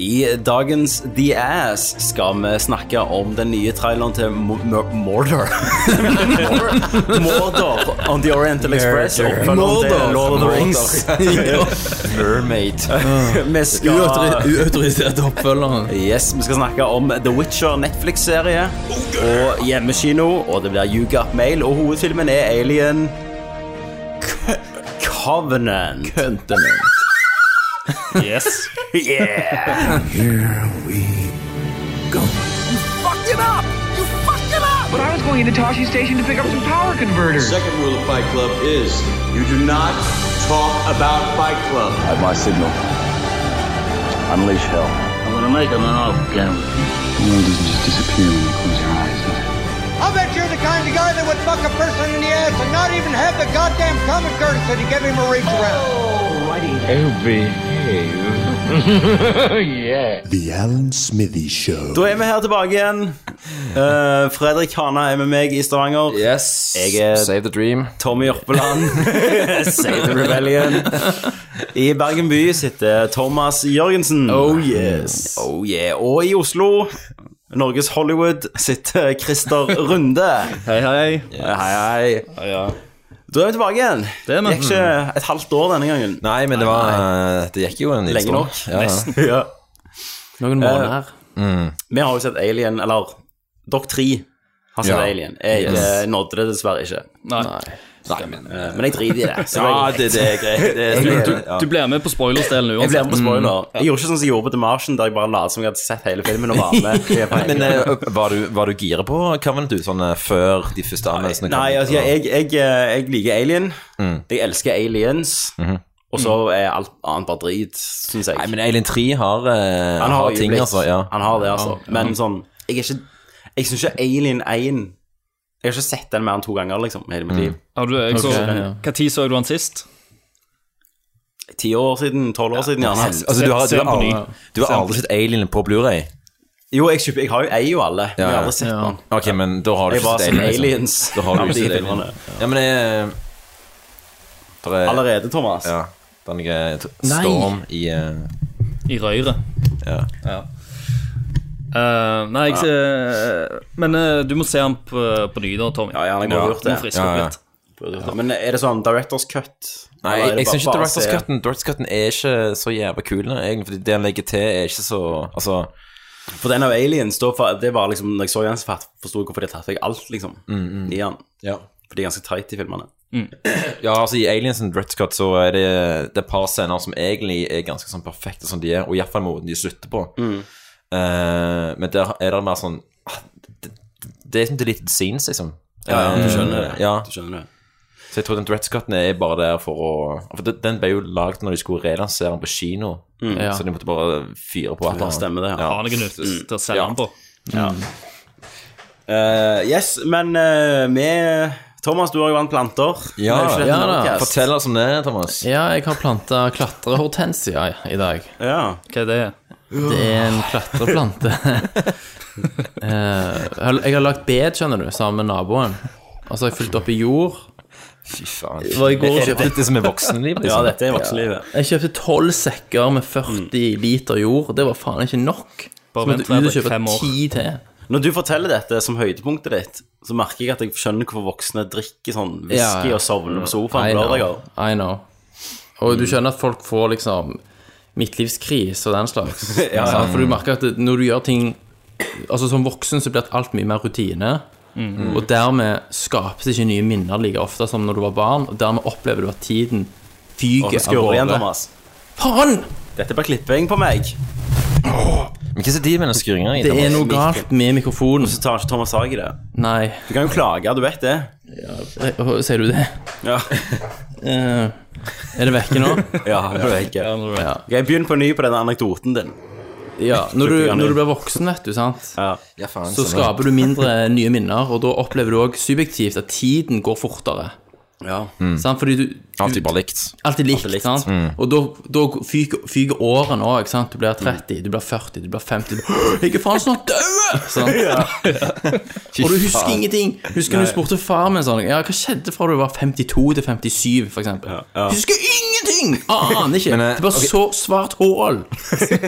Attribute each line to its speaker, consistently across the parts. Speaker 1: I dagens The Ass skal vi snakke om den nye traileren til Mo- Mo- Mordor. Mordor. Mordor on The Oriental Express. Oppfølgeren til Lord of the Rings. Mermaid. Vi skal
Speaker 2: Uautori- Uautoriserte oppfølgere.
Speaker 1: Yes, Vi skal snakke om The Witcher Netflix-serie og hjemmekino. Og det blir You Got Mail, og hovedfilmen er Alien Co- Covenant. Yes. Yeah.
Speaker 3: But I was going into Toshi Station to pick up some power converters.
Speaker 4: Second rule of Fight Club is you do not talk about Fight Club. At my signal, unleash hell. I'm gonna make him an off camera. The world doesn't just disappear when you close your eyes, does it?
Speaker 5: I'll bet you're the kind of guy that would fuck a person in the ass and not even have the goddamn common courtesy to give him a reach around.
Speaker 6: The Alan Smithy Show.
Speaker 1: Da er vi her tilbake igjen. Eh, Fredrik Hana er med meg i Stavanger.
Speaker 2: Yes.
Speaker 1: Jeg er-
Speaker 2: Save the dream.
Speaker 1: Tommy Jørpeland. Save the Rebellion. I Bergen by sitter Thomas Jørgensen.
Speaker 2: Oh, yes.
Speaker 1: Oh yeah. Og i Oslo, Norges Hollywood, sitter Christer Runde.
Speaker 7: Hei, hei.
Speaker 1: Eh, Hei, hei. Da er vi tilbake igjen. Det
Speaker 7: vi.
Speaker 1: gikk ikke et halvt år denne gangen.
Speaker 2: Nei, men det var eh, Det gikk jo en liten
Speaker 1: Lenge nok.
Speaker 2: stund. Ja, ja.
Speaker 1: Ja.
Speaker 7: Noen
Speaker 2: Eh,
Speaker 7: måneder.
Speaker 1: Vi har jo sett Alien, eller dere tre har sett
Speaker 2: Ja.
Speaker 1: Alien. Jeg eh, nådde det dessverre ikke.
Speaker 7: Nei.
Speaker 1: Eh, Men jeg driter i det. så
Speaker 7: Ja,
Speaker 1: det, det er greit. Mm. Det er
Speaker 7: Du,
Speaker 1: greit.
Speaker 7: du, du blir med på spoilers-delen
Speaker 1: Jeg ble
Speaker 7: uansett.
Speaker 1: med på spoiler. Jeg gjorde ikke sånn som jeg gjorde på The Martian, der jeg bare la som jeg hadde sett hele filmen og var med. i poenget.
Speaker 2: Men eh, var du, var du gira på Covenant du, sånn eh, før de første anmeldelsene
Speaker 1: Nei, altså, jeg, jeg, eh, jeg liker Alien. Mm. Mhm. Jeg elsker aliens. Og så er alt annet bare drit, syns jeg.
Speaker 2: Nei, men Alien 3 har, eh,
Speaker 1: han
Speaker 2: har,
Speaker 1: har
Speaker 2: ting,
Speaker 1: øyeblikk.
Speaker 2: altså. Ja.
Speaker 1: Han har det, altså. Men sånn Jeg er ikke Jeg syns ikke Alien 1 Jeg har ikke sett den mer enn to ganger, liksom, hele
Speaker 2: Mm.
Speaker 1: mitt liv.
Speaker 7: Mm. Har du, jeg så,
Speaker 1: Ok, ja.
Speaker 7: hva tid så du den sist?
Speaker 1: Ti år siden, tolv år siden, gjerne.
Speaker 2: Altså, du har,
Speaker 7: Se
Speaker 2: du,
Speaker 7: den
Speaker 2: har
Speaker 7: på ny.
Speaker 2: aldri, du har aldri sett Alien på Blu-ray
Speaker 1: Jo, jeg, kjøper, jeg har jo eier jo alle, men jeg har aldri sett
Speaker 7: Ja.
Speaker 1: den.
Speaker 2: Ok, men da har du
Speaker 1: Jeg
Speaker 2: ikke
Speaker 1: var
Speaker 2: sett
Speaker 1: som
Speaker 2: Alien. liksom.
Speaker 1: aliens.
Speaker 2: Da har du ikke
Speaker 1: Ja, de
Speaker 2: sett Alien.
Speaker 1: filmene.
Speaker 2: Ja, men jeg der er,
Speaker 1: Allerede, Thomas.
Speaker 2: Ja, det er noe t- storm i eh,
Speaker 7: I røret.
Speaker 2: ja.
Speaker 7: Eh, nei, jeg ser Men eh, du må se den på, på ny, da, Tommy.
Speaker 1: Ja, gjerne, jeg må ha gjort det.
Speaker 7: Må friske
Speaker 2: Ja,
Speaker 7: opp
Speaker 2: ja.
Speaker 7: litt.
Speaker 1: Men er det sånn Directors Cut? Eller
Speaker 2: Nei,
Speaker 1: er det
Speaker 2: jeg, jeg syns ikke
Speaker 1: bare-
Speaker 2: Directors
Speaker 1: bare se-
Speaker 2: Cutten Directors Cutten er ikke så jævla kul, egentlig. Fordi det han legger til, er ikke så Altså,
Speaker 1: For den av Aliens, da, for, det var liksom Når jeg så den, så fort- forsto jeg hvorfor de har tatt vekk alt, liksom.
Speaker 2: Mm,
Speaker 1: I den.
Speaker 2: ja.
Speaker 1: For de er ganske tight i filmene.
Speaker 2: ja altså i Aliens and Directors Cut så er det, det er et par scener som egentlig er ganske sånn perfekte som de er, og iallfall måten de slutter på.
Speaker 8: Mm.
Speaker 2: Eh, men der er det mer sånn ah, Det, det er som deleted scenes, liksom.
Speaker 1: du
Speaker 2: Eh,
Speaker 8: Mm.
Speaker 1: skjønner det.
Speaker 2: Ja.
Speaker 1: Du skjønner det.
Speaker 2: Så jeg tror den Directors Cutten er bare der for å For den- den ble jo lagd når de skulle relansere den på kino,
Speaker 8: Mm.
Speaker 7: Ja.
Speaker 2: så de måtte bare fyre på et
Speaker 1: Ja,
Speaker 2: eller annet.
Speaker 1: stemmer det, ja.
Speaker 7: Ha noe nytt til å selge
Speaker 2: Ja.
Speaker 7: den på.
Speaker 1: Eh, yes, men eh, vi Thomas, du har jo vant planter. Det
Speaker 2: Ja,
Speaker 1: er jo ikke
Speaker 2: ja
Speaker 1: dette
Speaker 2: da.
Speaker 1: Nordcast.
Speaker 2: Fortell oss om det, Thomas.
Speaker 8: Ja, jeg har planta klatrehortensia i dag.
Speaker 1: Ja.
Speaker 7: Hva er det?
Speaker 8: Det er en klatreplante. Eh, jeg har lagd bed, skjønner du, sammen med naboen. Og så har jeg fylt opp i jord.
Speaker 2: Fy faen.
Speaker 8: var i går og
Speaker 2: Er det dette som er voksenlivet?
Speaker 1: ja,
Speaker 2: Liksom?
Speaker 1: dette er voksenlivet.
Speaker 8: Jeg kjøpte tolv sekker med 40 liter jord. Det var faen ikke nok.
Speaker 7: Bare
Speaker 8: Så måtte jeg
Speaker 7: vent,
Speaker 8: ut og
Speaker 7: Fredrik,
Speaker 8: kjøpe
Speaker 7: fem år.
Speaker 8: ti til.
Speaker 1: Når du forteller dette som høydepunktet ditt, så merker jeg at jeg skjønner hvorfor voksne drikker sånn
Speaker 8: Ja,
Speaker 1: whisky
Speaker 8: ja.
Speaker 1: og sovner på sofaen på
Speaker 8: I know.
Speaker 1: lørdager. Mm.
Speaker 8: I know. Og du skjønner at folk får liksom midtlivskrise og den slags. Sant?
Speaker 1: Mm.
Speaker 8: For du merker at det- når du gjør ting Altså Som voksen så blir det alt mye mer rutine.
Speaker 1: Mm,
Speaker 8: Og dermed skapes ikke nye minner like ofte som når du var barn. Og dermed opplever du at tiden
Speaker 1: Og så
Speaker 8: fyker
Speaker 1: skurrer igjen,
Speaker 8: av gårde.
Speaker 1: Thomas.
Speaker 8: Faen!
Speaker 1: Dette blir klipping på meg.
Speaker 2: Men hva er de med den skuringa i?
Speaker 8: Det er
Speaker 2: Thomas?
Speaker 8: noe galt med mikrofonen.
Speaker 1: Så tar ikke Thomas tak i det.
Speaker 8: Nei,
Speaker 1: Du kan jo klage, du vet det.
Speaker 8: Eh, hva- sier du det?
Speaker 1: Ja,
Speaker 8: Eh, Er det vekke nå?
Speaker 1: ja du vet ikke.
Speaker 8: Ja.
Speaker 1: Ok, Begynn på ny på denne anekdoten din.
Speaker 8: ja. Når, du, når du blir voksen, vet du, sant.
Speaker 1: Ja.
Speaker 2: Ja, faen,
Speaker 8: så
Speaker 2: stemmer.
Speaker 8: skaper du mindre nye minner, og da opplever du òg subjektivt at tiden går fortere.
Speaker 1: Ja.
Speaker 2: Mm.
Speaker 8: Sant? Fordi du,
Speaker 2: Alltid
Speaker 8: du
Speaker 2: bare likt. Mm.
Speaker 8: Alltid likt, sant? Og da, da fyker, fyker årene òg. Du blir 30, du blir 40, du blir 50 du blir, Jeg er faen snart død! Sånn. Og du husker ingenting. Husker du spurte far min sånn ja, Hva skjedde fra du var 52 til 57, for eksempel? Husker ingenting! Aner ikke.
Speaker 2: Men, eh,
Speaker 8: det er bare
Speaker 2: ok.
Speaker 8: så svart hål.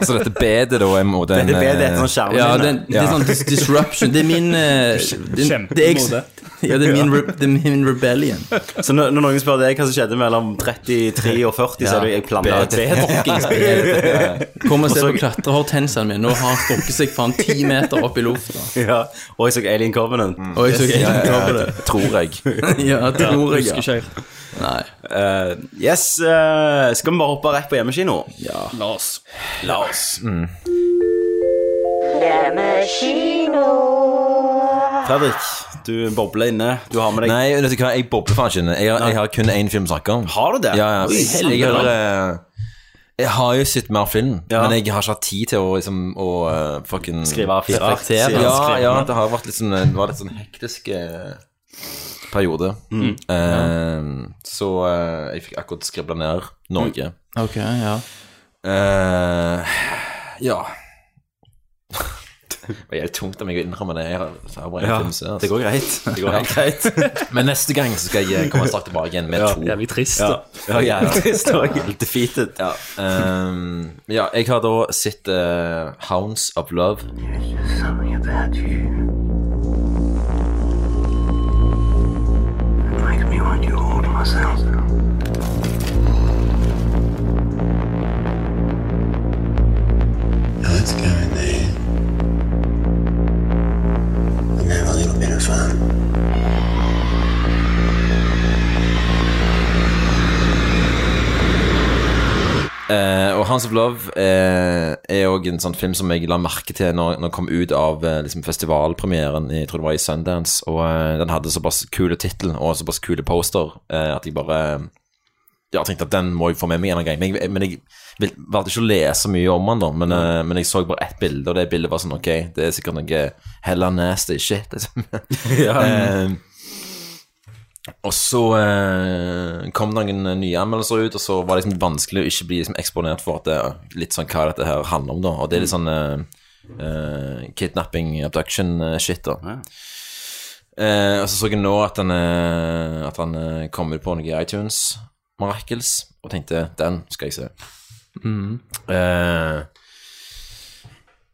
Speaker 2: Så dette bedet, da, er må den
Speaker 1: Det ble det
Speaker 2: eh,
Speaker 1: etter sånn skjermen
Speaker 8: Ja,
Speaker 1: din,
Speaker 8: det, det er sånn dis disruption. Det er min eh, det, det er,
Speaker 7: Kjempemode.
Speaker 8: ja, det er min, re, det er min rebellion.
Speaker 1: Så når, når noen spør deg hva som skjedde mellom 33 og 40, så er det jeg planla et
Speaker 8: Bedre.
Speaker 1: bed.
Speaker 8: Fuckings bedre. Kom og se på klatrehårtensene mine. Nå har han strukket seg faen ti meter opp i lufta.
Speaker 1: Ja. Og jeg så Alien Covenant.
Speaker 7: Mm.
Speaker 8: Og jeg så ikke
Speaker 2: ja,
Speaker 8: helt
Speaker 2: ja,
Speaker 8: over det.
Speaker 2: Tror jeg.
Speaker 8: Ja, det tror jeg, ja.
Speaker 7: Husker ikke helt.
Speaker 8: Nei.
Speaker 1: Eh, yes, eh, skal vi bare hoppe rett på hjemmekino?
Speaker 8: Ja.
Speaker 7: La oss.
Speaker 1: La oss.
Speaker 2: Mm.
Speaker 1: Fredrik, du bobler inne. Du har med deg
Speaker 2: Nei, vet du hva, jeg bobler faen ikke. inne. Jeg, har- jeg har kun én film å snakke om.
Speaker 1: Har du det?
Speaker 2: Ja, ja.
Speaker 1: Oi,
Speaker 2: Jeg, jeg, har, eh, jeg har jo sett mer film,
Speaker 1: Ja.
Speaker 2: men jeg har ikke hatt tid til å liksom å eh, fucking
Speaker 1: Skrive fire.
Speaker 8: Reflektere.
Speaker 1: sier han.
Speaker 2: Ja,
Speaker 1: Skrive.
Speaker 2: ja, det har vært litt sånn, det var litt sånn hektisk eh, periode. Eh, Så eh, jeg fikk akkurat skribla ned Norge.
Speaker 8: Ok, ja.
Speaker 2: Eh, ja. Det er tungt om jeg innrømmer det. Jeg har, så har bare en
Speaker 1: Ja,
Speaker 2: film å se, altså.
Speaker 1: det går greit.
Speaker 2: Det går helt greit. Men neste gang så skal jeg eh, komme straks tilbake igjen med to.
Speaker 7: Jævlig trist.
Speaker 1: Ja,
Speaker 7: da.
Speaker 1: ja, ja. Det var helt defeated.
Speaker 2: Ja, ehm, ja, jeg har da sett eh, Hounds of Love.
Speaker 9: Something about you. It makes me want you all to myself.
Speaker 6: Now let's go in there and have a little bit of fun.
Speaker 2: Eh, og Hounds of Love eh, er òg en sånn film som jeg la merke til når når den kom ut av eh, liksom festivalpremieren i, jeg tror det var i Sundance. Og eh, den hadde såpass kule tittel og såpass kule poster eh, at jeg bare ja, tenkte at den må jeg få med meg en eller annen gang. Men jeg, men jeg vil- valgte ikke å lese mye om den, da. Men, eh, men jeg så bare ett bilde, og det bildet var sånn Ok, det er sikkert noe hella nasty shit. Liksom. Eh, og så eh, kom det noen nye anmeldelser ut, og så var det liksom vanskelig å ikke bli liksom, eksponert for at det er litt sånn hva dette her handler om, da. Og det er litt sånn eh, eh, kidnapping, abduction-shit, da. Eh, og så så jeg nå at han, eh, at han eh, kom ut på noe i iTunes, Miracles, og tenkte den skal jeg se. Eh,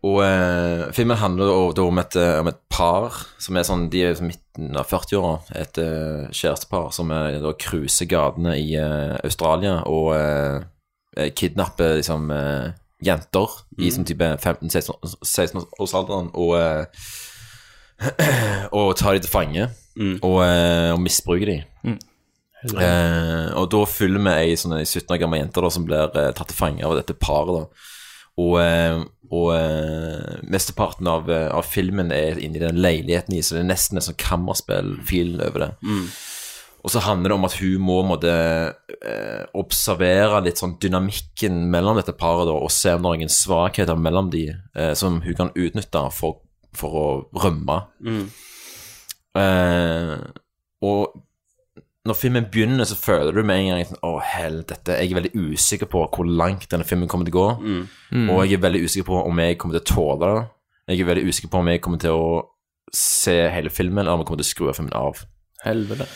Speaker 2: og eh, filmen handler jo da om et, eh, om et par som er sånn, de er sånn midten av 40-åra. Et eh, kjærestepar som eh, da cruiser gatene i eh, Australia og eh, eh, kidnapper liksom eh, jenter i sånn type 15-16-årsalderen og, eh, og tar de til fange og, eh, og misbruker de. Eh, og da følger vi ei sånn ei 17 år gammel jente da, som blir eh, tatt til fange av dette paret. da og, eh, og eh, mesteparten av, eh, av filmen er inni den leiligheten i, så det er nesten en sånn kammerspill-feel over det. Og så handler det om at hun må måtte eh, observere litt sånn dynamikken mellom dette paret, da, og se om det er noen svakheter mellom de eh, som hun kan utnytte for, for å rømme. Eh, og når filmen begynner, så føler du med en gang sånn, Å, helvete. Jeg er veldig usikker på hvor langt denne filmen kommer til å gå. Og jeg er veldig usikker på om jeg kommer til å tåle det. Jeg er veldig usikker på om jeg kommer til å se hele filmen, eller om jeg kommer til å skru av filmen av.
Speaker 8: Helvete.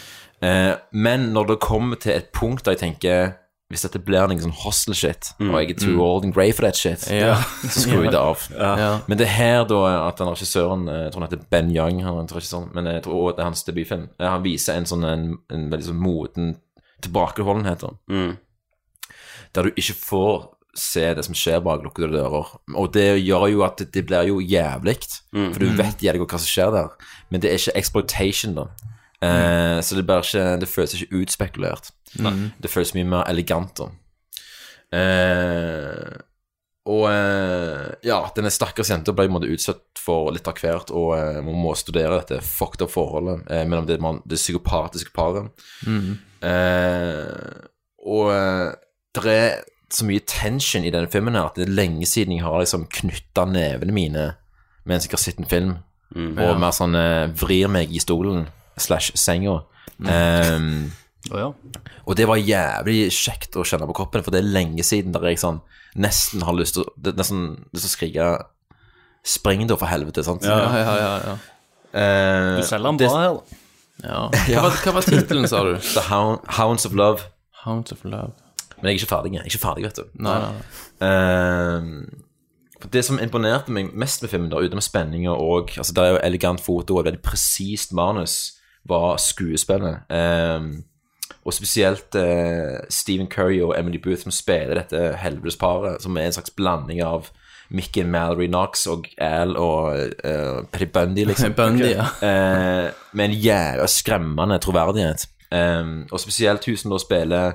Speaker 2: Eh, men når det kommer til et punkt der jeg tenker Hvis dette blir noe sånn hostel-shit, og jeg er too old and grey for that shit,
Speaker 8: Ja.
Speaker 2: så skrur jeg det av.
Speaker 8: Ja.
Speaker 2: Men det er her da at den regissøren, eh, jeg tror han heter Ben Young, han er regissøren, men jeg tror også det er hans debutfilm, eh, han viser en sånn en, en veldig sånn moden tilbakeholdenhet. da. Der du ikke får se det som skjer bak lukkede dører. Og det gjør jo at det blir jo jævlig,
Speaker 8: Mm.
Speaker 2: for du vet jævlig godt hva som skjer der. Men det er ikke exploitation, da. Eh, Så det, blir ikke, det føles ikke utspekulert. Det føles mye mer elegant, da. Eh, og eh, ja, denne stakkars jenta ble på en måte utsatt for litt av hvert, og eh, man må studere dette fucked up forholdet eh, mellom det, man, det psykopatiske paret. Eh, og eh, det er så mye tension i denne filmen her at det er lenge siden jeg har liksom knytta nevene mine mens jeg har sett en film, og mer sånn eh, vrir meg i stolen slash senga. Eh,
Speaker 7: Å ja.
Speaker 2: Og det var jævlig kjekt å kjenne på kroppen, for det er lenge siden der jeg sånn nesten har lyst til å det- Nesten lyst til å skrike Spreng da, for helvete, sant?
Speaker 8: Ja, ja, ja. ja.
Speaker 2: Eh,
Speaker 7: Du selger den
Speaker 2: det-
Speaker 7: bra her. da.
Speaker 8: ja. Hva, var- hva var tittelen, sa du?
Speaker 2: The Hound, Hounds of Love.
Speaker 8: Hounds of Love.
Speaker 2: Men jeg er ikke ferdig, jeg er ikke ferdig, vet du.
Speaker 8: Nei, nei, nei. Ehm,
Speaker 2: Eh, for det som imponerte meg mest med filmen, da, utenom spenninga og altså Det er jo elegant foto og et veldig presist manus, var skuespillet. Eh, og spesielt eh, Stephen Curry og Emily Booth som spiller dette helvetesparet, som er en slags blanding av Mickey and Mallory Knox og Al og eh, Petty Bundy, liksom.
Speaker 8: Bundy, ja.
Speaker 2: Eh, med en jævla skremmende troverdighet. Eh, og spesielt hun som da spiller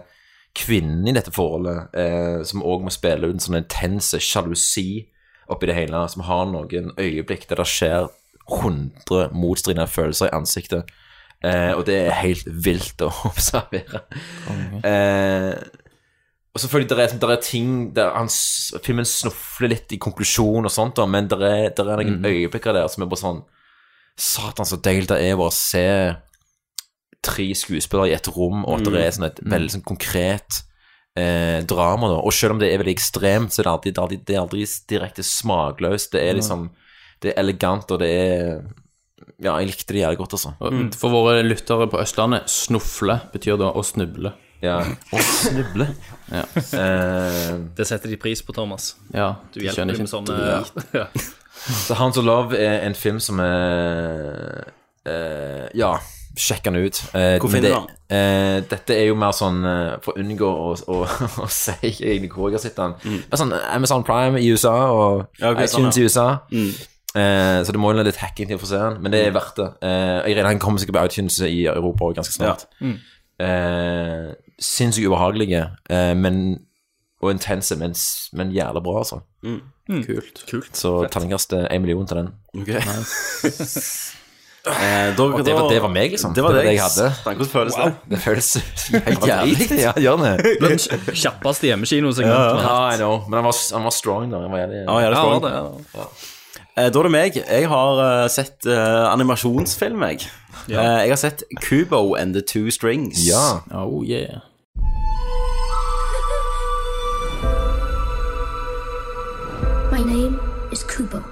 Speaker 2: kvinnen i dette forholdet, eh, som òg må spille ut en sånn intense sjalusi oppi det hele, som har noen øyeblikk der det skjer 100 motstridende følelser i ansiktet. Eh, og det er helt vilt å observere. Eh, og selvfølgelig, der er, der er ting der han, s- Filmen snufler litt i konklusjon og sånt, da, men der er, der er noen øyeblikker der som er bare sånn Satan, så deilig det er bare å se tre skuespillere i et rom, og at det er sånn et veldig sånn konkret eh, drama. Da. Og selv om det er veldig ekstremt, så er det aldri, det er aldri, det er aldri direkte smakløst. Det er liksom Det er elegant, og det er Ja, jeg likte det jævlig godt, altså.
Speaker 8: Og
Speaker 7: Mm.
Speaker 8: For våre lyttere på Østlandet, snufle betyr da å snuble.
Speaker 2: Ja. Og snuble.
Speaker 8: Ja.
Speaker 2: Eh,
Speaker 7: Det setter de pris på, Thomas.
Speaker 8: Ja,
Speaker 7: Du hjelper dem med sånne ja.
Speaker 2: så Hounds of Love er en film som er eh, Ja, sjekk den ut. Eh,
Speaker 1: Hvor finner
Speaker 2: men det- eh, dette er jo mer sånn eh, For å unngå å, å, å si egentlig hvor jeg har sett den. Men sånn Amazon Prime i USA og
Speaker 1: Mm. Ja, ok, sånn,
Speaker 2: iTunes
Speaker 1: ja.
Speaker 2: i USA. Eh, så det må jo litt hacking til for å se den, men det er
Speaker 1: Mm.
Speaker 2: verdt det. Eh, jeg regner han kommer sikkert på iTunes i Europa også ganske snart.
Speaker 1: Mm.
Speaker 2: Eh, Sinnssykt ubehagelige, eh, men, og intense, men, s- men jævla bra, altså.
Speaker 8: Kult.
Speaker 2: Så terningkast eh, en million til den.
Speaker 1: Mm. Ok. Eh, da-
Speaker 2: Det
Speaker 1: da-
Speaker 2: var, det var meg, liksom.
Speaker 1: Det var det
Speaker 2: jeg hadde.
Speaker 1: Hvordan føles det?
Speaker 2: Det føles helt jævlig. Ja, gjør det.
Speaker 7: Den kjappeste hjemmekinosekvensen.
Speaker 2: Ja, I know. Men han var, han var strong, da. Han var jævlig
Speaker 1: Ja, ja, det
Speaker 7: Ja,
Speaker 1: står
Speaker 7: det
Speaker 1: den.
Speaker 7: er det.
Speaker 1: Eh, Da er det meg. Jeg har eh, sett eh, animasjonsfilm, jeg. Eh, Jeg har sett Kubo and the Two Strings.
Speaker 2: Ja.
Speaker 8: Oh yeah.
Speaker 10: My name is Kubo.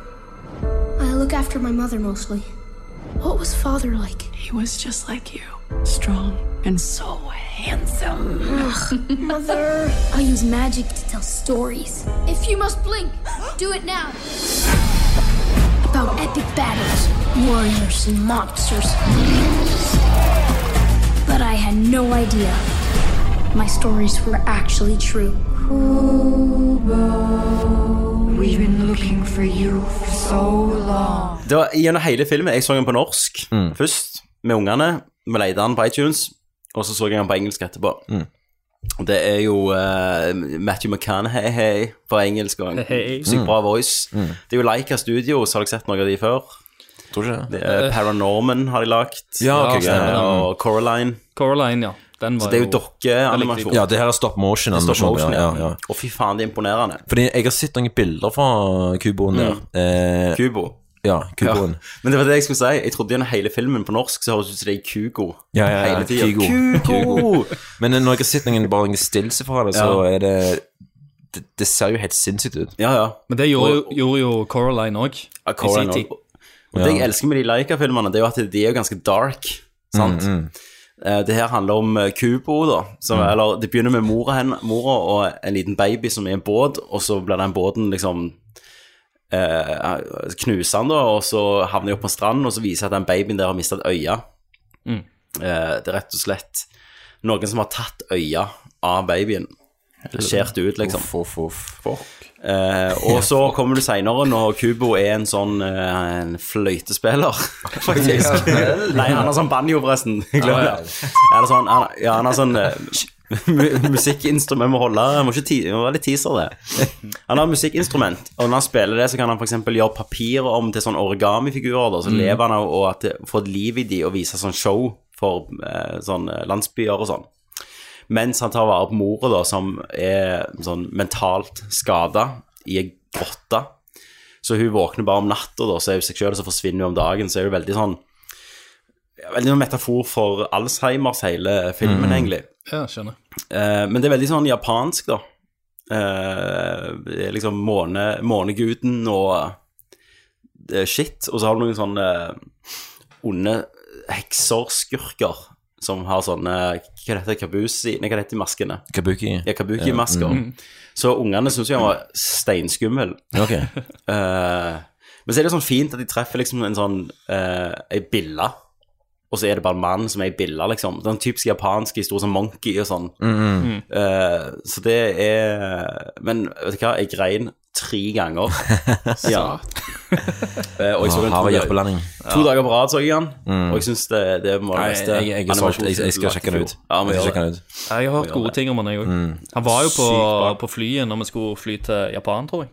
Speaker 10: I look after my mother mostly. What was father like?
Speaker 9: He was just like you. Strong and so handsome.
Speaker 10: Mother. I use magic to tell stories. If you must blink, do it now. About epic battles, warriors, and monsters. But I had no idea. My stories were actually true.
Speaker 9: We've been looking for you for so long.
Speaker 1: Det var Gjennom hele filmen Jeg så den på norsk
Speaker 2: Mm.
Speaker 1: først, med ungene. Vi leide den på iTunes, og så så jeg den på engelsk etterpå.
Speaker 2: Mm.
Speaker 1: Og Det er jo eh, Matthew McCann-hei, hei, på engelsk. og en
Speaker 7: Hei.
Speaker 2: Mm.
Speaker 1: Sykt bra voice. Det er jo Leica Studio, så har dere sett noe av de før?
Speaker 2: Tror ikke det.
Speaker 1: Det er Paranorman har de lagt.
Speaker 2: Ja, ok, stemmer det.
Speaker 1: og Coraline.
Speaker 7: Coraline, ja. Den var
Speaker 1: Det er jo
Speaker 7: Det likte
Speaker 1: dokkeanimasjon.
Speaker 2: Ja, det her er stop motion.
Speaker 1: Stop motion,
Speaker 2: ja, ja.
Speaker 1: ja. Og fy faen, det er imponerende.
Speaker 2: Fordi jeg har sett noen bilder fra kuboen der. Eh,
Speaker 1: Kubo.
Speaker 2: ja, kuboen.
Speaker 1: Ah, Men det var det jeg skulle si. Jeg trodde gjennom hele filmen på norsk så høres det ut som det er Kugo.
Speaker 2: Ja, ja, ja.
Speaker 1: Hele tiden.
Speaker 2: Kygo.
Speaker 1: Kugo!
Speaker 2: Men eh, når jeg har sett noen bare noen stillelse fra det, så
Speaker 1: Ja.
Speaker 2: er det det, det ser jo helt sinnssykt ut.
Speaker 1: Ja, ja.
Speaker 7: Men det gjorde, jo- gjorde jo Coraline òg.
Speaker 1: Coraline
Speaker 7: I sin tid.
Speaker 1: også. Og det jeg elsker med de Laika-filmene, det er jo at de er jo ganske dark. Sant? Eh, Det her handler om eh, Kubo, da. Som, eller, det begynner med mora, henne, mora og en liten baby som er i en båt, og så blir den båten liksom eh, knuser han da, og så havner de opp på en strand, og så viser at den babyen der har mistet et øye. Eh, det er rett og slett noen som har tatt øya av babyen. Skjært ut, liksom.
Speaker 2: Uff, uff, uff.
Speaker 1: Eh, og så kommer du seinere, når Kubo er en sånn eh, en fløytespiller, faktisk. Nei, han har sånn banjo, forresten. Jeg glemmer det. Eller sånn, han, ja, han har sånn eh, mu- musikkinstrument må holde Jeg må ikke ti, jeg må være litt teaser, det. Han har musikkinstrument, og når han spiller det, så kan han f.eks. gjøre papiret om til sånn origamifigurer, da,
Speaker 2: Mm.
Speaker 1: så lever han av å at det- få et liv i de og vise sånn show for eh, sånn eh, landsbyer og sånn mens han tar vare på mora, da, som er sånn mentalt skada i ei grotte. Så hun våkner bare om natta, da, så er hun seg sjøl, så forsvinner hun om dagen. Så er hun veldig sånn veldig sånn metafor for Alzheimers hele filmen,
Speaker 11: Mhm.
Speaker 1: egentlig.
Speaker 11: Ja, skjønner.
Speaker 1: Eh, men det er veldig sånn japansk, da. Eh, det er liksom måne, måneguden og eh, shit. Og så har du noen sånne onde hekserskurker som har sånne Hva heter det? Kabusi? Nei, hva heter de maskene?
Speaker 2: Kabuki.
Speaker 1: Ja, kabuki-masker.
Speaker 2: Ja, mm.
Speaker 1: Så ungene syns jo han var steinskummel.
Speaker 2: Ok.
Speaker 1: Eh, men så er det sånn fint at de treffer liksom en sånn uh, ei bille, og så er det bare en mann som er ei bille, liksom. Den typiske japanske historien som monkey og sånn.
Speaker 2: Mm.
Speaker 1: Eh, så det er Men vet du hva, jeg grein tre ganger. ja. Eh, og jeg så den to,
Speaker 2: Har vi
Speaker 1: dager,
Speaker 2: hjertelanding?
Speaker 1: to dager på rad, så jeg den.
Speaker 2: Mm.
Speaker 1: Og jeg syns det, det var det
Speaker 2: Nei,
Speaker 1: beste.
Speaker 2: jeg- jeg- jeg er solgt. Jeg- jeg skal sjekke den ut.
Speaker 1: Ja, men
Speaker 2: Jeg skal
Speaker 1: gjør
Speaker 2: sjekke den
Speaker 1: det.
Speaker 2: ut.
Speaker 7: Ja, Jeg har hørt
Speaker 1: Ja,
Speaker 7: gode
Speaker 1: det-
Speaker 7: ting om han, jeg òg.
Speaker 2: Mm.
Speaker 7: Han var jo på,
Speaker 2: Sykt bra.
Speaker 7: på flyet når vi skulle fly til Japan, tror jeg.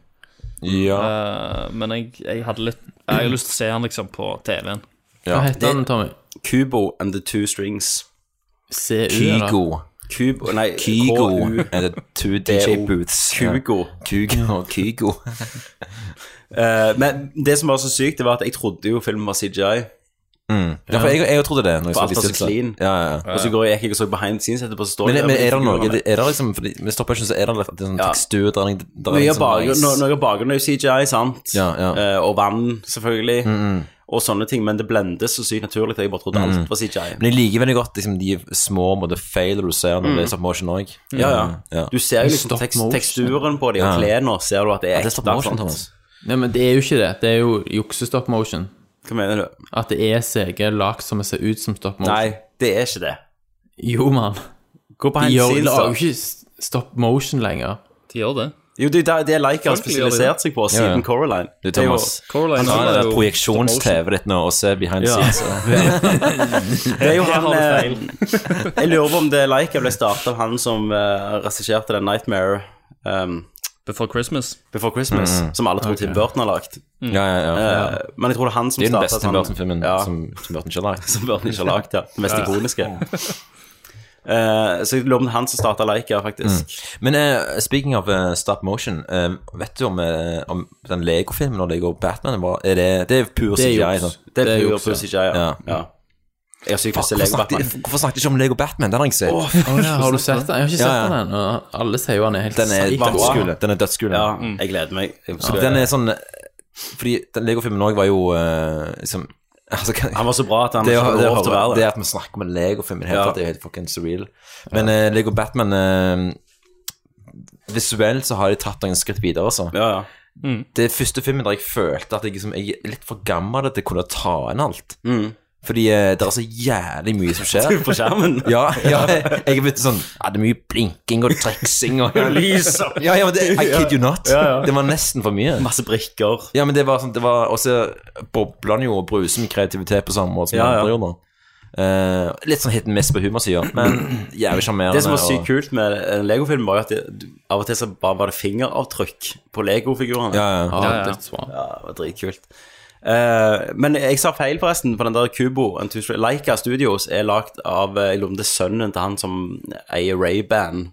Speaker 7: Eh, men jeg, jeg hadde litt Jeg har lyst til å se han liksom på TV-en.
Speaker 8: Hva heter han, Tommy?
Speaker 1: Kubo and the Two Strings.
Speaker 8: CU,
Speaker 2: Eh, Kygo.
Speaker 1: Kubo Nei,
Speaker 2: Kygo
Speaker 1: KU.
Speaker 2: er det two DJ booths.
Speaker 1: Kygo.
Speaker 2: Kygo. Kygo.
Speaker 1: Eh, men det som var så sykt, det var at jeg trodde jo filmen var CGI.
Speaker 2: Mm. Ja, for jeg, jeg trodde det. Når
Speaker 1: For
Speaker 2: jeg så
Speaker 1: alt var
Speaker 2: disse
Speaker 1: så
Speaker 2: filmene.
Speaker 1: clean.
Speaker 2: Ja, ja, ja.
Speaker 1: Og så går jeg gikk jeg og så behind the scenes etterpå. Så står
Speaker 2: Men,
Speaker 1: jeg der
Speaker 2: men
Speaker 1: med
Speaker 2: er det noe
Speaker 1: figurene.
Speaker 2: det- Er det liksom fordi, Med stop-action så er det litt- det er sånn
Speaker 1: Ja.
Speaker 2: tekstur der, er- der
Speaker 1: Mye av
Speaker 2: er litt sånn nice.
Speaker 1: bakgrunnen no- noe av bakgrunnen er jo CGI, sant?
Speaker 2: Ja, ja.
Speaker 1: Eh, og vann, selvfølgelig.
Speaker 2: Mm, mm.
Speaker 1: Og sånne ting. Men det blendes så sykt naturlig at jeg bare trodde
Speaker 2: Mm.
Speaker 1: alt var CGI.
Speaker 2: Men jeg liker veldig godt liksom, de små måte, feiler du ser når
Speaker 1: Mm.
Speaker 2: det er stop motion Mm, òg.
Speaker 1: Ja, ja. Du ser jo liksom tekst, teksturen på de og
Speaker 2: Ja.
Speaker 1: klærne, ser du at det er
Speaker 2: Ja, det er
Speaker 1: ekte.
Speaker 2: stop motion,
Speaker 1: sant?
Speaker 2: Thomas.
Speaker 8: Nei, men det er jo ikke det. Det er jo juksestop motion.
Speaker 1: Hva mener du?
Speaker 8: At det er CG lagd som det ser ut som stop motion.
Speaker 1: Nei, det er ikke det.
Speaker 8: Jo, mann.
Speaker 1: Gå på
Speaker 8: De
Speaker 1: behind
Speaker 8: gjør-
Speaker 1: the scenes,
Speaker 8: lager jo
Speaker 1: da.
Speaker 8: ikke s- stop motion lenger.
Speaker 7: De gjør det.
Speaker 1: Jo, det er det- det er Leica har
Speaker 7: Selvfølgelig gjør de
Speaker 1: spesialisert seg på
Speaker 2: Ja, ja.
Speaker 1: siden Coraline.
Speaker 2: Du,
Speaker 1: Det er jo-
Speaker 2: Thomas.
Speaker 7: Coraline
Speaker 2: Ta
Speaker 7: var
Speaker 2: det
Speaker 7: jo-
Speaker 2: projeksjons-TV-et ditt nå og se behind the
Speaker 1: Ja.
Speaker 2: scenes.
Speaker 1: Det er jo
Speaker 7: Der har
Speaker 1: han
Speaker 7: du
Speaker 1: eh,
Speaker 7: feil.
Speaker 1: Jeg lurer på om det Leica ble startet av han som uh, regisserte den Nightmare um,
Speaker 7: Before Christmas.
Speaker 1: Before Christmas, som alle tror Tim Burton har lagd.
Speaker 2: Ja, ja, ja.
Speaker 1: Eh, Men jeg tror det er han som
Speaker 2: Det er den beste
Speaker 1: startet
Speaker 2: Tim
Speaker 1: han-
Speaker 2: Burton-filmen
Speaker 1: ja, som...
Speaker 2: som, som Burton ikke har lagd.
Speaker 1: Burton ikke har lagd, ja. Den mest ikoniske. Eh, så jeg lurer på om det er han som startet Leica, faktisk.
Speaker 2: Men eh, speaking of eh, stop motion, eh, vet du om, eh, om den Lego-filmen og Lego Batman var, er det, det er pur
Speaker 8: Det er
Speaker 2: CGI,
Speaker 8: juks.
Speaker 2: sant?
Speaker 1: Det
Speaker 8: Det er
Speaker 1: er pure
Speaker 8: juks, ja.
Speaker 1: pussy ja.
Speaker 2: Ja.
Speaker 1: ja. Jeg har sykt lyst til
Speaker 2: Hvorfor
Speaker 1: Lego
Speaker 2: snakket,
Speaker 1: Batman.
Speaker 2: hvorfor snakket jeg ikke om Lego Batman? Den har jeg ikke sett.
Speaker 8: Å ja, har du sett den? Jeg har ikke sett
Speaker 2: Ja, ja.
Speaker 8: den ennå. Alle sier jo han er helt
Speaker 2: den er
Speaker 8: psycho.
Speaker 2: dødskule. Den er dødskule.
Speaker 1: Ja, jeg gleder meg. Jeg
Speaker 2: Så
Speaker 1: skal-
Speaker 2: Den er sånn Fordi den Lego-filmen òg var jo eh, liksom altså, kan,
Speaker 1: Han var så bra at han
Speaker 2: det,
Speaker 1: ikke
Speaker 2: å-
Speaker 1: hadde
Speaker 2: det, å
Speaker 1: lov til å
Speaker 2: høre-
Speaker 1: være
Speaker 2: det
Speaker 1: det.
Speaker 2: at vi snakker om en Lego-film i det hele
Speaker 1: Ja.
Speaker 2: tatt, det er jo helt fucking surreal. Men eh, Lego Batman eh, Visuelt så har de tatt noen skritt videre, altså.
Speaker 1: Ja, ja.
Speaker 2: Det er første filmen der jeg følte at jeg, liksom, jeg er litt for gammel til å kunne ta inn alt. Fordi eh, det er så jævlig mye som skjer.
Speaker 1: På skjermen.
Speaker 2: Ja, ja, jeg jeg vet sånn Ja, det er mye blinking og treksing og Lys ja, ja, men det, I kid you not. Det var nesten for mye.
Speaker 1: Masse brikker.
Speaker 2: Ja, men det var sånn det var, Og så bobler han jo og bruser med kreativitet på samme måte som
Speaker 1: Ja, ja.
Speaker 2: andre gjorde nå. Eh, litt sånn hit and miss på humorsida, men jævlig sjarmerende.
Speaker 1: Det som var sykt
Speaker 2: og-
Speaker 1: kult med en Lego-film, var jo at det, du- av og til så bare var det fingeravtrykk på Lego-figurene.
Speaker 2: Ja, ja.
Speaker 8: Ja,
Speaker 7: Ja, ja.
Speaker 8: dødsbra.
Speaker 1: Ja, det var dritkult. Eh, men jeg sa feil, forresten, på den der Kubo. and Two String- Leica Studios er lagd av eh, jeg lurer på om det er sønnen til han som eier Ray-Ban.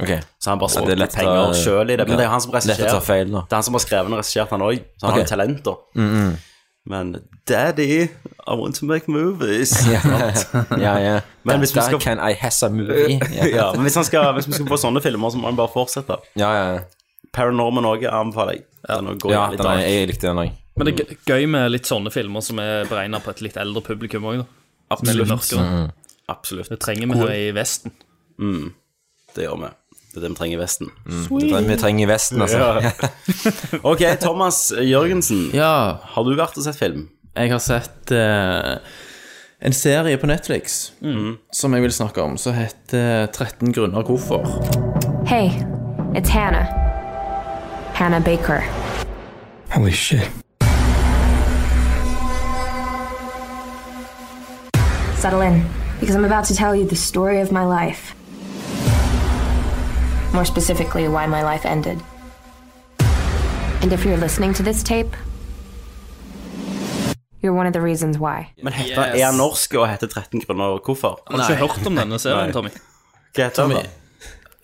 Speaker 2: Ok.
Speaker 1: Så han bare
Speaker 2: Ja, det er
Speaker 1: solgte
Speaker 2: lett å-
Speaker 1: penger sjøl i det. Men det er jo han som
Speaker 2: Lett å
Speaker 1: regisserer.
Speaker 2: ta feil, da.
Speaker 1: Det er han som har skrevet og regissert, han òg. Så han har
Speaker 2: Ok. Mm,
Speaker 1: jo talent, da. Men Daddy, I want to make movies.
Speaker 2: Ja, ja.
Speaker 1: Men hvis vi
Speaker 2: Dette
Speaker 1: skal-
Speaker 2: Can I has a movie? Ja, ja,
Speaker 1: ja, men hvis, han skal, hvis vi skal få sånne filmer, så må han bare fortsette.
Speaker 2: ja. ja.
Speaker 1: Paranorman òg anbefaler jeg. Den går
Speaker 2: ja
Speaker 1: litt
Speaker 2: den er,
Speaker 1: dark.
Speaker 2: jeg likte den òg.
Speaker 7: Men det er gøy- gøy med litt sånne filmer som er beregna på et litt eldre publikum òg.
Speaker 1: Absolutt.
Speaker 2: Mm.
Speaker 7: Absolutt. Det trenger vi her i Vesten.
Speaker 1: Det gjør vi. Det er det vi trenger i Vesten.
Speaker 2: Vi trenger Vesten, altså.
Speaker 1: Ok, Thomas Jørgensen.
Speaker 8: Ja,
Speaker 1: Har du vært og sett film?
Speaker 8: jeg har sett eh, en serie på Netflix
Speaker 7: Mm.
Speaker 8: som jeg vil snakke om, som heter 13 grunner hvorfor.
Speaker 12: Hey, it's Hannah. Hannah Baker.
Speaker 6: Holy shit.
Speaker 12: Settle in, because I'm about to tell you the story of my life. More specifically, why my life ended. And if you're listening to this tape, you're one of the reasons why.
Speaker 1: Men heter, Er han norsk og heter 13 grunner og hvorfor?
Speaker 7: Har du ikke hørt om denne serien, Tommy?
Speaker 1: Hva heter han da?
Speaker 8: Tommy.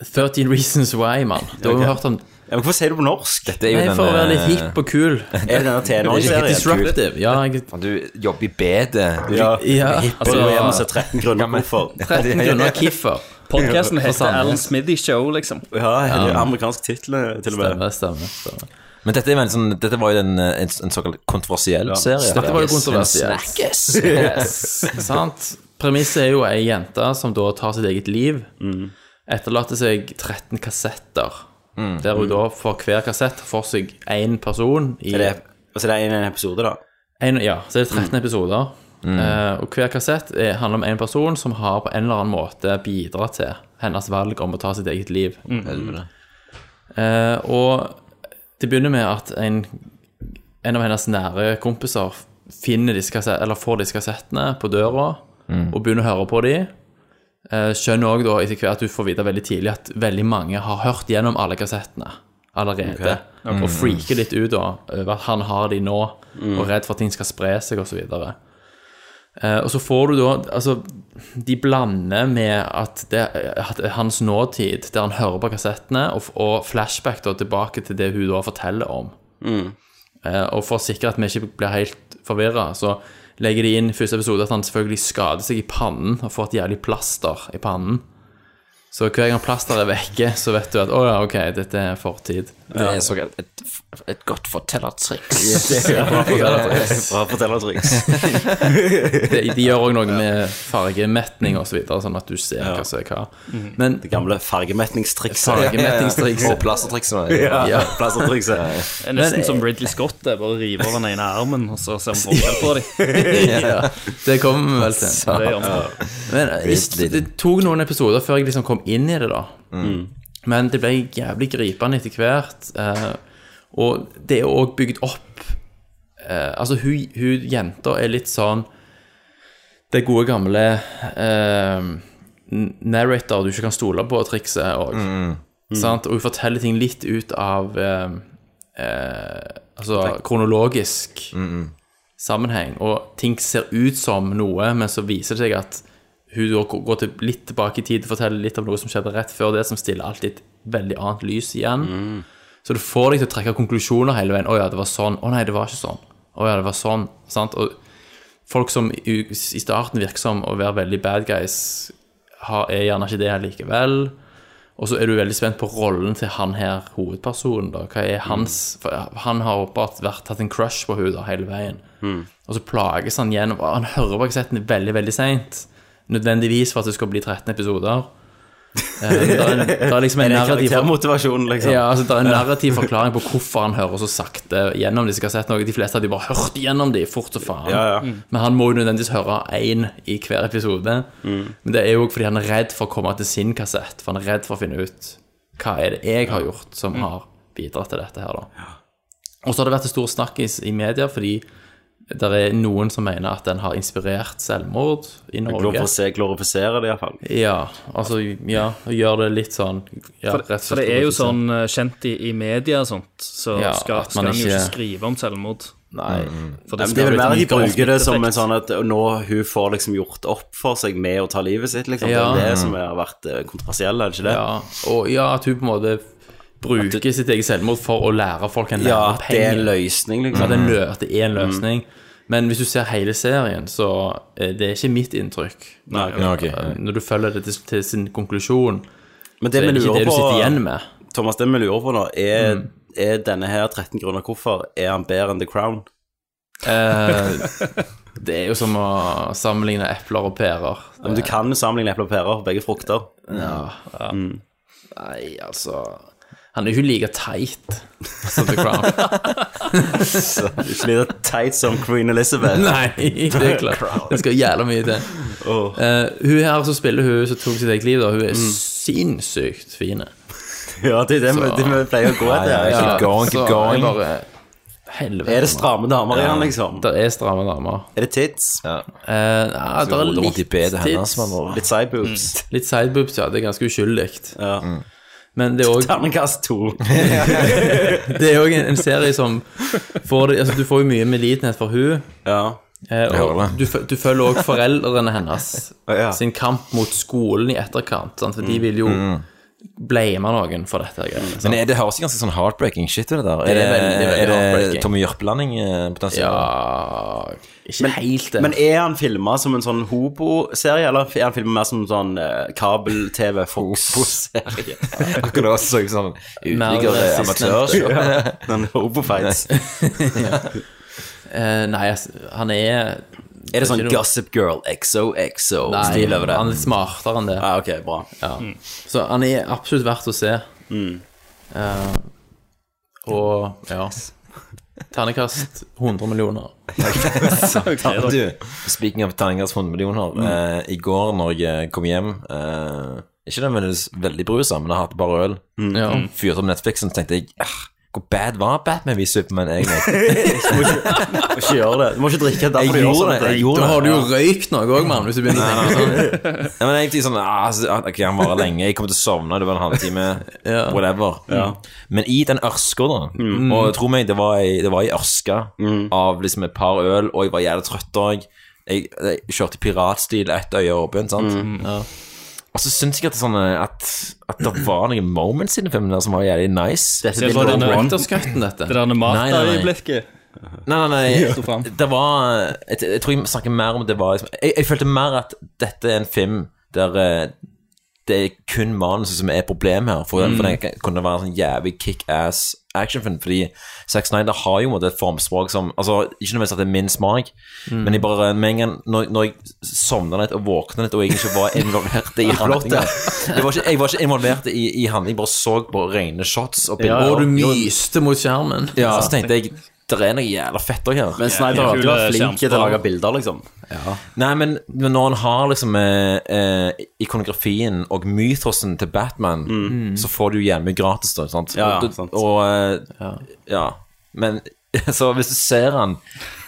Speaker 8: 13 reasons why, mann. Du har jo
Speaker 1: Ok.
Speaker 8: hørt om
Speaker 1: Ja, men hvorfor sier du på norsk?
Speaker 2: Dette er eh, jo
Speaker 8: Nei, for å være litt hipp og kul.
Speaker 1: Er det denne tenåringsserien?
Speaker 8: Litt disruptive, ja.
Speaker 2: Du jobber i bedet. Du
Speaker 1: Ja.
Speaker 8: Ja,
Speaker 1: Hipp og
Speaker 8: altså-
Speaker 1: du er hjemme og ser 13 grunner hvorfor.
Speaker 8: 13 grunner hvorfor.
Speaker 7: Podcasten
Speaker 8: For
Speaker 7: heter
Speaker 8: sannhet.
Speaker 7: Alan Smithy Show, liksom.
Speaker 1: Ja, det er jo amerikansk tittel til og med.
Speaker 8: Stemmer, stemmer. stemmer.
Speaker 2: Men dette, er vel sånn, dette var jo en, en, en såkalt kontroversiell serie.
Speaker 8: Dette var jo
Speaker 2: Yes, en
Speaker 8: kontroversielt.
Speaker 2: snakkes.
Speaker 8: Yes. Sant? Premisset er jo ei jente som da tar sitt eget liv. Etterlater seg 13 kassetter. Der hun da for hver kassett får seg én person i
Speaker 1: Er det, altså, det er en- en episode, da.
Speaker 8: en, Ja, så er det 13 episoder. Eh, og hver kassett er, handler om en person som har på en eller annen måte bidratt til hennes valg om å ta sitt eget liv.
Speaker 2: Helvete.
Speaker 8: Eh, og det begynner med at en, en av hennes nære kompiser finner disse kassettene, eller får disse kassettene på døra og begynner å høre på dem. Eh, skjønner også da etter hvert at du får vite veldig tidlig at veldig mange har hørt gjennom alle kassettene allerede. Og freaker litt ut da over at han har de nå, og er redd for at ting skal spre seg osv. Eh, og så får du da Altså, de blander med at det at hans nåtid, der han hører på kassettene, og, og flashback da tilbake til det hun da forteller om. Eh, og for å sikre at vi ikke blir helt forvirra, så legger de inn i første episode at han selvfølgelig skader seg i pannen og får et jævlig plaster i pannen. Så hver gang plasteret er vekke, så vet du at å ja, ok, dette er fortid.
Speaker 2: Det er såkalt et, et godt fortellertriks.
Speaker 1: Bra fortellertriks.
Speaker 8: De, de gjør òg noe med fargemetning og så videre, sånn at du ser hva som er hva. Men
Speaker 1: Det gamle fargemetningstrikset.
Speaker 8: fargemettingstrikset
Speaker 2: Og plastertrikset. Ja.
Speaker 1: Ja, eh, plastertrikset.
Speaker 7: Det er nesten som Ridley Scott. Det er bare å rive av den ene armen, og så ser vi forskjell på dem.
Speaker 8: ja, Det kommer vi vel til.
Speaker 7: Det gjør vi.
Speaker 8: Men jeg, det tok noen episoder før jeg liksom kom inn i det, da. Men det ble jævlig gripende etter hvert. eh, og det er òg bygd opp eh, Altså, hun, hun jenta er litt sånn Det gode gamle eh, n- narrator du ikke kan stole på, trikset òg. Sant? Og hun forteller ting litt ut av eh, eh, Altså kronologisk sammenheng, og ting ser ut som noe, men så viser det seg at hun da går- går til, litt tilbake i tid og forteller litt om noe som skjedde rett før det, som stiller alt i et veldig annet lys igjen. Så du får deg til å trekke konklusjoner hele veien. 'Å ja, det var sånn.' 'Å nei, det var ikke sånn.' 'Å ja, det var sånn.' Sant? Og folk som i i starten virker som å være veldig bad guys, har, er gjerne ikke det likevel. Og så er du veldig spent på rollen til han her hovedpersonen. da. Hva er hans For han har åpenbart vært hatt en crush på henne da, hele veien. Og så plages han gjennom og Han hører på kassetten veldig, veldig seint. Nødvendigvis for at det skal bli 13 episoder. Eh, men det er, en- det er liksom en
Speaker 1: Det er
Speaker 8: narrativ
Speaker 1: karaktermotivasjon, liksom.
Speaker 8: ja, altså Det er en narrativ forklaring på hvorfor han hører så sakte gjennom disse kassettene. og De fleste hadde jo bare hørt gjennom de fort som faen.
Speaker 1: Ja, ja.
Speaker 8: Men han må jo nødvendigvis høre én i hver episode.
Speaker 1: Mm.
Speaker 8: Men det er jo fordi han er redd for å komme til sin kassett. For han er redd for å finne ut hva er det jeg har gjort som har bidratt til dette her, da. Og så har det vært en stor snakkis i media fordi det er noen som mener at den har inspirert selvmord i Norge.
Speaker 1: Glorifisere, glorifisere det, iallfall.
Speaker 8: Ja, altså ja, og gjør det litt sånn ja,
Speaker 7: For,
Speaker 8: rett og
Speaker 7: for det
Speaker 8: slett
Speaker 7: er jo
Speaker 8: glorifisere.
Speaker 7: sånn eh, kjent i, i media og sånt, så
Speaker 8: Ja,
Speaker 7: skal,
Speaker 8: at
Speaker 7: skal
Speaker 8: man
Speaker 7: en jo ikke
Speaker 8: ikke-
Speaker 7: skrive om selvmord.
Speaker 8: Nei.
Speaker 7: For
Speaker 1: Det,
Speaker 7: skal
Speaker 1: er vel
Speaker 7: jo
Speaker 1: mer de
Speaker 7: litt
Speaker 1: bruker det som en
Speaker 7: effekt.
Speaker 1: sånn at nå hun får liksom gjort opp for seg med å ta livet sitt, liksom.
Speaker 8: Ja.
Speaker 1: Det er det som har vært eh, kontroversiell, er det ikke det?
Speaker 8: Ja, og ja, at hun på en måte bruker sitt eget selvmord for å lære folk en
Speaker 1: Ja, at det er en
Speaker 8: lærepenge.
Speaker 1: løsning,
Speaker 8: Ja,
Speaker 1: liksom.
Speaker 8: det er en lø- at det er en løsning. Men hvis du ser hele serien, så eh, det er ikke mitt inntrykk.
Speaker 1: Nei, ok.
Speaker 2: Ja, ok.
Speaker 8: Eh, Når du følger det til, til sin konklusjon,
Speaker 1: Men
Speaker 8: så
Speaker 1: det
Speaker 8: er
Speaker 1: vi
Speaker 8: det ikke det
Speaker 1: lurer
Speaker 8: du sitter
Speaker 1: på,
Speaker 8: igjen med. Mm.
Speaker 1: Thomas, det vi lurer på nå, er, er denne her 13 grunner hvorfor, er han bedre enn The Crown?
Speaker 8: Eh, det er jo som å sammenligne epler og pærer.
Speaker 1: Ja, Men du kan jo sammenligne epler og pærer, begge frukter.
Speaker 8: Nei, altså Han er jo ikke like teit som The Crown.
Speaker 1: Så det er Ikke like teit som Queen Elizabeth.
Speaker 8: Nei, det er klart. Det skal jævla mye til.
Speaker 1: Åh.
Speaker 8: Eh, hun her som spiller hun som tok sitt eget liv, da, hun er sinnssykt fin.
Speaker 1: Ja, det er det, vi- det vi pleier å gå etter.
Speaker 2: ja,
Speaker 1: ja.
Speaker 2: Keep going, keep
Speaker 8: så
Speaker 2: going.
Speaker 8: jeg bare- Helvete. altså.
Speaker 1: Er det stramme damer i han, liksom?
Speaker 8: Det er stramme damer.
Speaker 1: Er det tits?
Speaker 2: Ja.
Speaker 8: Eh, nei, det er
Speaker 2: Roder rundt i
Speaker 8: litt
Speaker 2: bedet hennes.
Speaker 8: tits.
Speaker 2: altså, man må-
Speaker 1: Litt sideboobs?
Speaker 8: Litt sideboobs, ja. Det er ganske uskyldig. Men det er også-
Speaker 1: Terningkast to.
Speaker 8: det er òg en, en serie som får det Altså, du får jo mye medlidenhet for hun
Speaker 1: Ja.
Speaker 8: Eh,
Speaker 2: hører
Speaker 8: og
Speaker 2: det.
Speaker 8: du, fø- du følger også foreldrene hennes
Speaker 1: Ja. Mm,
Speaker 8: sin kamp mot skolen i etterkant. Sant? For de vil jo blame noen for dette. greiene sant?
Speaker 2: Men er det høres ganske sånn heartbreaking shit ut, det der.
Speaker 8: Det er
Speaker 2: Er det,
Speaker 8: veldig, veldig
Speaker 2: er
Speaker 8: heartbreaking.
Speaker 2: det Tommy Jørpelanding eh, potensielt?
Speaker 8: Ja Ikke helt
Speaker 1: Men er han filma som en sånn hobo-serie, eller er han filma mer som en sånn eh, kabel-TV-fox-serie?
Speaker 2: Akkurat så jeg sånn uteligger amatør.
Speaker 1: Ja, Den hobo-fights.
Speaker 8: Eh, nei, altså, han er
Speaker 1: Er det sånn
Speaker 8: ikke noe-
Speaker 1: Gossip Girl,
Speaker 8: Nei,
Speaker 1: XOXO-stil over det?
Speaker 8: han er litt smartere enn det.
Speaker 1: Ja, ok, bra.
Speaker 8: Ja. Så han er absolutt verdt å se.
Speaker 1: Mm.
Speaker 8: Eh, og ja Ternekast 100 millioner.
Speaker 2: Ta- Du, speaking of terningkast 100 millioner.
Speaker 8: Mm.
Speaker 2: eh, I går når jeg kom hjem eh, Ikke nødvendigvis veldig brusa, men jeg hadde bare øl.
Speaker 8: Mm. Ja.
Speaker 2: Fyrte opp Netflixen, så tenkte jeg ah, hvor bad var Batman vi Superman egentlig?
Speaker 1: Må ikke gjøre det. Du må ikke drikke derfor
Speaker 2: Jeg
Speaker 1: du gjør
Speaker 2: gjorde
Speaker 1: sånn.
Speaker 2: det. jeg
Speaker 8: Da
Speaker 2: gjorde
Speaker 8: har
Speaker 2: det.
Speaker 8: du jo røykt noe òg, mann, hvis du begynner å tenke sånn.
Speaker 2: Ja, men jeg tenkte sånn ah, så- ah, Ok, han varer lenge. Jeg kommer til å sovne. Det var en halvtime.
Speaker 8: Ja. Mm.
Speaker 2: Whatever. Mm. Men i den ørska, da Og tro meg, det var ei, det var ei ørske av liksom et par øl, og jeg var jævlig trøtt òg. Jeg, jeg kjørte i piratstil, ett øye åpent, sant.
Speaker 8: Mm.
Speaker 2: Og så syns jeg at, det er sånn, eh, at, at det var noen moments i den filmen der som var jævlig nice.
Speaker 1: Dette
Speaker 7: Se
Speaker 1: er
Speaker 7: for
Speaker 1: Bill
Speaker 7: denne-
Speaker 1: Ron.
Speaker 8: Director's-cutten, dette.
Speaker 7: Det der
Speaker 2: Nei, nei, nei.
Speaker 7: Martha-øyeblikket.
Speaker 2: Nei, nei, nei.
Speaker 7: Sto fram.
Speaker 2: Det var jeg, jeg tror jeg snakker mer om det var liksom, jeg, jeg følte mer at dette er en film der eh, det er kun manuset som er problemet her. For, for det kunne være en sånn jævlig kickass actionfilm. Fordi Zack Snyder har jo på en måte et formspråk som altså, Ikke nødvendigvis at det er min smak, men jeg bare, med en gang når, når jeg sovna litt og våkna litt, og jeg ikke var involvert i handlinga jeg, var ikke- jeg var ikke involvert i, i handling, jeg bare så på rene shots og bilder.
Speaker 8: Og du myste mot skjermen.
Speaker 2: Ja, så tenkte jeg det er noe jævla fett òg her.
Speaker 1: Men Snyder har alltid
Speaker 7: kule
Speaker 1: vært flink til å
Speaker 7: skjermspann.
Speaker 1: lage bilder, liksom.
Speaker 2: Nei, men, men når han har liksom eh, eh, ikonografien og mytosen til Batman, så får du gjerne mye gratis, da. Sant?
Speaker 1: Mm. Ja, ja,
Speaker 2: Og du-
Speaker 1: sant.
Speaker 2: Og eh, ja. Men så hvis du ser han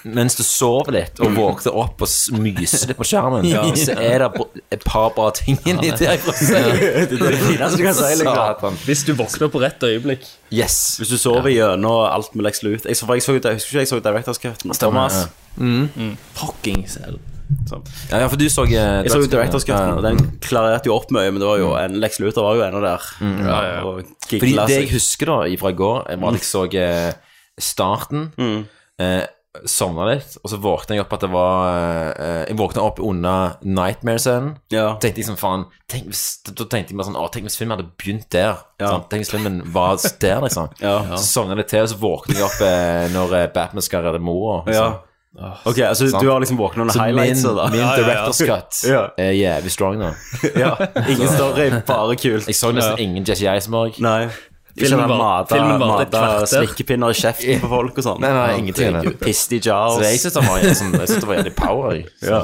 Speaker 2: mens du sover litt og våkner opp og s- myser litt på skjermen, så er det br- et par bra ting inni der.
Speaker 1: Det er det fineste du kan si, liksom.
Speaker 2: Satan.
Speaker 7: Hvis du våkner på rett øyeblikk.
Speaker 2: Yes.
Speaker 1: Hvis du sover gjennom alt med Lex Luth Jeg så, for jeg så, jeg husker ikke jeg så Directors Cut. Thomas. Mm.
Speaker 2: Mm.
Speaker 8: Fucking selv.
Speaker 2: Ja, ja, for du så eh,
Speaker 1: Jeg så jo
Speaker 2: Dark-
Speaker 1: Directors Cut, og den klarerte jo opp mye, men det var jo en Lex Luthor var jo ennå der. Mm. Ja, Og
Speaker 2: Mm. Fordi
Speaker 1: gigla
Speaker 2: det jeg
Speaker 1: seg.
Speaker 2: husker da fra i går, var at jeg så eh, starten.
Speaker 1: Mm.
Speaker 2: Eh, Sovna litt, og så våkna jeg opp at det var eh, Jeg våkna opp under Nightmare-scenen.
Speaker 1: Ja.
Speaker 2: Tenkte jeg sånn, faen tenk, hvis- Da tenkte jeg bare sånn Å, tenk hvis filmen hadde begynt der. sant? Tenk hvis filmen var der, liksom.
Speaker 1: Ja.
Speaker 2: Så sovna jeg litt til, og så våkna jeg opp eh, når eh, Batman skal redde mora. liksom.
Speaker 1: Ja. Ok, altså
Speaker 2: Sant.
Speaker 1: du har liksom våkna under
Speaker 2: Så min,
Speaker 1: highlights og da.
Speaker 2: min
Speaker 1: Ja, ja, ja.
Speaker 2: director's cut
Speaker 1: Ja.
Speaker 2: er jævlig strong nå.
Speaker 1: Ja. Ingen story, bare kult.
Speaker 2: Jeg så nesten ingen Jesse Eisenberg.
Speaker 1: Nei. Ikke
Speaker 7: Filmen
Speaker 1: den
Speaker 7: var-
Speaker 1: mata,
Speaker 7: filmen var et
Speaker 1: mata
Speaker 7: kvarter.
Speaker 1: slikkepinner i kjeften på folk og sånn.
Speaker 2: Nei, nei, ingenting.
Speaker 1: Pissed i jars.
Speaker 2: Så jeg syns det var sånn, jeg synes det var jævlig power. Jeg. Så,
Speaker 1: Ja.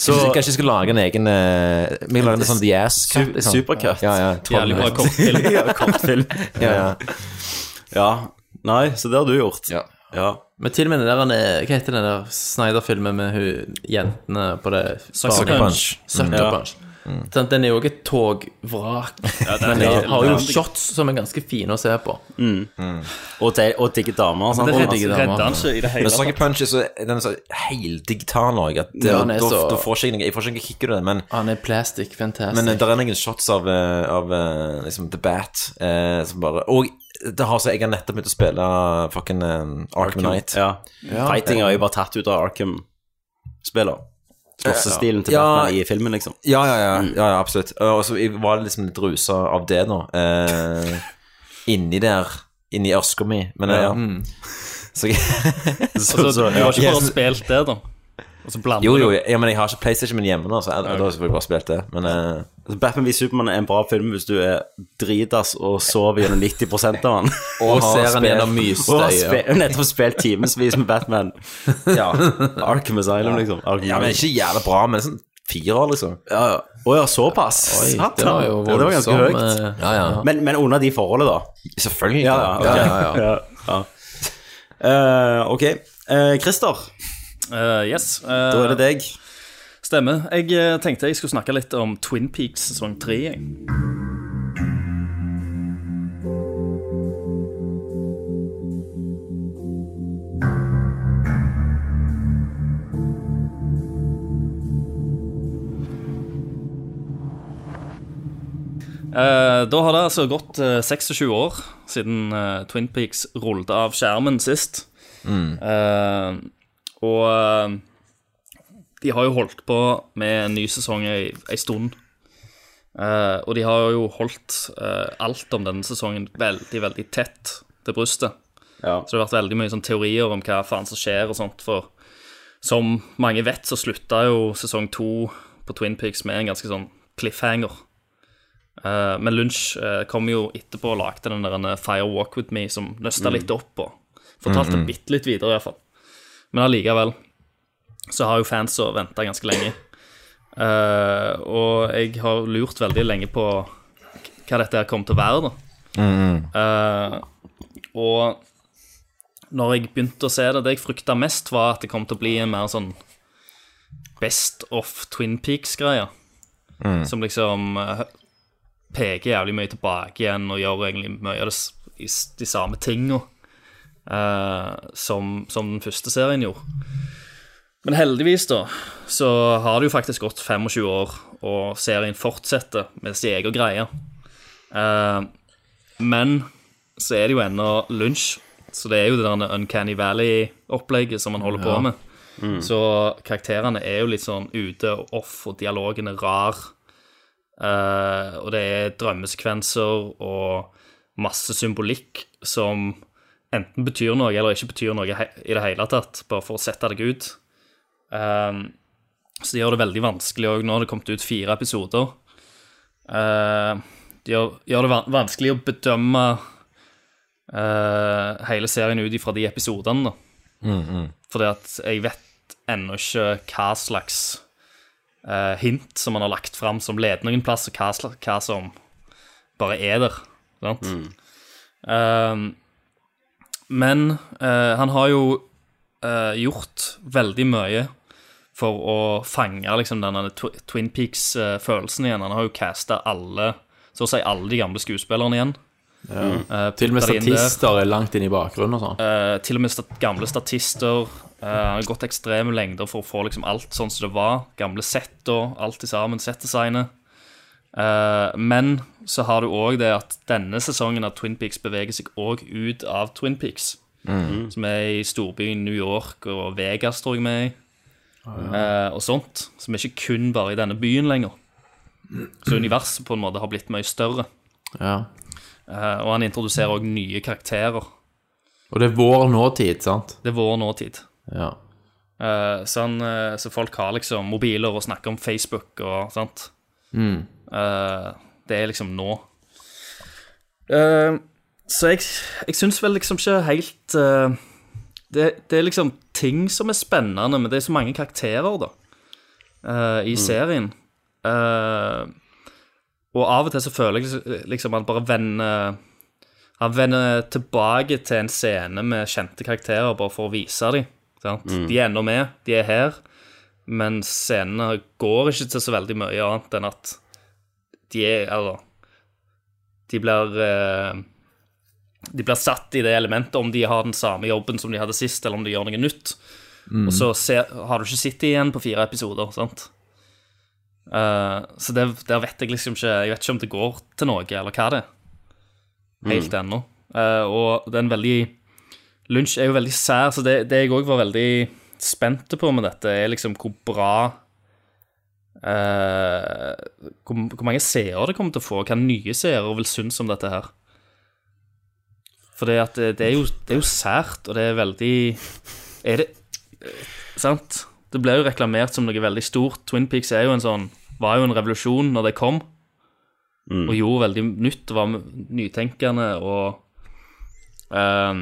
Speaker 2: så kanskje, kanskje jeg skal lage en egen eh, Vi lager en sånn The Ass-cut. Liksom.
Speaker 1: supercut.
Speaker 2: Ja, ja,
Speaker 7: Jævlig bra kortfilm.
Speaker 1: ja, kortfilm.
Speaker 2: Ja, ja.
Speaker 1: Ja. Nei, så det har du gjort.
Speaker 2: Ja.
Speaker 1: ja.
Speaker 8: Men til og med den der han er- Hva heter den der Snyder-filmen med hun jentene på det
Speaker 7: Sucker
Speaker 8: barnet-
Speaker 2: Punch.
Speaker 8: Sucker
Speaker 1: Ja. Mm.
Speaker 8: Punch. Sånn Den, den er jo ikke et togvrak, men
Speaker 7: er-
Speaker 8: den har jo
Speaker 7: den-
Speaker 8: shots som er ganske fine å se på.
Speaker 1: Og, de, og digge damer. Sant?
Speaker 7: Det
Speaker 1: Og-
Speaker 8: digge damer.
Speaker 7: redder han ikke i det hele
Speaker 2: Men Sucker
Speaker 7: tatt.
Speaker 2: Punch er så, den er så heldigital òg.
Speaker 8: Ja,
Speaker 2: eh, Da
Speaker 8: han er så-
Speaker 2: da får ikke jeg noe- jeg får ikke noe kick ut av det. Men,
Speaker 8: Han er plastic fantastic.
Speaker 1: eh,
Speaker 2: men det er noen shots av, eh, av eh, liksom, The Bat eh, som bare Og det har så, jeg har nettopp begynt å spille fucking eh, Arkham Knight.
Speaker 1: Ja. Fighting er jo bare tatt ut av Arkham-spiller. Slåssestilen til
Speaker 2: Ja.
Speaker 1: Batman i filmen, liksom.
Speaker 2: Ja, ja, ja, ja, ja absolutt. Og så jeg var liksom litt rusa av det nå. Eh, inni der, inni ørska mi. Men eh, ja. Så,
Speaker 7: Altså, du har ikke bare
Speaker 2: Yes.
Speaker 7: spilt det, da? Og så blander
Speaker 2: jo, jo,
Speaker 7: du.
Speaker 2: ja, men jeg har ikke PlayStation min hjemme nå, så jeg, da har jeg selvfølgelig bare spilt det. Men eh,
Speaker 1: Altså, Batman v Superman er en bra film hvis du er dritass og sover gjennom 90 av den.
Speaker 2: Og
Speaker 8: ser han gjennom
Speaker 1: Og har
Speaker 8: mysestøyet.
Speaker 1: spe- nettopp spilt timevis med Batman.
Speaker 2: ja.
Speaker 1: Arkham Asylum, liksom. Arkham
Speaker 2: ja, men ikke jævlig bra, men sånn fire år, liksom.
Speaker 1: ja, ja. Å ja, såpass? Satan.
Speaker 8: det var jo
Speaker 1: Ja, det var ganske
Speaker 8: voldsom,
Speaker 1: høyt.
Speaker 8: eh,
Speaker 2: Ja, ja.
Speaker 1: Men, men under de forholdene, da?
Speaker 2: Selvfølgelig.
Speaker 1: Ja, ja. ok.
Speaker 8: ja, ja.
Speaker 1: Ja. Eh, ok. Eh, Christer,
Speaker 7: Eh, yes. eh,
Speaker 1: da er det deg.
Speaker 7: Stemmer. Jeg eh, tenkte jeg skulle snakke litt om Twin Peaks sesong tre. jeg. Eh, da har det altså gått eh, 26 år siden eh, Twin Peaks rullet av skjermen sist.
Speaker 2: Mm.
Speaker 7: Eh, og eh, de har jo holdt på med en ny sesong ei, ei stund. Eh, og de har jo holdt eh, alt om denne sesongen veldig, veldig tett til brystet. Så det har vært veldig mye sånn teorier om hva faen som skjer og sånt. For som mange vet, så slutta jo sesong to på Twin Peaks med en ganske sånn cliffhanger. Eh, men Lunsj eh, kom jo etterpå og lagde den der en, eh, Fire Walk With Me, som nøsta
Speaker 11: Mm.
Speaker 7: litt opp og fortalte
Speaker 11: Mm, mm.
Speaker 7: bitte litt videre, iallfall. Men allikevel så har jo fans å vente ganske lenge. Eh, og jeg har lurt veldig lenge på hva dette her kommer til å være, da. Eh, og når jeg begynte å se det, det jeg frykta mest, var at det kom til å bli en mer sånn Best of Twin Peaks-greie.
Speaker 2: Mm.
Speaker 7: Som liksom eh, peker jævlig mye tilbake igjen og gjør egentlig mye av det, s- i s- de samme tinga som, som den første serien gjorde. Men heldigvis, da, så har det jo faktisk gått 25 år, og serien fortsetter med sin egen greie. Eh, men så er det jo ennå lunsj, så det er jo det der Uncanny Valley-opplegget som man holder på
Speaker 11: Ja.
Speaker 7: med.
Speaker 11: Mm.
Speaker 7: Så karakterene er jo litt sånn ute og off, og dialogen er rar. Eh, og det er drømmesekvenser og masse symbolikk som enten betyr noe eller ikke betyr noe he i det hele tatt, bare for å sette deg ut. Ehm, så de gjør det veldig vanskelig òg. Nå har det kommet ut fire episoder. Ehm, de gjør, gjør det van vanskelig å bedømme eh, hele serien ut ifra de episodene, da.
Speaker 2: Mm, mm.
Speaker 7: Fordi at jeg vet ennå ikke hva slags eh, hint som man har lagt fram som ledningen plass, og hva, sla- hva som bare er der. Sant? Ehm, men eh, han har jo eh, gjort veldig mye for å fange liksom, denne tw Twin Peaks-følelsen igjen. Han har jo casta alle, så å si alle de gamle skuespillerne igjen.
Speaker 8: Ja.
Speaker 7: Eh,
Speaker 8: Til og med
Speaker 7: putta de inn der.
Speaker 8: statister er langt inn i bakgrunnen og sånn.
Speaker 7: Eh, til og med stat gamle statister. eh, Han har gått ekstreme lengder for å få liksom alt sånn som det var. Gamle sett og alt i sammen, settdesignet. Eh, men så har du òg det at denne sesongen av Twin Peaks beveger seg òg ut av Twin Peaks.
Speaker 11: Mhm.
Speaker 7: Som er i storbyen New York og Vegas, tror jeg vi er i. eh, og sånt. Som er ikke kun bare i denne byen lenger. Så universet på en måte har blitt mye større.
Speaker 8: Ja.
Speaker 7: Eh, og han introduserer òg nye karakterer.
Speaker 8: Og det er vår nåtid, sant?
Speaker 7: Det er vår nåtid.
Speaker 8: Ja.
Speaker 7: Eh, så, han, eh, så folk har liksom mobiler og snakker om Facebook og sant.
Speaker 8: Mm.
Speaker 7: Eh, det er liksom nå. Eh, så jeg, jeg syns vel liksom ikke helt eh, det, det er liksom ting som er spennende, men det er så mange karakterer, da, eh, i
Speaker 11: Mm.
Speaker 7: serien. Eh, og av og til så føler jeg liksom at han bare vender Han vender tilbake til en scene med kjente karakterer bare for å vise dem. Sant?
Speaker 11: Mm.
Speaker 7: De er ennå med, de er her, men scenene går ikke til så veldig mye annet enn at de er Eller De blir eh, De blir satt i det elementet om de har den samme jobben som de hadde sist, eller om de gjør noe nytt.
Speaker 11: Mm.
Speaker 7: Og så ser, har du ikke sett dem igjen på fire episoder, sant? Eh, så det, der vet jeg liksom ikke Jeg vet ikke om det går til noe, eller hva det er. Helt
Speaker 11: Mm.
Speaker 7: ennå. Eh, og det er en veldig Lunsj er jo veldig sær, så det, det jeg òg var veldig spente på med dette, er liksom hvor bra eh, hvor, hvor mange seere det kommer til å få, hva nye seere vil synes om dette her. For det, at det, det, er jo, det er jo sært, og det er veldig Er det eh, Sant? Det ble jo reklamert som noe veldig stort. Twin Peaks er jo en sånn, var jo en revolusjon når det kom, og gjorde veldig nytt, og var nytenkende og eh,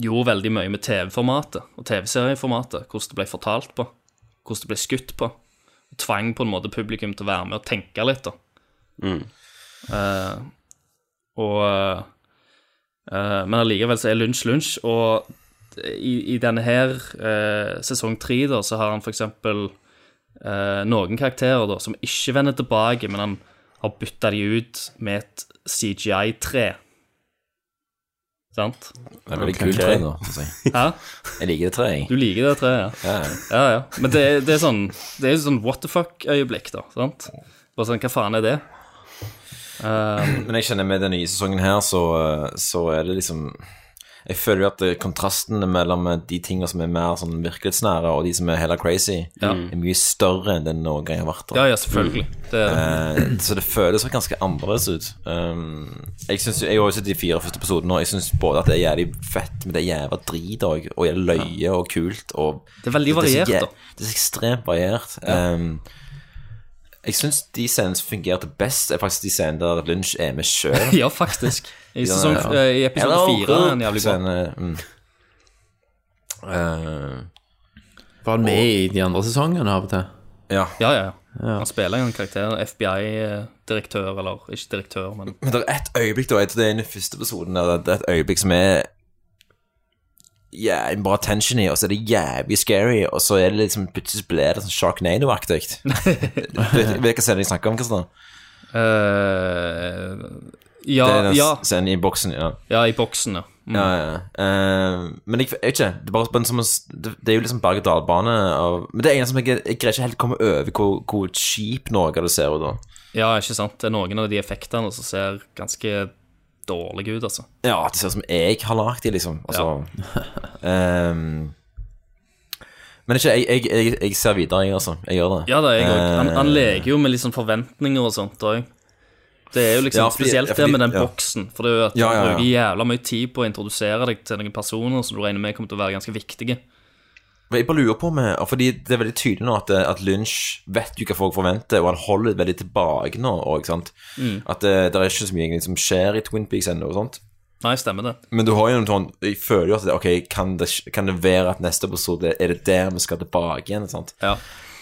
Speaker 7: gjorde veldig mye med TV-formatet og TV-serieformatet. Hvordan det ble fortalt på, hvordan det ble skutt på. Og tvang på en måte publikum til å være med og tenke litt, da. Eh, og eh, Men allikevel så er lunsj lunsj, og i, i denne her eh, sesong tre, da, så har han for eksempel eh, noen karakterer da, som ikke vender tilbake, men han har bytta de ut med et CGI-tre. Sant?
Speaker 2: Det er veldig kult tre, da. synes jeg.
Speaker 7: Hæ?
Speaker 2: Jeg liker det treet, jeg.
Speaker 7: Du liker det treet, ja.
Speaker 2: Ja, ja.
Speaker 7: ja, ja. Men det, det er sånn Det er jo sånn what the fuck-øyeblikk, da. Sant? Bare sånn, hva faen er det?
Speaker 2: Men jeg kjenner med den nye sesongen her, så, eh, så er det liksom Jeg føler jo at eh, kontrastene mellom eh, de tingene som er mer sånn virkelighetsnære, og de som er heller crazy,
Speaker 7: Ja.
Speaker 2: er mye større enn den noen gang har vært. da.
Speaker 7: Ja, ja, selvfølgelig.
Speaker 2: Mm.
Speaker 7: Det er det.
Speaker 2: Eh, så det føles jo ganske annerledes ut. Um, jeg, synes, jo- jeg har jo sett de fire første episodene, og jeg syns både at det er jævlig fett, men det er jævla drit òg, og det er løye og kult. Og
Speaker 7: Det er veldig
Speaker 2: så
Speaker 7: variert,
Speaker 2: jæ-
Speaker 7: da.
Speaker 2: Det er så ekstremt variert. Um, jeg syns de scenene som fungerte best, er faktisk de scenene der Lunsj er med sjøl.
Speaker 7: Ja, faktisk. I, sesong, eh, i episode fire er han jævlig bra.
Speaker 2: Mm. Eh,
Speaker 8: Var han med i de andre sesongene av og til?
Speaker 2: ja.
Speaker 7: Ja, ja, ja. Han spiller jo en karakter, FBI-direktør, eh, eller ikke direktør, men
Speaker 2: Men det er et øyeblikk da, jeg tror det er i den første episoden der, det er et øyeblikk som er jævlig bra tension i, og så er det jævlig scary, og så er det liksom, plutselig blir det sånn Sharknado-aktig. Vet vet du hva scenen jeg snakker om, Kristian?
Speaker 7: Eh,
Speaker 2: det er
Speaker 7: Ja,
Speaker 2: den
Speaker 7: ja.
Speaker 2: scenen i boksen, ja.
Speaker 7: Ja, i boksen, ja. Mm.
Speaker 2: Ja, ja. Eh, men jeg, jeg vet ikke, det er, bare, bare en sånn- det, det er jo liksom berg-og-dal-bane av- Men det er en som jeg, jeg greier ikke helt å komme over hvor, hvor kjip noe av det ser ut da.
Speaker 7: Ja, ikke sant. Det er noen av de effektene som ser ganske dårlige ut, altså.
Speaker 2: Ja, at det ser ut som jeg har lagd de, liksom. Altså, ehm, men ikke, jeg, jeg, jeg, jeg ser videre, jeg, altså. Jeg gjør det.
Speaker 7: Ja da, jeg òg. Han, han
Speaker 2: Eh,
Speaker 7: leker jo med litt sånn forventninger og sånt òg. Det er jo liksom
Speaker 2: Ja, fordi-
Speaker 7: spesielt
Speaker 2: ja, fordi-
Speaker 7: det med den
Speaker 2: ja.
Speaker 7: boksen. For det er jo at
Speaker 2: Ja, ja, ja.
Speaker 7: du bruker jævla mye tid på å introdusere deg til noen personer som du regner med kommer til å være ganske viktige.
Speaker 2: men Jeg bare lurer på med, fordi Det er veldig tydelig nå at, eh, at Lynch vet jo hva folk forventer, og han holder veldig tilbake nå. Og, ikke sant?
Speaker 7: Mm.
Speaker 2: At eh, det, det er ikke så mye egentlig som skjer i Twin Peaks ennå. og sånt.
Speaker 7: Nei, stemmer det.
Speaker 2: Men du har jo en sånn Jeg føler jo at det, ok, kan det, kan det være at neste episode er det der vi skal tilbake igjen? Sant?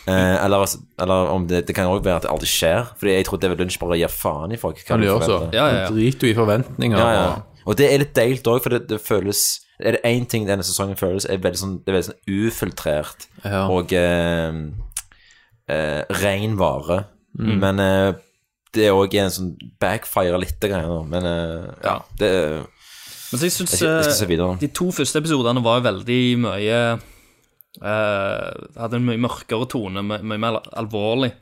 Speaker 2: Eh, eller, eller om det, det kan òg være at det aldri skjer. Fordi jeg tror David Lynch bare gir faen i folk. hva
Speaker 8: Hva du
Speaker 2: de
Speaker 8: gjør så?
Speaker 2: forventer.
Speaker 8: Han Driter jo i forventninger.
Speaker 2: Ja, ja.
Speaker 8: og-
Speaker 2: Og det er litt deilt òg, for det, det føles Er det én ting denne sesongen føles, er veldig sånn, det er veldig sånn ufiltrert
Speaker 8: Ja.
Speaker 2: og eh, eh, ren vare.
Speaker 8: Mm.
Speaker 2: Men eh, det er òg en sånn backfire litt greier nå, men eh, ja, det er
Speaker 7: Men så jeg synes,
Speaker 2: Jeg skal- jeg skal se videre.
Speaker 7: eh, De to første episodene var jo veldig mye eh, Hadde en mye mørkere tone, my- mye mer alvorlig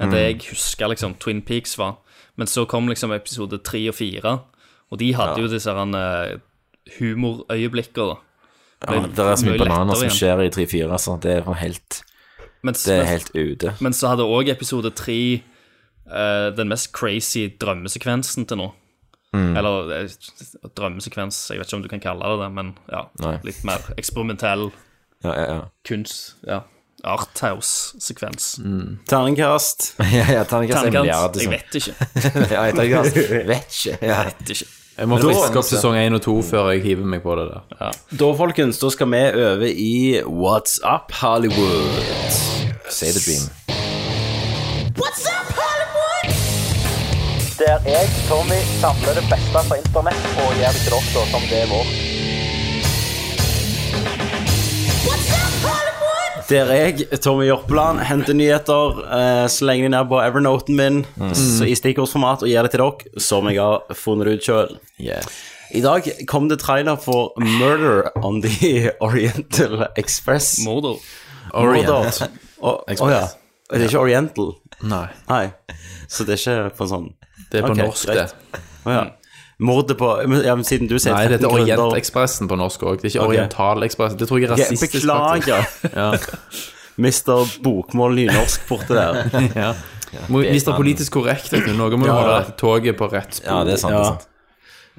Speaker 7: enn
Speaker 2: Mm.
Speaker 7: det jeg husker liksom, Twin Peaks var. Men så kom liksom episode tre og fire, og de
Speaker 2: Ja.
Speaker 7: hadde jo disse her, eh, humorøyeblikker. da.
Speaker 2: ja,
Speaker 7: Ble
Speaker 2: Det er så mye
Speaker 7: lettere
Speaker 2: bananer som
Speaker 7: igjen.
Speaker 2: skjer i 3-4, så det er helt
Speaker 7: Mens-
Speaker 2: Det er
Speaker 7: mens-
Speaker 2: helt ute.
Speaker 7: Men så hadde òg episode tre eh, den mest crazy drømmesekvensen til nå.
Speaker 2: Mm.
Speaker 7: Eller eh, drømmesekvens, jeg vet ikke om du kan kalle det det, men ja,
Speaker 2: Nei.
Speaker 7: litt mer eksperimentell
Speaker 2: Ja, ja, ja.
Speaker 7: kunst. Ja. Arthouse-sekvens.
Speaker 1: Terningkast.
Speaker 2: ja, Mm. ja, terningkast en
Speaker 7: Terningkast?
Speaker 2: milliard,
Speaker 7: Jeg
Speaker 2: liksom.
Speaker 7: vet ikke.
Speaker 2: ja, jeg terningkast. Vet ikke. Ja.
Speaker 7: Vet ikke.
Speaker 8: Jeg må
Speaker 1: Men da-
Speaker 8: friske opp sesong 1 og 2 før jeg hiver meg på det der.
Speaker 1: Da, folkens, da skal vi over i What's Up Hollywood.
Speaker 2: Say the dream.
Speaker 11: What's up, Hollywood?
Speaker 13: Der jeg, Tommy, samler det beste fra internett og gjør det til dere som det er vårt.
Speaker 1: Der jeg, Tommy Jørpeland, henter nyheter, eh, slenger de ned på Evernoten min så i stikkordsformat og gir det til dere, som jeg har funnet det ut sjøl. I dag kom det trailer for Murder on the Oriental Express.
Speaker 7: Murder.
Speaker 1: Murder.
Speaker 2: Orient.
Speaker 1: Å å ja.
Speaker 2: Express.
Speaker 1: Det er ikke Oriental?
Speaker 8: Nei.
Speaker 1: Nei. Så det er ikke på sånn
Speaker 8: Det er på
Speaker 1: Ok,
Speaker 8: norsk, det.
Speaker 1: greit. Å ja. Mordet på men- ja, men Siden du sier
Speaker 8: Nei, det
Speaker 1: 13
Speaker 8: heter
Speaker 1: grunner-
Speaker 8: Orientekspressen på norsk òg. Det er ikke
Speaker 1: Ok.
Speaker 8: Orientalekspressen. Det tror jeg er
Speaker 1: Ok,
Speaker 8: rasistisk.
Speaker 1: Beklager,
Speaker 8: faktisk. Ja.
Speaker 1: mister bokmål nynorsk borte der.
Speaker 8: ja. Må- Hvis det er politisk korrekt, vet du, noe må jo
Speaker 1: Ja,
Speaker 8: holde
Speaker 1: ja.
Speaker 8: dette toget på rett spor.
Speaker 1: Ja, det er sant, det er sant.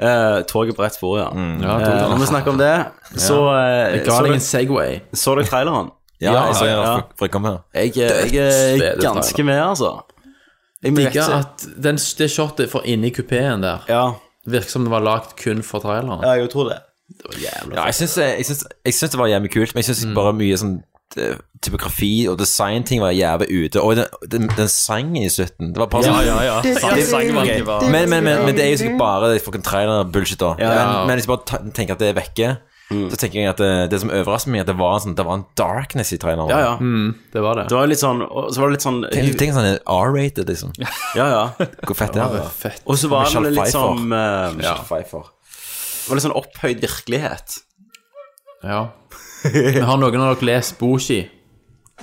Speaker 1: Eh, toget på rett spor, ja.
Speaker 8: Ja, toget.
Speaker 1: Eh, når vi snakker om det, så eh,
Speaker 8: Jeg ga
Speaker 1: så
Speaker 8: deg
Speaker 1: dere-
Speaker 8: en Segway.
Speaker 1: Så dere traileren?
Speaker 2: Ja, jeg så den
Speaker 1: ja.
Speaker 2: for- for jeg kom her.
Speaker 1: Jeg, eh, jeg er
Speaker 8: Dødsfede
Speaker 1: ganske
Speaker 8: trailer.
Speaker 1: med, altså.
Speaker 8: Jeg liker
Speaker 1: Direkt-
Speaker 8: at den, det shotet fra inni kupeen der virker som det var lagd kun for traileren.
Speaker 1: Ja, jeg tror det.
Speaker 2: Ja, jeg syns, jeg, syns, jeg syns det var jævlig kult, men jeg syns bare mye sånn eh, typografi og designting var jævlig ute. Og den, den, den sangen i slutten Det var bare sånn
Speaker 7: Ja, ja, ja.
Speaker 2: Det-
Speaker 7: Sangen- sangen var ikke bra.
Speaker 2: Ok, Men, men, men, men det er jo sikkert bare det fucking trailer-bullshit, da.
Speaker 7: Ja.
Speaker 2: Men, men hvis jeg bare ta- tenker at det er vekke, så tenker jeg at det, det som overrasker meg, er at det var en, sånn, det var en darkness i traileren.
Speaker 1: Ja, ja.
Speaker 8: det var det.
Speaker 1: Det var jo litt sånn, og så var det litt sånn
Speaker 2: Tenk, tenk sånn R-rated, liksom.
Speaker 1: Ja, ja.
Speaker 2: Hvor fett det
Speaker 1: Ja,
Speaker 2: er.
Speaker 1: det er fett. Og så var det
Speaker 2: Michelle
Speaker 1: litt
Speaker 2: Pfeiffer.
Speaker 1: sånn, eh,
Speaker 2: Michelle
Speaker 1: ja.
Speaker 2: Pfeiffer.
Speaker 1: Det var litt sånn opphøyd virkelighet.
Speaker 8: Ja. Men har noen av dere lest Boshi?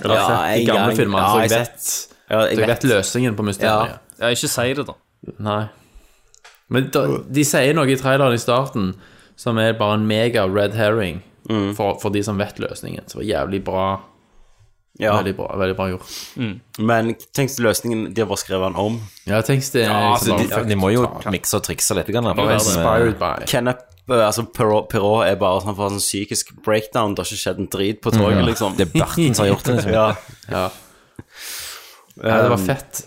Speaker 8: Eller
Speaker 1: Ja,
Speaker 8: sett de
Speaker 1: en
Speaker 8: gamle
Speaker 1: gang.
Speaker 8: filmene?
Speaker 1: Ja,
Speaker 8: så
Speaker 1: jeg
Speaker 8: jeg vet,
Speaker 1: sett- Ja, jeg
Speaker 8: så jeg
Speaker 1: vet.
Speaker 8: vet løsningen på mysteriet.
Speaker 7: Ja, ikke si det, da.
Speaker 8: Nei. Men da, de sier noe i traileren i starten som er bare en mega red herring
Speaker 2: Mm.
Speaker 8: for, for de som vet løsningen. Så det var jævlig bra.
Speaker 1: Ja.
Speaker 8: Veldig bra, veldig bra gjort.
Speaker 1: Men tenk deg løsningen de har bare skrevet den om.
Speaker 8: Ja, liksom tenk det.
Speaker 2: Ja, altså, de, de må jo mikse og trikse litt. Grann, da,
Speaker 1: Bare
Speaker 2: med-
Speaker 1: inspired Kenneth eh, altså Perrault, Perrault er bare sånn for en sånn psykisk breakdown. Det har ikke skjedd en drit på toget,
Speaker 2: Mm, ja.
Speaker 1: liksom.
Speaker 2: Det er Berten som har gjort det, liksom.
Speaker 1: ja.
Speaker 8: Ja, det var
Speaker 1: Um,
Speaker 8: fett.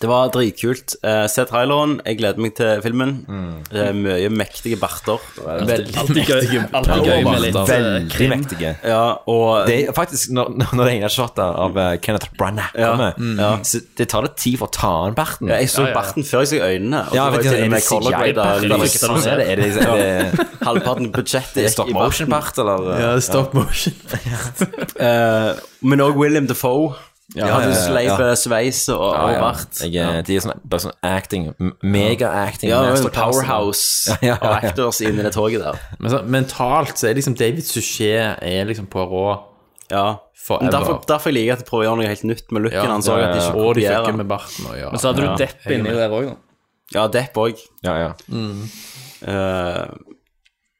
Speaker 1: Det var dritkult. Eh, se traileren. Jeg gleder meg til filmen.
Speaker 2: Mm.
Speaker 1: Det er mye mektige barter.
Speaker 7: Alltid gøy- alltid gøy med litt, eh,
Speaker 2: Veldig
Speaker 7: krim.
Speaker 2: mektige.
Speaker 1: Ja, og
Speaker 2: Det er faktisk, når, når det ene shotet av eh, Kenneth Branagh
Speaker 1: Ja,
Speaker 2: kommer,
Speaker 1: ja.
Speaker 2: så det tar litt tid for å ta an barten.
Speaker 1: Ja, jeg så barten før jeg så øynene. og det
Speaker 2: Ja,
Speaker 1: var
Speaker 2: vet
Speaker 1: jo
Speaker 2: du,
Speaker 1: til og
Speaker 2: er liksom
Speaker 1: med
Speaker 2: det
Speaker 1: color
Speaker 2: CGI
Speaker 1: grade,
Speaker 2: barten?
Speaker 1: eller
Speaker 2: Eller
Speaker 1: liksom
Speaker 2: hvordan Sånn er det? Er det- er det-
Speaker 1: Halvparten av
Speaker 2: Er
Speaker 1: budsjettet
Speaker 2: det
Speaker 1: gikk
Speaker 2: stop
Speaker 1: i barten.
Speaker 2: motion-bart, eller?
Speaker 8: Ja, stop motion.
Speaker 1: Eh, men òg William Defoe.
Speaker 2: Ja,
Speaker 1: han
Speaker 2: ja, ja,
Speaker 1: sleipe
Speaker 2: ja.
Speaker 1: sveis og, og bart.
Speaker 2: Jeg, eh, De er sånn, bare sånn acting, m- mega-acting.
Speaker 1: Ja,
Speaker 2: masterclass.
Speaker 1: en powerhouse
Speaker 2: Ja, ja, ja.
Speaker 1: av actors inni det toget der.
Speaker 8: Men så, mentalt så er liksom David Suchet er liksom Poirot
Speaker 1: Ja. Men
Speaker 8: forever.
Speaker 1: derfor, derfor jeg liker jeg at de prøver å gjøre noe helt nytt med looken.
Speaker 8: Ja,
Speaker 1: han så
Speaker 8: ja,
Speaker 1: at de
Speaker 8: ja.
Speaker 1: ikke
Speaker 8: Og de
Speaker 1: kopierer.
Speaker 8: fucker med barten og ja.
Speaker 7: Men så hadde du
Speaker 1: Ja.
Speaker 7: Depp inni der òg, da.
Speaker 1: Ja, Depp òg.
Speaker 2: Ja, ja.
Speaker 1: Mm.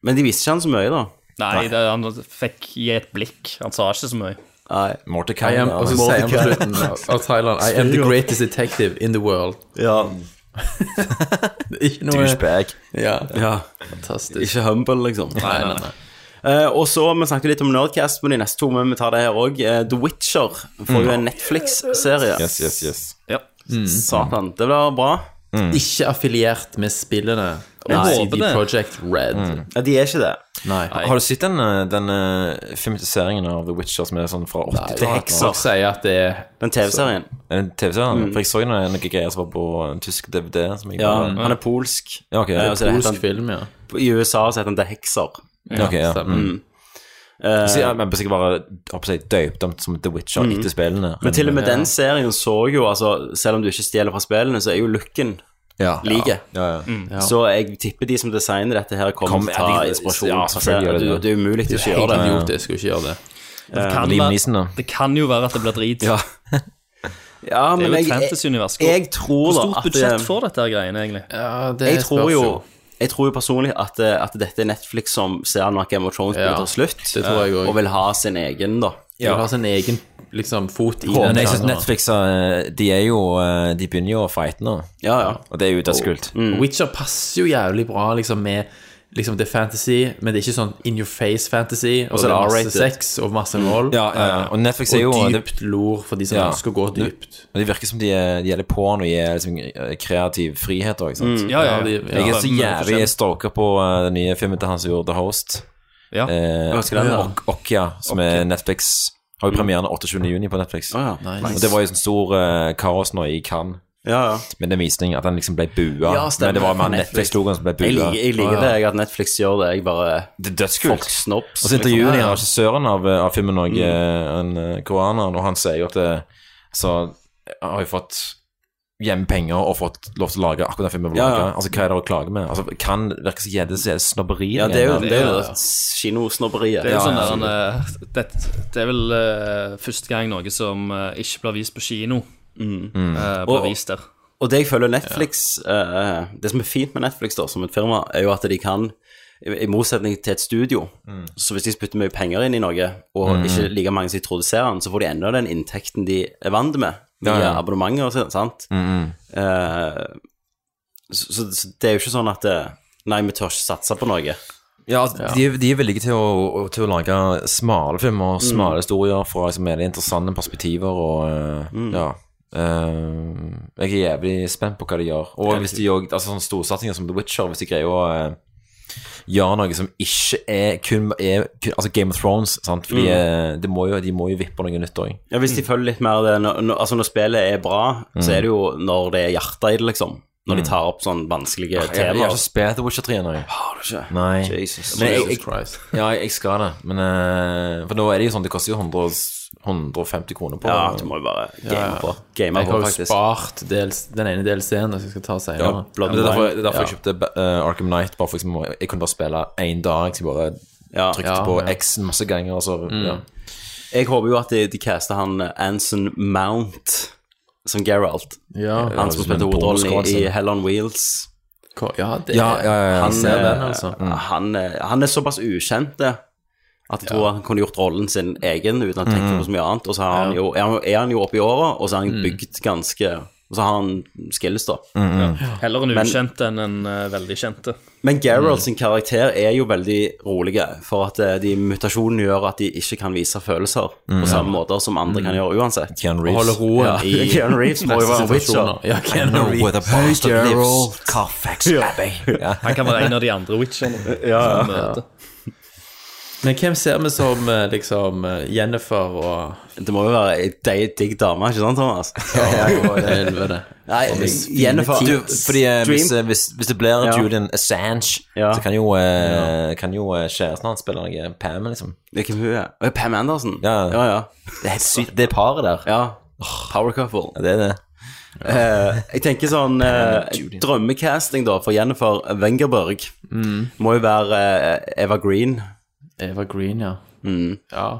Speaker 1: men de viste ikke han så mye, da.
Speaker 7: Nei, det, han fikk gi et blikk. Han sa ikke så mye.
Speaker 1: Nei.
Speaker 2: Mordecai.
Speaker 8: I am, og så sier han på slutten av- av Thailand I am the greatest detective in the world.
Speaker 1: Ja.
Speaker 8: Det er Ikke noe
Speaker 2: Douchebag.
Speaker 8: Ja,
Speaker 1: ja.
Speaker 8: fantastisk.
Speaker 1: Ikke humble, liksom.
Speaker 8: Nei, nei, nei.
Speaker 1: Eh, og så, Vi snakket litt om Nerdcast, men de neste to men vi tar det her òg. The Witcher får
Speaker 8: Mm.
Speaker 1: jo en Netflix-serie.
Speaker 2: Yes, yes, yes.
Speaker 7: Ja.
Speaker 1: Satan, det blir bra.
Speaker 8: Ikke affiliert med spillene
Speaker 7: Jeg
Speaker 8: og
Speaker 7: håper
Speaker 8: CD
Speaker 7: det.
Speaker 8: Project Red.
Speaker 1: Ja, De er ikke det.
Speaker 8: Nei.
Speaker 2: Har du sett den, eh, den eh, filmatiseringen av The Witcher som er sånn fra 80-tallet?
Speaker 1: Det er hekser.
Speaker 8: Folk sier at det er
Speaker 1: Den TV-serien.
Speaker 2: Er det en TV-serie? For jeg så jo noen noen greier som var på en tysk DVD. Som jeg
Speaker 1: Mm. Ja,
Speaker 8: Mm.
Speaker 2: bare,
Speaker 1: Han er polsk.
Speaker 2: ja, ok.
Speaker 1: Eh, og så heter
Speaker 8: polsk
Speaker 1: han-
Speaker 8: film, ja.
Speaker 1: I USA så heter han The Hexer.
Speaker 2: Ja, ok, ja.
Speaker 8: stemmer.
Speaker 2: Mm. Så ja, men sikkert bare håper jeg, døpt om som The Witcher etter spillene.
Speaker 1: Mm. Men til og med den serien så jo, altså, selv om du ikke stjeler fra spillene, så er jo looken
Speaker 2: ja.
Speaker 1: like.
Speaker 2: Ja, ja.
Speaker 1: Så jeg tipper de som designer dette, her kommer
Speaker 2: Kom-
Speaker 1: til å ta
Speaker 2: ja, de-
Speaker 1: inspirasjon.
Speaker 2: ja, selvfølgelig gjør de
Speaker 1: det,
Speaker 2: det.
Speaker 1: det er umulig å ikke
Speaker 8: Helt
Speaker 1: gjøre det.
Speaker 8: idiotisk å ikke gjøre det.
Speaker 7: Det kan,
Speaker 2: Liam
Speaker 7: være,
Speaker 2: Neeson, da.
Speaker 7: det kan jo være at det blir drit.
Speaker 1: Ja,
Speaker 7: det
Speaker 1: men
Speaker 7: er jo
Speaker 1: jeg,
Speaker 7: et fantasy-univers.
Speaker 1: jeg, jeg tror
Speaker 7: Hvor
Speaker 1: da
Speaker 7: stort
Speaker 1: at
Speaker 7: budsjett
Speaker 1: eh,
Speaker 7: får dette her greiene, egentlig?
Speaker 8: Ja, det
Speaker 1: jeg tror
Speaker 8: spørs
Speaker 1: jo jeg tror jo personlig at, eh, at dette er Netflix som ser når Game of Thrones
Speaker 8: Ja,
Speaker 1: blir til slutt,
Speaker 8: det tror jeg
Speaker 1: eh,
Speaker 8: også.
Speaker 1: og vil ha sin egen, da.
Speaker 8: Du har sin egen liksom, fot i
Speaker 2: Men jeg
Speaker 8: sjangeren.
Speaker 2: synes Netflix eh, de, er jo, eh, de begynner jo å fighte nå,
Speaker 1: Ja, ja.
Speaker 2: og det er jo dødskult.
Speaker 8: Witcher passer jo jævlig bra liksom, med liksom, det er fantasy, men det er ikke sånn in your face-fantasy. Og
Speaker 1: så
Speaker 8: det
Speaker 1: er
Speaker 8: er
Speaker 1: det
Speaker 8: masse sex og masse vold.
Speaker 2: Ja, ja, ja. Og Netflix er jo
Speaker 8: Og
Speaker 2: det,
Speaker 8: dypt lor for de som
Speaker 2: Ja.
Speaker 8: ønsker å gå dypt.
Speaker 2: og det virker som de er, de er litt på når de er liksom, eh, kreativ frihet òg, sant.
Speaker 1: Mm.
Speaker 7: Ja, ja,
Speaker 8: de-
Speaker 7: ja.
Speaker 8: jeg
Speaker 2: Jeg er så
Speaker 7: men-
Speaker 2: jævlig stoka på eh, den nye filmen til han som gjorde The Host.
Speaker 7: Ja.
Speaker 2: Eh,
Speaker 1: Hva skal den være?
Speaker 2: Ok- Okja, som er Netflix. Har jo premieren 28. juni på Netflix.
Speaker 1: Å, ja.
Speaker 2: Og det var jo sånn stor eh, kaos nå i Cannes
Speaker 1: ja, ja.
Speaker 2: med den visningen, at den liksom ble bua.
Speaker 1: Ja, stemmer.
Speaker 2: men det var med han
Speaker 1: Netflix.
Speaker 2: Netflix-logoen som ble
Speaker 1: Jeg
Speaker 2: bua.
Speaker 1: liker, jeg liker det, jeg, at Netflix gjør det. Jeg bare
Speaker 2: Det er
Speaker 1: Folk
Speaker 2: dødskult.
Speaker 1: snobs.
Speaker 2: Og så intervjuer de regissøren av, eh, av filmen òg,
Speaker 1: Mm.
Speaker 2: en eh, koreaner, og han sier jo at eh, Så har jeg fått hjemme penger og fått lov til å lage akkurat den filmen. vi vil
Speaker 1: Ja,
Speaker 2: lage.
Speaker 1: ja.
Speaker 2: Altså, Hva er det å klage med? Altså, Kan virke så gjedde, så er det snobberi.
Speaker 1: Ja, det er jo
Speaker 2: igjen,
Speaker 1: det, er jo
Speaker 7: Ja, ja.
Speaker 1: det kinosnobberiet.
Speaker 7: Det er jo
Speaker 1: Ja,
Speaker 7: sånn
Speaker 1: ja.
Speaker 7: der, eh, det, det er vel eh, første gang noe som eh, ikke blir vist på kino, eh, blir
Speaker 1: Mm. Og-
Speaker 7: vist der.
Speaker 1: Og det jeg føler Netflix eh, Det som er fint med Netflix da, som et firma, er jo at de kan, i i motsetning til et studio
Speaker 7: Mm.
Speaker 1: Så hvis de spytter mye penger inn i noe, og ikke like mange som introduserer den, så får de enda den inntekten de er vant med, via
Speaker 2: Ja, ja.
Speaker 1: abonnementer og sånn, sant? Eh, så, så, så det er jo ikke sånn at eh, Nei, vi tør ikke satse på noe.
Speaker 2: Ja, altså, De, er- de er villige til å, å- til å lage smale filmer og smale historier fra liksom, veldig interessante perspektiver og eh, Ja. Eh, jeg er jævlig spent på hva de gjør. Og hvis de gjør altså, sånne storsatsinger som The Witcher, hvis de greier å eh, gjøre noe som ikke er kun er, kun, Altså Game of Thrones, sant. Fordi eh, det må jo, de må jo vippe noe nytt òg.
Speaker 1: Ja, Hvis de følger litt mer det når, når, Altså, når spillet er bra, så er det jo når det er hjertet i det, liksom. Når de tar opp sånne vanskelige
Speaker 2: Jeg jeg har
Speaker 1: temaer.
Speaker 2: ikke spilt The Witcher 3 ennå.
Speaker 1: Har du ikke?
Speaker 2: Nei.
Speaker 1: Jesus.
Speaker 2: Men jeg,
Speaker 8: Jesus
Speaker 2: jeg,
Speaker 8: Christ.
Speaker 2: ja, jeg skal det. Men eh, For nå er det jo sånn, det koster jo 100, 150 kroner på
Speaker 1: Ja, du må jo bare game på. Game
Speaker 8: Jeg
Speaker 1: på,
Speaker 8: har jo
Speaker 1: faktisk.
Speaker 8: spart dels, den ene delscenen som jeg skal ta
Speaker 2: Ja,
Speaker 8: senere.
Speaker 2: men det er derfor, det er derfor jeg kjøpte eh, Arkham Knight. Bare for eksempel, jeg kunne bare spille én dag. Så jeg bare
Speaker 1: Ja.
Speaker 2: trykte
Speaker 8: Ja,
Speaker 2: på
Speaker 8: ja.
Speaker 2: X masse ganger. Og så, ja.
Speaker 1: Jeg håper jo at de, de caster han eh, Anson Mount som Geralt.
Speaker 8: Ja.
Speaker 1: Han som
Speaker 2: som en
Speaker 1: spilte hovedrollen i-
Speaker 2: bonuskonse.
Speaker 1: i Hell on Wheels.
Speaker 8: Hva- Ja, det
Speaker 1: Ja, ja, ja, ja.
Speaker 8: Han
Speaker 1: Ser
Speaker 8: er
Speaker 1: den,
Speaker 8: den, altså.
Speaker 1: eh,
Speaker 2: Mm.
Speaker 1: han, eh, han er såpass ukjent det, at jeg tror han kunne gjort rollen sin egen uten å tenke
Speaker 2: Mhm.
Speaker 1: på så mye annet. Og så har han jo, er, han, er han jo oppe i åra, og så har
Speaker 2: Mm.
Speaker 1: han bygd ganske Og så har han skills, da.
Speaker 7: Heller en
Speaker 1: Men-
Speaker 7: ukjent enn en eh, veldig kjente.
Speaker 1: Men
Speaker 2: Mm.
Speaker 1: Geralt sin karakter er jo veldig rolig, for at eh, de mutasjonene gjør at de ikke kan vise følelser
Speaker 2: Mhm.
Speaker 1: på samme måter som andre kan gjøre uansett.
Speaker 2: Keanu Reeves. Og Mm. holde roen.
Speaker 1: Ja, i Keanu Reeves må jo
Speaker 2: Neste
Speaker 1: være Witcher.
Speaker 2: situasjoner. Ja, Keanu I know where the Reeves. bastard Hey, lives. Geralt. Carfax Abbey. Ja.
Speaker 7: Han kan være en av de andre witchene.
Speaker 2: Ja,
Speaker 7: som møter.
Speaker 8: Men hvem ser vi som eh, liksom eh, Jennifer og
Speaker 1: Det må jo være ei dei- digg dame, ikke sant, Thomas?
Speaker 8: Helvete.
Speaker 1: Nei,
Speaker 2: Og hvis-
Speaker 1: Jennifer
Speaker 2: du, fordi eh, hvis,
Speaker 1: Dream-
Speaker 2: eh, hvis, hvis det blir
Speaker 1: Ja.
Speaker 2: Julian Assange, så kan jo, eh, kan jo eh, kjæresten hans spille noe Pam, liksom.
Speaker 1: Det er hvem hun er. Å, Pam Andersen?
Speaker 2: Ja,
Speaker 1: Ja, ja.
Speaker 2: Det er helt sykt, det paret der.
Speaker 1: Ja. Power couple.
Speaker 2: Ja, det er det.
Speaker 1: Eh, jeg tenker sånn eh,
Speaker 2: Judy.
Speaker 1: Drømmecasting da for Jennifer Wengerberg
Speaker 8: Mm.
Speaker 1: må jo være eh, Eva Green.
Speaker 8: Eva Green, ja.
Speaker 1: Mm.
Speaker 8: Ja.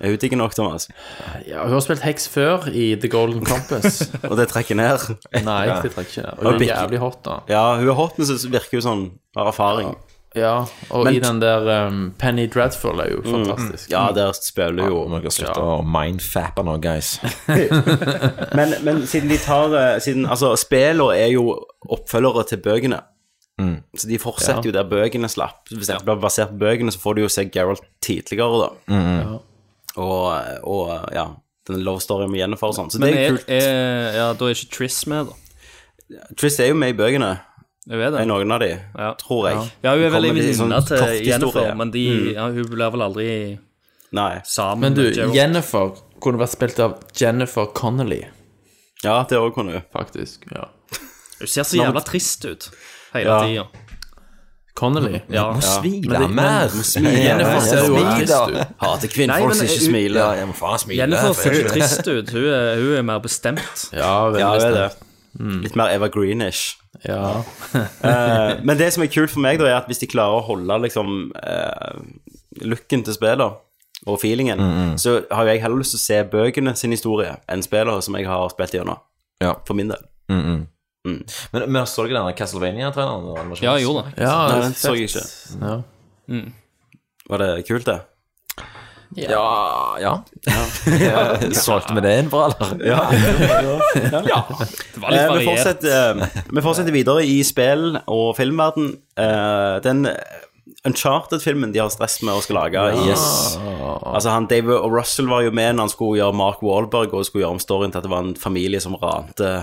Speaker 1: Er hun digg nok, Thomas?
Speaker 8: Ja, hun har spilt heks før i The Golden Compass.
Speaker 1: Og det trekker ned?
Speaker 8: Nei,
Speaker 1: Ja.
Speaker 8: det trekker ikke ned. Hun er
Speaker 1: bikke-
Speaker 8: jævlig hot, da.
Speaker 1: Ja, hun er hot, men så virker hun sånn har erfaring.
Speaker 8: Ja, og
Speaker 1: Men-
Speaker 8: i den der um, Penny Dreadful er jo fantastisk.
Speaker 1: Mm. Ja, der spiller hun jo
Speaker 2: Må dere slutte å mindfappe nå, guys.
Speaker 1: men, men siden de tar eh, siden, Altså, spillene er jo oppfølgere til bøkene.
Speaker 2: Mm.
Speaker 1: Så de fortsetter jo der bøkene slapp. Hvis det blir basert på bøkene, så får du jo se Geralt tidligere, da.
Speaker 2: Mm, mm.
Speaker 1: Og, og ja, den love storyen med Jennifer og sånn. Så
Speaker 7: Men
Speaker 1: det er
Speaker 7: er,
Speaker 1: jo kult.
Speaker 7: er, Eh, ja, da er ikke Triss med, da.
Speaker 1: Triss er jo med i bøkene.
Speaker 7: Hun er det.
Speaker 1: I noen av de, tror jeg.
Speaker 7: Ja, hun er
Speaker 1: Kommer
Speaker 7: vel en
Speaker 1: med i
Speaker 7: venninne
Speaker 1: sånn
Speaker 7: til
Speaker 1: kort
Speaker 7: Jennifer,
Speaker 1: historie.
Speaker 7: men de,
Speaker 1: Mm.
Speaker 7: ja, hun blir vel aldri
Speaker 1: Nei.
Speaker 7: sammen
Speaker 8: Men du,
Speaker 7: med Geralt.
Speaker 8: Jennifer kunne vært spilt av Jennifer Connolly,
Speaker 1: Ja, det òg kunne hun.
Speaker 8: faktisk. Ja.
Speaker 7: Hun ser så
Speaker 8: Nå-
Speaker 7: jævla trist ut hele
Speaker 8: Ja.
Speaker 7: tida.
Speaker 8: Connolly?
Speaker 7: Ja.
Speaker 2: Må svile
Speaker 8: Mm. Men det-
Speaker 2: mer.
Speaker 8: men- men Jennifer ser jo
Speaker 2: Smil,
Speaker 8: trist
Speaker 2: da.
Speaker 8: ut.
Speaker 1: Hater kvinnfolk
Speaker 7: Nei, men
Speaker 1: som
Speaker 7: jeg-
Speaker 1: ikke smiler.
Speaker 2: Ja, jeg må faen smile.
Speaker 7: Jennifer
Speaker 2: for
Speaker 7: ser
Speaker 2: jeg-
Speaker 7: ikke trist ut. Hun er, hun er mer bestemt.
Speaker 8: Ja, veldig
Speaker 1: Ja, det er det.
Speaker 8: sterkt.
Speaker 7: Mm.
Speaker 1: Litt mer evergreenish.
Speaker 8: Ja.
Speaker 1: Eh, men det som er kult for meg, da, er at hvis de klarer å holde liksom eh, looken til spillet og feelingen, så har jo jeg heller lyst til å se bøkene sin historie enn spillet som jeg har spilt gjennom.
Speaker 2: Ja.
Speaker 1: For min del.
Speaker 2: Mm, mm. Men, men så du den Castlevania-treneren?
Speaker 7: Ja, jeg gjorde det.
Speaker 1: Nei,
Speaker 8: Ja, det er
Speaker 1: den så jeg
Speaker 8: fett.
Speaker 1: ikke.
Speaker 8: Ja.
Speaker 1: Var det kult, det?
Speaker 2: Ja, ja. Solgte vi det inn bra, eller?
Speaker 1: ja.
Speaker 7: Det var litt
Speaker 1: Eh, vi,
Speaker 7: variert.
Speaker 1: fortsetter, eh, vi fortsetter videre i spill og filmverden. Eh, den Uncharted-filmen de har stress med å skal lage yes. Altså han David O. Russell var jo med når han skulle gjøre Mark Wahlberg og skulle gjøre om storyen til at det var en familie som rante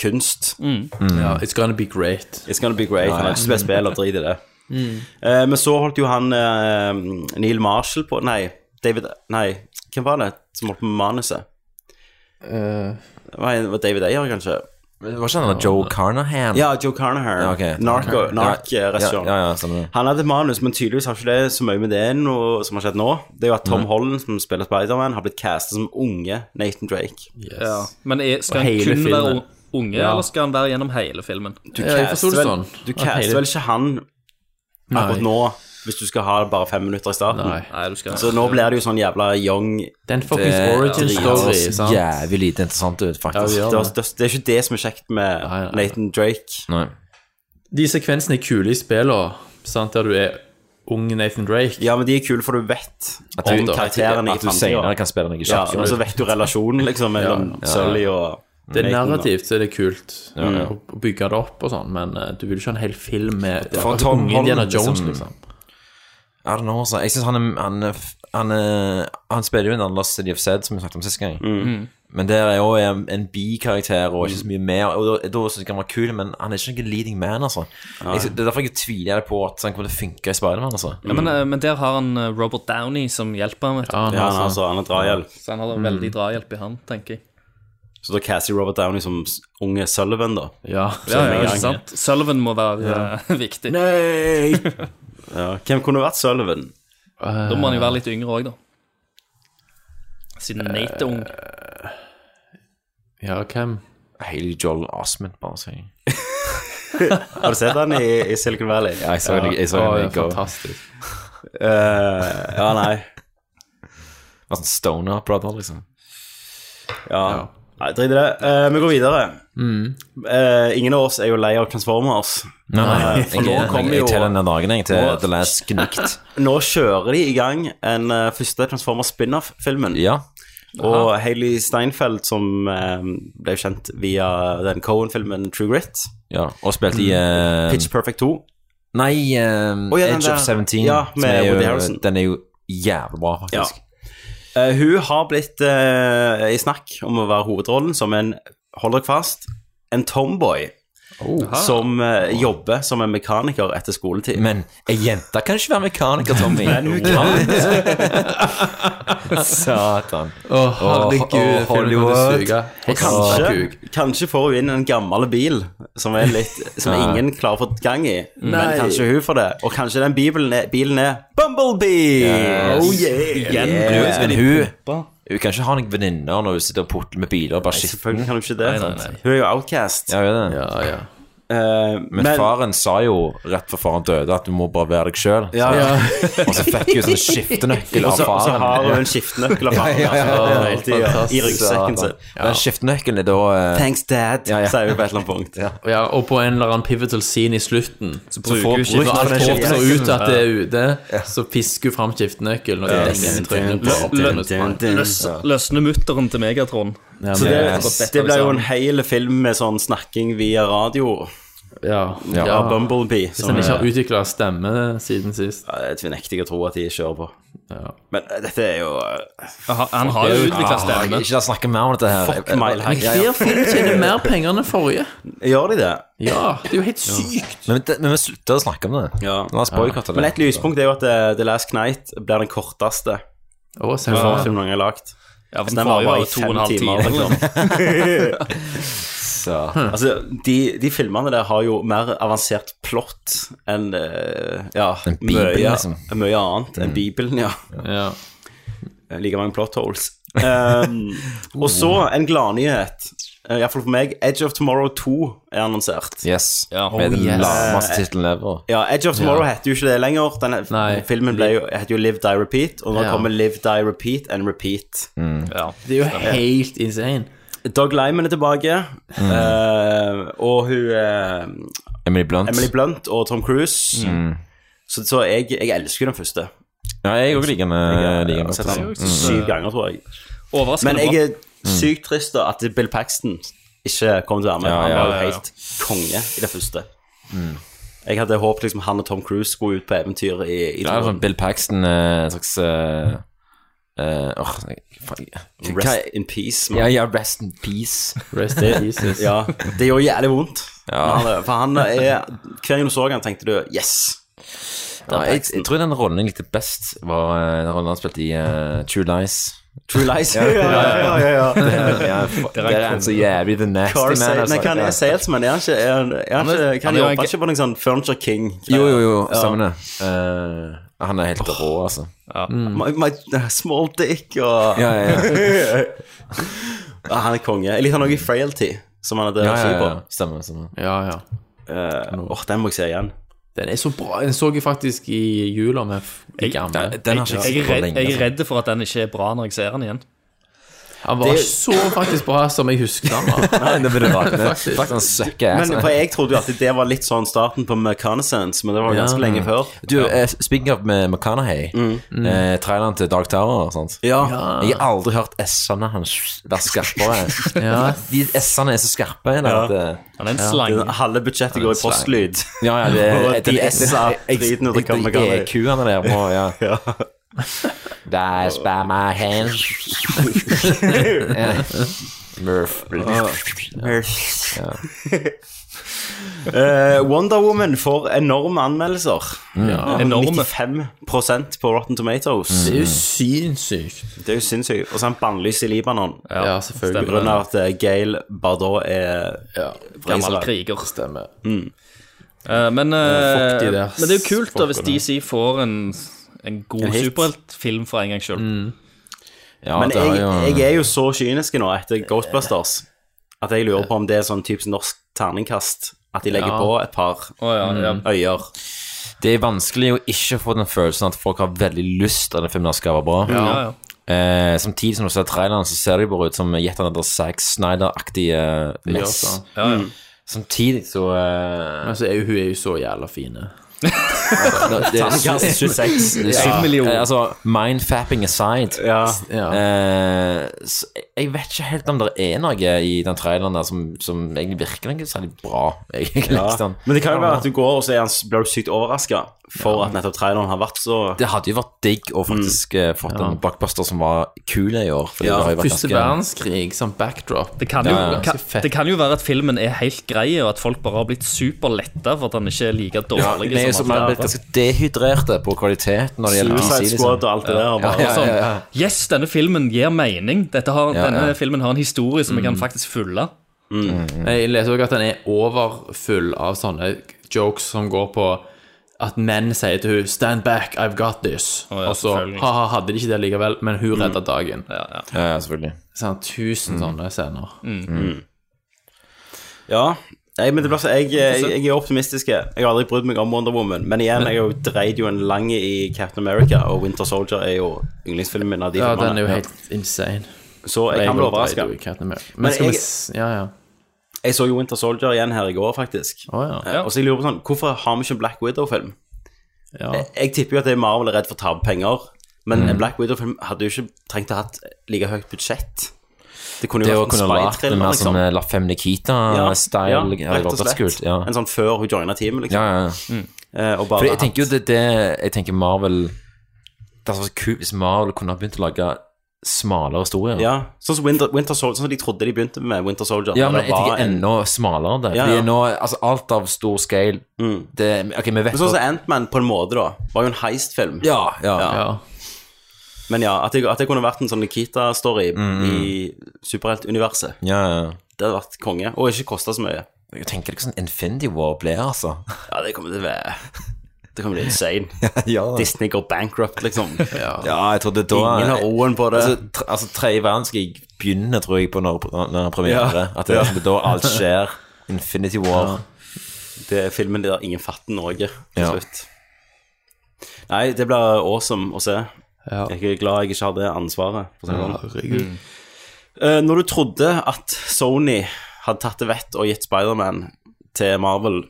Speaker 1: kunst.
Speaker 8: ja. It's gonna be great.
Speaker 1: It's gonna be great. Han har ikke spilt spill og drit i det. Eh, men så holdt jo han eh, Neil Marshall på Nei, David Nei, hvem var det som holdt på med manuset?
Speaker 8: Eh,
Speaker 1: Det var en- det var David Ayer, kanskje?
Speaker 2: Men Det var ikke den der Joe Carnahan?
Speaker 1: Ja, Joe Carnahan.
Speaker 2: Ja, ok.
Speaker 1: Narco, Narc-restaurant.
Speaker 2: Ja, ja, ja, stemmer det.
Speaker 1: Han hadde et manus, men tydeligvis har ikke det så mye med det noe som har skjedd nå. Det er jo at Tom Holland, som spiller Spiderman, har blitt castet som unge Nathan Drake.
Speaker 8: yes.
Speaker 7: Ja. Men er, skal
Speaker 8: Og
Speaker 7: han
Speaker 8: hele
Speaker 7: kun
Speaker 8: filmen.
Speaker 7: være unge,
Speaker 8: Ja.
Speaker 7: eller skal han være gjennom hele filmen?
Speaker 1: Du
Speaker 8: Ja, jeg forstår
Speaker 1: caster
Speaker 8: det
Speaker 1: vel,
Speaker 8: sånn.
Speaker 1: du
Speaker 8: At
Speaker 1: caster
Speaker 8: hele-
Speaker 1: vel ikke han akkurat
Speaker 8: Nei.
Speaker 1: nå, hvis du skal ha bare fem minutter i starten.
Speaker 8: Nei.
Speaker 7: Nei, du skal
Speaker 1: Så nå blir det jo sånn jævla young Det
Speaker 8: Den fuckings origin
Speaker 2: Det
Speaker 8: story,
Speaker 2: høres
Speaker 8: sant?
Speaker 2: Jævlig lite interessant ut, faktisk.
Speaker 8: Ja, vi gjør
Speaker 1: er, det er ikke det som er kjekt med
Speaker 8: Nei, nei, nei.
Speaker 1: Nathan Drake.
Speaker 2: Nei.
Speaker 8: De sekvensene er kule i spillet, sant, der du er ung Nathan Drake.
Speaker 1: Ja, men de er kule, for du vet
Speaker 2: At du-
Speaker 1: om karakterene i
Speaker 2: At du senere
Speaker 1: framtida.
Speaker 2: kan spille noe
Speaker 1: Ja,
Speaker 2: kjapt.
Speaker 1: og så vet du relasjonen liksom mellom Sully og
Speaker 8: Det er
Speaker 1: Nathan, da.
Speaker 8: narrativt, så er det kult å å bygge det opp og sånn, men eh, du vil ikke ha en hel film med
Speaker 2: For Tom
Speaker 8: unge Indiana
Speaker 2: Holland,
Speaker 8: Jones,
Speaker 2: liksom.
Speaker 8: liksom.
Speaker 2: I don't know, altså. Jeg synes han, er- han, er f- han, er- han spiller jo en annen Lost City of Zed, som vi snakket om sist gang. Men der er jo en, en bikarakter og ikke så mye mer. Og da, da synes jeg han var kul, men han er ikke noen leading man, altså. Jeg, det er derfor jeg tviler på at han kommer til å funke i Spiderman, altså.
Speaker 7: Ja, men, eh, men der har han eh, Robert Downey som hjelper ham. vet du.
Speaker 1: Ja, han, altså, han er drahjelp.
Speaker 7: Så han har veldig drahjelp i han, tenker jeg.
Speaker 1: Så da caster Robert Downey som s- unge Sullivan, da.
Speaker 8: Ja.
Speaker 7: Ja,
Speaker 1: med en
Speaker 7: ja,
Speaker 1: gang.
Speaker 7: ikke sant? Sullivan må være eh, viktig.
Speaker 1: Nei! ja, hvem kunne vært Sullivan?
Speaker 7: Da må han jo være litt yngre òg, da. Siden Nate er ung.
Speaker 8: eh, Ja, hvem?
Speaker 2: Haley Joel Osment, bare sier jeg.
Speaker 1: Har du sett han i, i Silicon Valley?
Speaker 2: Ja, jeg så det jeg så
Speaker 8: Å,
Speaker 2: det i
Speaker 8: ja,
Speaker 2: går.
Speaker 8: fantastisk.
Speaker 1: Eh, ja, nei.
Speaker 2: Det var sånn stoner brother, liksom.
Speaker 1: Ja. Nei, drit i det. Eh, vi går videre. Eh, ingen av oss er jo lei av Transformers.
Speaker 2: Nei,
Speaker 1: Eh,
Speaker 2: nei,
Speaker 1: for nå
Speaker 2: jeg-
Speaker 1: kommer
Speaker 2: jeg
Speaker 1: jo-
Speaker 2: teller ned dagene, jeg, til
Speaker 1: Nå-
Speaker 2: The Last Knight.
Speaker 1: Nå kjører de i gang den eh, første Transformers spin-off-filmen. Og Hailey Steinfeld, som eh, ble kjent via den Cohen-filmen True Grit.
Speaker 2: Ja, og spilte i eh,
Speaker 1: Mm. Pitch Perfect 2.
Speaker 2: Nei, eh,
Speaker 1: Å, ja, den
Speaker 2: Edge
Speaker 1: der.
Speaker 2: of 17.
Speaker 1: Ja,
Speaker 2: som
Speaker 1: med
Speaker 2: er jo-
Speaker 1: Woody Harrelson.
Speaker 2: Den er jo jævlig bra, faktisk.
Speaker 1: Eh, hun har blitt eh, i snakk om å være hovedrollen som en Hold dere fast en tomboy som eh, jobber som en mekaniker etter skoletid.
Speaker 2: Men ei jente kan ikke være mekaniker, Tommy.
Speaker 1: Men hun kan.
Speaker 2: Satan.
Speaker 8: Å, herregud, filmen kommer til å suge.
Speaker 1: Og
Speaker 8: Helt
Speaker 1: kanskje, kanskje får hun inn en gammel bil som, er litt, som
Speaker 2: Ja.
Speaker 1: ingen klarer å få gang i. Men
Speaker 2: Nei.
Speaker 1: kanskje hun får det. Og kanskje den bibelen er, bilen er Bumblebee!
Speaker 2: Yes.
Speaker 1: Oh yeah!
Speaker 2: Igjen
Speaker 1: Yeah.
Speaker 2: blir hun- Eh, men hun-
Speaker 1: Pumpa.
Speaker 2: Hun kan ikke ha noen venninner når hun sitter og putler med biler og bare
Speaker 1: Nei,
Speaker 2: skitten.
Speaker 1: selvfølgelig kan hun ikke det, sant? Hun er jo outcast.
Speaker 2: Ja, hun er det.
Speaker 1: Eh,
Speaker 2: men,
Speaker 1: men-
Speaker 2: faren sa jo rett før faren døde at du må bare være deg sjøl.
Speaker 1: Ja, ja.
Speaker 2: Og så fikk hun sånn skiftenøkkel
Speaker 1: Og
Speaker 2: av
Speaker 1: så- og
Speaker 2: faren.
Speaker 1: så har hun en skiftenøkkel av faren,
Speaker 2: Ja, ja, ja,
Speaker 1: altså,
Speaker 2: ja.
Speaker 1: helt i- i
Speaker 2: Fantastisk.
Speaker 1: ryggsekken sin.
Speaker 2: Ja. Den skiftenøkkelen er da eh,
Speaker 1: Thanks, dad,
Speaker 2: Ja, ja.
Speaker 1: sier hun på et eller annet punkt.
Speaker 8: Ja, og på en eller annen pivotal scene i slutten Så
Speaker 2: bruker
Speaker 8: får
Speaker 2: hun
Speaker 8: bruker
Speaker 2: skiftenøkkelen.
Speaker 8: alt åpner
Speaker 2: Skiftenøkkelen.
Speaker 8: ut til at det er ute Så fisker hun frem skiftenøkkelen Og det er
Speaker 7: Ja.
Speaker 8: ingen trynet på
Speaker 7: Løs, løsne mutteren til Megatron.
Speaker 1: Så det, det ble jo en hel film med sånn snakking via radio.
Speaker 8: Ja,
Speaker 1: Ja, Bumblebee,
Speaker 8: Hvis
Speaker 1: som
Speaker 8: den ikke
Speaker 1: er-
Speaker 8: har utviklet stemme siden sist
Speaker 1: Ja, det nekter jeg å tro at de kjører på. Men eh, dette er jo
Speaker 7: Han har jo utviklet stemme.
Speaker 2: Ikke la oss snakke mer om dette her.
Speaker 1: Fuck Mile High.
Speaker 2: Ja, ja.
Speaker 8: tjener mer penger enn forrige
Speaker 1: Gjør de det?
Speaker 8: Ja, det er jo helt sykt
Speaker 2: Men, det- men vi slutter å snakke om det. La oss boikotte det.
Speaker 1: Men et lyspunkt er jo at eh, The Last Knight blir den korteste
Speaker 8: oh,
Speaker 1: Transformers-filmen noen gang har lagd.
Speaker 7: Ja, for
Speaker 1: Så
Speaker 7: den
Speaker 1: var
Speaker 7: forrige var
Speaker 1: bare
Speaker 7: jo
Speaker 1: i
Speaker 7: to
Speaker 1: fem
Speaker 7: og en halv
Speaker 1: timer,
Speaker 7: time,
Speaker 1: liksom.
Speaker 2: Så.
Speaker 1: Altså, de, de filmene der har jo mer avansert plott enn eh, ja,
Speaker 2: En bibel,
Speaker 1: mye,
Speaker 2: liksom.
Speaker 1: mye annet enn
Speaker 2: Mm.
Speaker 1: Bibelen, ja.
Speaker 8: ja.
Speaker 1: Eh, Like mange plot holes. Um, og så
Speaker 2: Uh.
Speaker 1: en gladnyhet. Eh, Iallfall for meg. Edge of Tomorrow 2 er annonsert.
Speaker 2: Yes.
Speaker 1: Ja.
Speaker 2: Med den
Speaker 1: Oh, yes.
Speaker 2: lameste tittelen ever.
Speaker 1: Ja, Edge of Tomorrow
Speaker 2: Ja.
Speaker 1: heter jo ikke det lenger. Denne filmen ble jo, heter jo Live, Die, Repeat, og nå
Speaker 8: Ja.
Speaker 1: kommer Live, Die, Repeat and Repeat.
Speaker 2: Mm.
Speaker 8: Det er jo helt insane
Speaker 1: Dog Lyman er tilbake,
Speaker 2: Mm.
Speaker 1: eh, og hun eh,
Speaker 2: Emily Blunt.
Speaker 1: Emily Blunt og Tom Cruise.
Speaker 2: Mm.
Speaker 1: Så, så jeg, jeg elsker den første.
Speaker 2: Ja, jeg òg liker den. eh, liker
Speaker 1: Jeg har
Speaker 2: den.
Speaker 1: sett den
Speaker 2: Mm.
Speaker 1: syv ganger, tror jeg.
Speaker 7: Overraskende
Speaker 1: Men jeg er
Speaker 7: bra.
Speaker 1: sykt trist da at Bill Paxton ikke kom til å være med.
Speaker 2: Ja,
Speaker 1: Han
Speaker 2: ja,
Speaker 1: var jo
Speaker 2: ja, Mm. ja.
Speaker 1: helt konge i det første. Jeg hadde håpet liksom, han og Tom Cruise skulle ut på eventyr i, i
Speaker 2: Ja,
Speaker 1: toeren.
Speaker 2: sånn Bill Paxton, eh, en slags eh, eh, åh, faen, hva-
Speaker 1: Rest
Speaker 2: sånn, hva-
Speaker 1: in peace,
Speaker 2: Ja, ja, rest in peace.
Speaker 8: Rest
Speaker 1: Det- Ja, det gjorde jævlig vondt.
Speaker 2: Ja.
Speaker 1: Men Han, for han er Hver gang du så han tenkte du 'yes'.
Speaker 2: Ja, jeg, jeg tror den rollen jeg likte best, var eh, den rollen han spilte i eh, True Lies.
Speaker 1: True Lies. Ja, ja, ja, ja, ja.
Speaker 2: Det er- ja, fuck,
Speaker 1: Det er
Speaker 2: det er
Speaker 1: kongen.
Speaker 2: en så jævlig The Nasty
Speaker 1: Car
Speaker 2: Man.
Speaker 1: sale,
Speaker 2: altså.
Speaker 1: nei, hva han
Speaker 2: Ja.
Speaker 1: er salesman? Er han ikke, er, han- er han
Speaker 2: Han er-
Speaker 1: ikke Kan han
Speaker 2: han er jo
Speaker 1: jobbe
Speaker 2: en-
Speaker 1: ikke på noen sånn Furniture King?
Speaker 2: Jo, jo, jo,
Speaker 1: Ja.
Speaker 2: stemmer det. Eh, han er helt rå, altså. Mm.
Speaker 1: My, my uh, small dick og
Speaker 2: Ja, ja, ja.
Speaker 1: Ja, Han er konge. Jeg liker han også i Frailty, som han hadde
Speaker 2: Mm. Ja, ja,
Speaker 1: regi
Speaker 2: ja.
Speaker 1: på.
Speaker 2: Stemmer, stemmer.
Speaker 8: Ja, ja
Speaker 1: Eh, Åh, Den må jeg se igjen.
Speaker 8: Den er så bra Den så jeg faktisk i jula med f- de gamle
Speaker 7: jeg, jeg, er redd, jeg er redd for at den ikke er bra når jeg ser den igjen.
Speaker 8: Han var ikke så faktisk bra som jeg husker han var. Faktisk.
Speaker 2: altså.
Speaker 1: Men for Jeg trodde jo at det var litt sånn starten på Mechanicence, men det var ganske lenge før.
Speaker 2: Du, eh, Speaking of med McConaughey, eh, traileren til Dark Tower og sånt
Speaker 1: Ja.
Speaker 2: Jeg har aldri hørt S-ene hans være skarpere.
Speaker 1: Ja.
Speaker 2: De S-ene er så skarpe. Ja.
Speaker 1: Ja.
Speaker 2: At, eh,
Speaker 1: Han er en slang.
Speaker 2: det-
Speaker 1: Halve budsjettet
Speaker 2: Han er
Speaker 1: går i
Speaker 2: en slang.
Speaker 1: postlyd.
Speaker 2: Ja, ja, det
Speaker 1: Og
Speaker 2: er
Speaker 1: de S-a driten ut av Kammer Kammer.
Speaker 2: EQ-ene E der må Ja. That's by my hand. Ja. Murph.
Speaker 1: Murph.
Speaker 2: Ja.
Speaker 1: Eh, Wonder Woman får enorme anmeldelser.
Speaker 2: Mm.
Speaker 8: Ja.
Speaker 1: Enorme. 95 på Rotten Tomatoes.
Speaker 8: Det er jo sinnssykt.
Speaker 1: Det er jo sinnssykt. Og så er han bannlyst i Libanon.
Speaker 8: Ja, selvfølgelig.
Speaker 1: På grunn av at eh, Gail Bardot er fra
Speaker 7: Gammel
Speaker 1: Israel.
Speaker 7: kriger.
Speaker 8: Stemmer.
Speaker 1: Mm.
Speaker 7: Eh, men, eh,
Speaker 1: Fuck de der
Speaker 7: men det er jo kult da hvis
Speaker 1: folkene.
Speaker 7: DC får en, en god
Speaker 1: En hit.
Speaker 7: superheltfilm for en gang sjøl.
Speaker 1: Men jeg, jeg er jo så kynisk nå etter Ghostbusters at jeg lurer på om det er sånn typisk norsk terningkast. At de legger
Speaker 2: Ja.
Speaker 1: på et par øyer.
Speaker 2: Det er vanskelig å ikke få den følelsen at folk har veldig lyst til at den filmen skal være bra.
Speaker 1: Ja, ja, ja.
Speaker 2: Eh, samtidig som du ser traileren, så ser det jo bare ut som Jet Another Zack Snyder-aktige eh,
Speaker 8: Det gjør
Speaker 2: mess.
Speaker 8: det. Ja, ja.
Speaker 2: Mm. Samtidig så eh,
Speaker 8: Altså, er jo, hun er jo så jævla fine.
Speaker 2: det er
Speaker 8: Terningkast 26.
Speaker 2: Ja.
Speaker 8: Syv millioner.
Speaker 2: Eh, Altså, mindfapping aside eh, så jeg- Jeg vet ikke helt om det er noe i den traileren der som, som egentlig virker noe særlig bra. Egentlig,
Speaker 1: Ja.
Speaker 2: sånn.
Speaker 1: Men det kan jo være at du går og så er han, blir du sykt overraska for at nettopp traileren har vært så
Speaker 2: Det hadde jo vært digg å faktisk eh, fått
Speaker 1: Mm. Ja.
Speaker 2: en blockbuster som var kul i år. fordi
Speaker 1: Ja,
Speaker 2: det har jo vært
Speaker 8: Første
Speaker 2: ganske-
Speaker 8: verdenskrig som backdrop.
Speaker 7: Det kan, jo,
Speaker 2: Ja, ja.
Speaker 7: kan, det kan jo være at filmen er helt grei, og at folk bare har blitt superletta for at han ikke er like
Speaker 2: Ja,
Speaker 7: dårlig.
Speaker 2: vi er jo
Speaker 1: Liksom
Speaker 2: som har blitt ganske dehydrerte på kvalitet når det gjelder
Speaker 7: Suicide
Speaker 2: PC, liksom.
Speaker 7: Squad og alt det der, og
Speaker 2: Ja,
Speaker 7: bare
Speaker 2: ja, ja, ja.
Speaker 7: sånn, Yes, denne filmen gir mening. Dette har,
Speaker 8: Ja,
Speaker 7: denne
Speaker 8: ja.
Speaker 7: filmen har en historie som vi kan
Speaker 8: Mm.
Speaker 7: faktisk følge.
Speaker 8: Jeg leser også at den er overfull av sånne jokes som går på at menn sier til hun 'Stand back, I've got this'. og så
Speaker 2: selvfølgelig.
Speaker 8: ha-ha, hadde de ikke det likevel, men hun
Speaker 1: Mm.
Speaker 8: redda dagen.
Speaker 2: Ja, ja, selvfølgelig.
Speaker 8: Sånn, tusen sånne scener.
Speaker 1: Mm. Ja. Nei, men det blir så, jeg, jeg, jeg er optimistisk. Jeg har aldri brydd meg om Wonder Woman. Men igjen, jeg har jo dreid jo en lang i Captain America, og Winter Soldier er jo yndlingsfilmen min av de
Speaker 8: Ja,
Speaker 1: filmene.
Speaker 8: den er jo helt insane.
Speaker 1: Så jeg kan bli overraska.
Speaker 8: Men,
Speaker 1: Men
Speaker 8: men skal vi
Speaker 1: jeg-
Speaker 8: s- Ja, ja.
Speaker 1: Jeg så jo Winter Soldier igjen her i går, faktisk. Eh, Og så jeg lurer på sånn, Hvorfor har vi ikke en Black Widow-film?
Speaker 8: Eh,
Speaker 1: Jeg, jeg tipper jo at det er Marvel er redd for å tape penger, men
Speaker 2: Mm.
Speaker 1: en Black Widow-film hadde jo ikke trengt å ha hatt like høyt budsjett. Det kunne
Speaker 2: Det
Speaker 1: jo
Speaker 2: å
Speaker 1: vært en
Speaker 2: kunne lagt det
Speaker 1: spy-thriller,
Speaker 2: mer
Speaker 1: liksom.
Speaker 2: sånn eh, La Femme Nikita-style
Speaker 1: ja,
Speaker 2: hadde
Speaker 1: rett og
Speaker 2: vært
Speaker 1: slett.
Speaker 2: kult. Ja.
Speaker 1: En sånn før hun joina teamet, liksom.
Speaker 2: Ja, ja, ja.
Speaker 1: Eh, og bare
Speaker 2: For jeg tenker jo det, det Jeg tenker Marvel Det hadde vært kult hvis Marvel kunne ha begynt å lage smalere historier.
Speaker 1: Ja, sånn som, Winter, Winter Soldier, sånn som de trodde de begynte med Winter Soldier.
Speaker 2: Ja,
Speaker 1: og
Speaker 2: men
Speaker 1: det
Speaker 2: jeg
Speaker 1: var
Speaker 2: tenker
Speaker 1: en-
Speaker 2: enda smalere det.
Speaker 1: Ja,
Speaker 2: Vi
Speaker 1: ja. Mm.
Speaker 2: er nå, altså Alt av stor scale det, Ok, vi
Speaker 1: Men
Speaker 2: vet
Speaker 1: sånn som
Speaker 2: at-
Speaker 1: Ant-Man på en måte, da, var jo en heist-film.
Speaker 2: Ja, ja, ja.
Speaker 1: Men ja, at det, at det kunne vært en sånn Nikita-story
Speaker 2: Mm,
Speaker 1: i superheltuniverset,
Speaker 2: ja, ja.
Speaker 1: det hadde vært konge. Og ikke kosta så mye.
Speaker 2: Jeg tenker ikke sånn Infinity War ble, altså.
Speaker 1: Ja, det kommer til å være Det kommer til å bli insane.
Speaker 2: Ja.
Speaker 1: Disney går bankrupt, liksom. ja.
Speaker 2: Ja, jeg trodde da
Speaker 1: Ingen har roen på det.
Speaker 2: Altså, tre, altså tredje verdenskrig begynner, tror jeg, på når, når premiere.
Speaker 1: Ja.
Speaker 2: At det er liksom da alt skjer. Infinity War.
Speaker 1: Ja. Det er filmen der ingen fatter Norge til
Speaker 2: Ja.
Speaker 1: slutt. Nei, det blir awesome å se.
Speaker 8: Ja.
Speaker 1: Jeg er glad jeg ikke har det ansvaret. For å si det sånn.
Speaker 8: Herregud.
Speaker 1: Mm. Eh, når du trodde at Sony hadde tatt det vett og gitt Spiderman til Marvel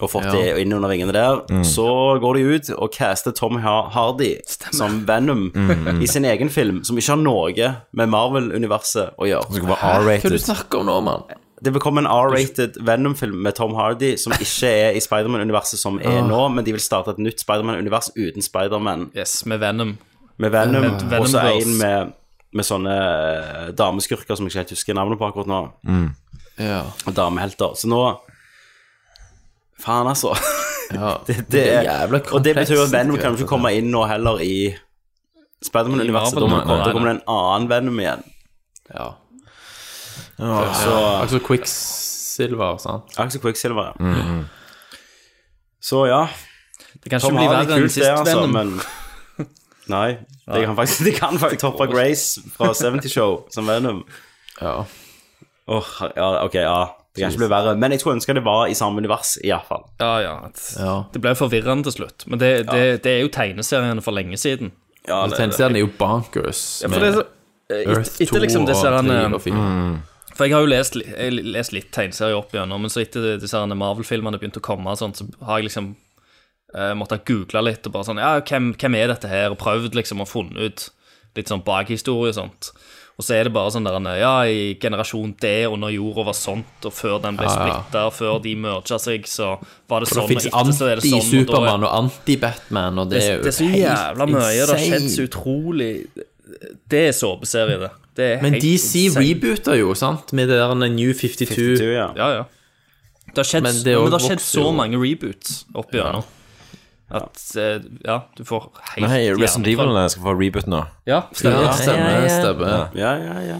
Speaker 1: og fått
Speaker 2: Ja.
Speaker 1: det inn under vingene der,
Speaker 2: Mm.
Speaker 1: så går de ut og caster Tom Ha- Hardy som Venom
Speaker 2: Mm, mm.
Speaker 1: i sin egen film, som ikke har noe med Marvel-universet å gjøre.
Speaker 2: Det skal være R-rated. Hva er det du
Speaker 8: snakker om nå, mann?
Speaker 1: Det vil komme en R-rated Venom-film med Tom Hardy som ikke er i Spiderman-universet som er
Speaker 7: Åh.
Speaker 1: nå, men de vil starte et nytt Spiderman-univers uten Spiderman.
Speaker 7: Yes, med Venom.
Speaker 1: Med Venom,
Speaker 7: Med Venom
Speaker 1: og så
Speaker 7: Girls.
Speaker 1: en med, med sånne eh, dameskurker som jeg ikke helt husker navnet på akkurat nå.
Speaker 2: Mm.
Speaker 8: Ja.
Speaker 1: Og damehelter. Så nå Faen, altså.
Speaker 8: det er jævla
Speaker 1: og det betyr jo at
Speaker 8: komplekst,
Speaker 1: Venom kan jo
Speaker 8: vet du.
Speaker 1: ikke komme inn nå heller i Spiderman-universet. Da
Speaker 8: I
Speaker 1: må-
Speaker 8: Marvel.
Speaker 1: da kommer det en annen Venom igjen.
Speaker 8: Ja.
Speaker 1: Ja, så
Speaker 8: Altså Quicksilver, sant?
Speaker 1: Axel Quicksilver, ja.
Speaker 8: Mhm.
Speaker 1: Så ja.
Speaker 7: Det kan
Speaker 1: Tom
Speaker 7: ikke bli
Speaker 1: Hardy,
Speaker 7: verre enn
Speaker 1: kult det, altså,
Speaker 7: siste Venom.
Speaker 1: men- Nei, det kan faktisk Det kan faktisk toppe Grace fra 70 Show som Venom.
Speaker 8: Ja.
Speaker 1: Åh, ja, ok, ja. Det kan ikke bli verre. Men jeg skulle ønske det var i samme univers, i hvert fall.
Speaker 7: Ja, ja. at- Det ble forvirrende til slutt. Men det, det, det er jo tegneseriene for lenge siden.
Speaker 1: Ja,
Speaker 8: Altså, Tegneserien er jo bonkers.
Speaker 7: Ja, for det er så,
Speaker 8: med
Speaker 7: eh,
Speaker 8: Earth
Speaker 7: et, etter
Speaker 8: 2
Speaker 7: liksom disse
Speaker 8: og Mm.
Speaker 7: herne-
Speaker 8: 3 og 4.
Speaker 7: For jeg har jo lest, li- jeg har lest litt tegneserier opp igjennom, men så etter disse herne Marvel-filmene begynte å komme, og sånt, så har jeg liksom eh, måttet google litt og bare sånn Ja, hvem, hvem er dette her? Og prøvd liksom å funne ut litt sånn bakhistorie og sånn. Og så er det bare sånn der herne, Ja, i generasjon D under jorda var sånt, og før den ble
Speaker 8: Ja, ja.
Speaker 7: splitta, før de merga seg, så var det
Speaker 8: For det
Speaker 7: sånn.
Speaker 8: fins
Speaker 7: etter så er det sånn, og da er-
Speaker 8: anti-Supermann og anti-Batman, og det er jo
Speaker 7: det er så
Speaker 8: helt
Speaker 7: jævla mye. Det har skjedd
Speaker 8: insane.
Speaker 7: så utrolig Det er såpeserie, det. det er
Speaker 8: Men
Speaker 7: helt
Speaker 8: DC
Speaker 7: insane.
Speaker 8: rebooter jo, sant? Med det der New 52.
Speaker 1: 52, ja.
Speaker 7: Ja, ja. Det har
Speaker 8: Men
Speaker 7: skjedd, men
Speaker 8: det
Speaker 7: det,
Speaker 8: er jo-
Speaker 7: har skjedd
Speaker 8: vokser
Speaker 7: så
Speaker 8: jo.
Speaker 7: mange reboots opp igjennom at eh, Ja, du får helt
Speaker 2: Men hei, Resident
Speaker 7: jernfall.
Speaker 1: eh,
Speaker 2: Evil eh. skal få reboot nå.
Speaker 7: Ja, stemmer.
Speaker 8: Ja, stemmer,
Speaker 7: Ja, ja, ja.
Speaker 8: stemmer.
Speaker 1: Ja, ja, ja.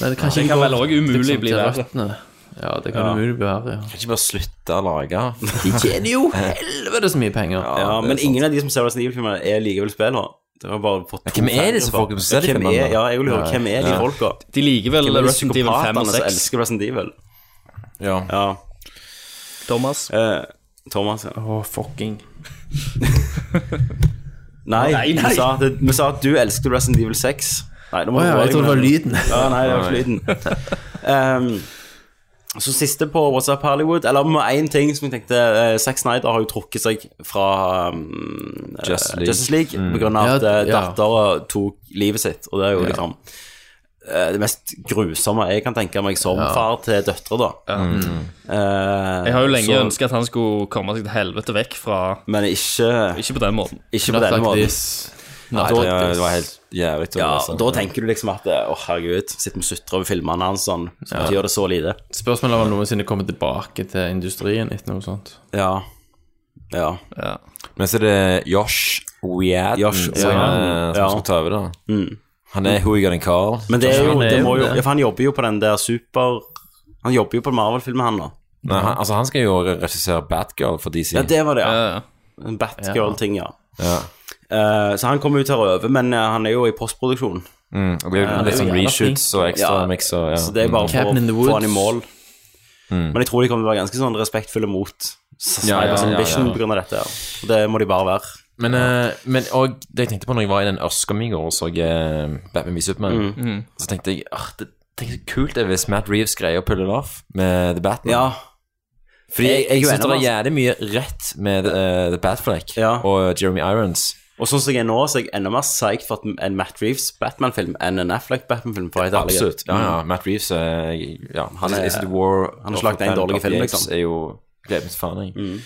Speaker 8: Men det kan,
Speaker 7: Det
Speaker 8: ikke
Speaker 7: kan
Speaker 8: gå
Speaker 7: vel også umulig
Speaker 8: liksom
Speaker 7: bli
Speaker 8: til
Speaker 7: verre.
Speaker 8: røttene. Ja, det kan
Speaker 2: Ja.
Speaker 8: umulig bli verre, ja.
Speaker 2: Kan ikke bare slutte å lage
Speaker 8: De tjener jo helvete så mye penger.
Speaker 1: Ja, men ingen av de som ser Resident Evil-filmer, er likevel spillere. Det har bare fått to
Speaker 2: hvem er
Speaker 1: fingre
Speaker 2: disse
Speaker 1: for.
Speaker 2: folkene som ser de
Speaker 1: Hvem er-
Speaker 2: filmene, da?
Speaker 1: Ja, jeg vil høre,
Speaker 2: Nei.
Speaker 1: hvem er de
Speaker 2: Ja.
Speaker 1: folka?
Speaker 7: De liker vel
Speaker 1: Hvem er de
Speaker 7: Resident Evil 5 og
Speaker 1: psykopatene som
Speaker 7: 6?
Speaker 1: elsker Resident Evil.
Speaker 2: Ja.
Speaker 1: Ja.
Speaker 7: Thomas.
Speaker 1: Eh, Thomas, ja.
Speaker 8: Å, fucking.
Speaker 1: Nei,
Speaker 7: Nei, nei.
Speaker 1: Vi, sa at, vi sa at du elsket Resident Evil 6. Nei, nå
Speaker 14: Å
Speaker 1: må
Speaker 14: ja,
Speaker 1: gå
Speaker 14: jeg
Speaker 1: deg
Speaker 14: trodde det var
Speaker 1: med
Speaker 14: lyden.
Speaker 1: Ja, nei, det var ikke lyden. Um, så siste på What's Up Hollywood Eller med én ting som jeg tenkte eh, Zack Snyder har jo trukket seg fra um, eh,
Speaker 2: Justice League.
Speaker 1: Justice League
Speaker 2: Mm.
Speaker 1: på grunn av at
Speaker 2: Ja,
Speaker 1: eh,
Speaker 2: ja.
Speaker 1: dattera tok livet sitt. Og det er jo
Speaker 2: Ja.
Speaker 1: liksom eh, det mest grusomme jeg kan tenke meg som
Speaker 7: Ja.
Speaker 1: far til døtre, da.
Speaker 7: Mm.
Speaker 1: Eh,
Speaker 7: Jeg har jo lenge
Speaker 1: så-
Speaker 7: ønsket at han skulle komme seg til helvete vekk fra
Speaker 1: Men ikke
Speaker 7: Ikke på den måten.
Speaker 1: Ikke på denne måten.
Speaker 7: Nei,
Speaker 1: Da-
Speaker 7: det- det var
Speaker 2: helt jævlig altså. å
Speaker 1: Ja,
Speaker 2: lese.
Speaker 1: da tenker du liksom at Å, herregud, sitter vi og sutrer over filmene hans sånn, så
Speaker 8: Ja.
Speaker 1: betyr det så lite.
Speaker 8: Spørsmålet er om han noensinne kommer tilbake til industrien etter noe sånt.
Speaker 1: Ja. Ja.
Speaker 2: Men så er det Josh Weaden
Speaker 1: Josh
Speaker 2: som,
Speaker 1: Weaden,
Speaker 2: eh, som
Speaker 1: ja.
Speaker 2: skal ta over, da.
Speaker 1: Mm.
Speaker 2: Han er Hooligan Carl.
Speaker 1: Men det er jo, det må jo
Speaker 2: det.
Speaker 1: ja, For han jobber jo på den der super Han jobber jo på Marvel-filmen, han nå.
Speaker 2: Nei, han, altså, han skal jo regissere Batgirl for DC.
Speaker 1: Ja, det var
Speaker 7: Eh,
Speaker 1: det, ja. En Batgirl-ting, ja.
Speaker 2: Ja.
Speaker 1: Eh, så han kommer ut her og øver, men eh, han er jo i postproduksjon.
Speaker 2: Mm, og det er jo
Speaker 1: Eh,
Speaker 2: litt sånn
Speaker 1: jævla
Speaker 2: reshoots
Speaker 1: flink.
Speaker 2: og ekstra mix og- ja.
Speaker 1: Så det er bare
Speaker 2: Mm.
Speaker 1: for
Speaker 2: Cabin in the
Speaker 1: å få han i
Speaker 2: Woods.
Speaker 1: mål.
Speaker 2: Mm.
Speaker 1: Men jeg tror de kommer til å være ganske sånn respektfulle mot Snyder's
Speaker 2: Ja, ja, ja,
Speaker 1: Ambition
Speaker 2: ja.
Speaker 1: på grunn av dette. ja. Og det må de bare være.
Speaker 2: Men, eh, men og det jeg tenkte på når jeg var i den ørska mi i går og så eh, Batman v Superman,
Speaker 1: Mm. Mm.
Speaker 2: så tenkte jeg ah, det, tenk så kult det er hvis Matt Reeves greier å pulle det off med The Batman.
Speaker 1: Ja.
Speaker 2: Fordi
Speaker 1: Jeg- jeg
Speaker 2: jeg,
Speaker 1: er
Speaker 2: jeg,
Speaker 1: jo
Speaker 2: synes
Speaker 1: enig
Speaker 2: det er
Speaker 1: med
Speaker 2: jævlig mye rett med eh, The Batfleck og Jeremy Irons.
Speaker 1: Og sånn som jeg er nå, så er jeg enda mer psyched for at en Matt Reeves Batman-film enn en Affleck-Batman-film. for å være helt ærlig.
Speaker 2: Absolutt. Ja, ja. Matt Reeves eh, ja,
Speaker 1: Mm. Han er-
Speaker 2: Is it war
Speaker 1: han har ikke lagt en dårlig film, liksom. Mm.
Speaker 2: er jo gledet til faen, jeg.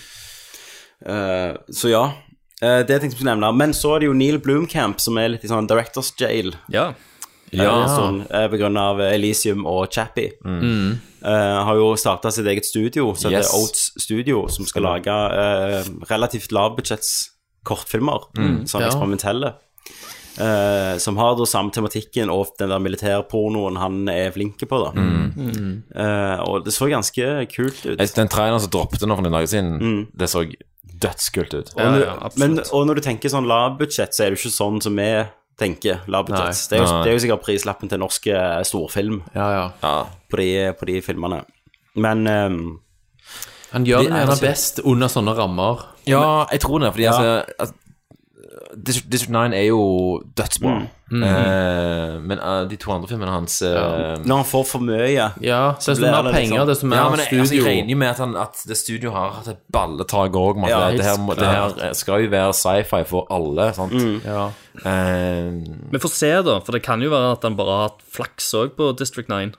Speaker 1: Eh, så ja, eh, det tenkte jeg skulle nevne. Men så er det jo Neil Bloomcamp, som er litt i sånn Directors Jail.
Speaker 7: Ja.
Speaker 2: Ja.
Speaker 1: sånn, eh, på grunn av Elisium og Chappie.
Speaker 2: Mm.
Speaker 1: Eh, har jo starta sitt eget studio, som
Speaker 2: Yes.
Speaker 1: heter Oats Studio, som skal lage eh, relativt lavbudsjetts kortfilmer,
Speaker 2: Mm.
Speaker 1: sånn
Speaker 2: Ja.
Speaker 1: eksperimentelle. eh, som har da samme tematikken og den der militærpornoen han er flink på, da.
Speaker 2: Mm.
Speaker 14: Mm.
Speaker 1: Eh, og det så ganske kult ut.
Speaker 2: Jeg- Den traileren som droppet nå for noen dager siden,
Speaker 1: Mm.
Speaker 2: det så dødskult ut.
Speaker 1: Og, når- men, og når du tenker sånn lavbudsjett, så er det jo ikke sånn som vi tenker lavbudsjett.
Speaker 2: Nei.
Speaker 1: Det, er jo-
Speaker 2: Nei.
Speaker 1: det er jo sikkert prislappen til norsk eh, storfilm På, de, på de filmene. Men ehm,
Speaker 8: Han
Speaker 1: de
Speaker 8: gjør det
Speaker 1: er
Speaker 8: gjerne
Speaker 1: altså-
Speaker 8: best under sånne rammer.
Speaker 2: Ja, jeg tror det, fordi
Speaker 8: Ja.
Speaker 2: altså at- District, District 9 er jo
Speaker 1: Mm.
Speaker 2: dødsbra.
Speaker 1: Mm.
Speaker 2: Eh, men eh, de to andre filmene hans eh,
Speaker 1: Når han får for mye
Speaker 8: Ja,
Speaker 1: så blir det litt sånn-
Speaker 2: ja, men jeg, altså, jeg regner jo med at, han, at det studio har hatt et balletak òg.
Speaker 1: Ja,
Speaker 2: det, her
Speaker 1: helt
Speaker 2: må- det her eh, skal jo være sci-fi for alle, sant?
Speaker 7: Mm.
Speaker 2: Eh,
Speaker 7: Vi får se, da. For det kan jo være at han bare har hatt flaks òg på District 9.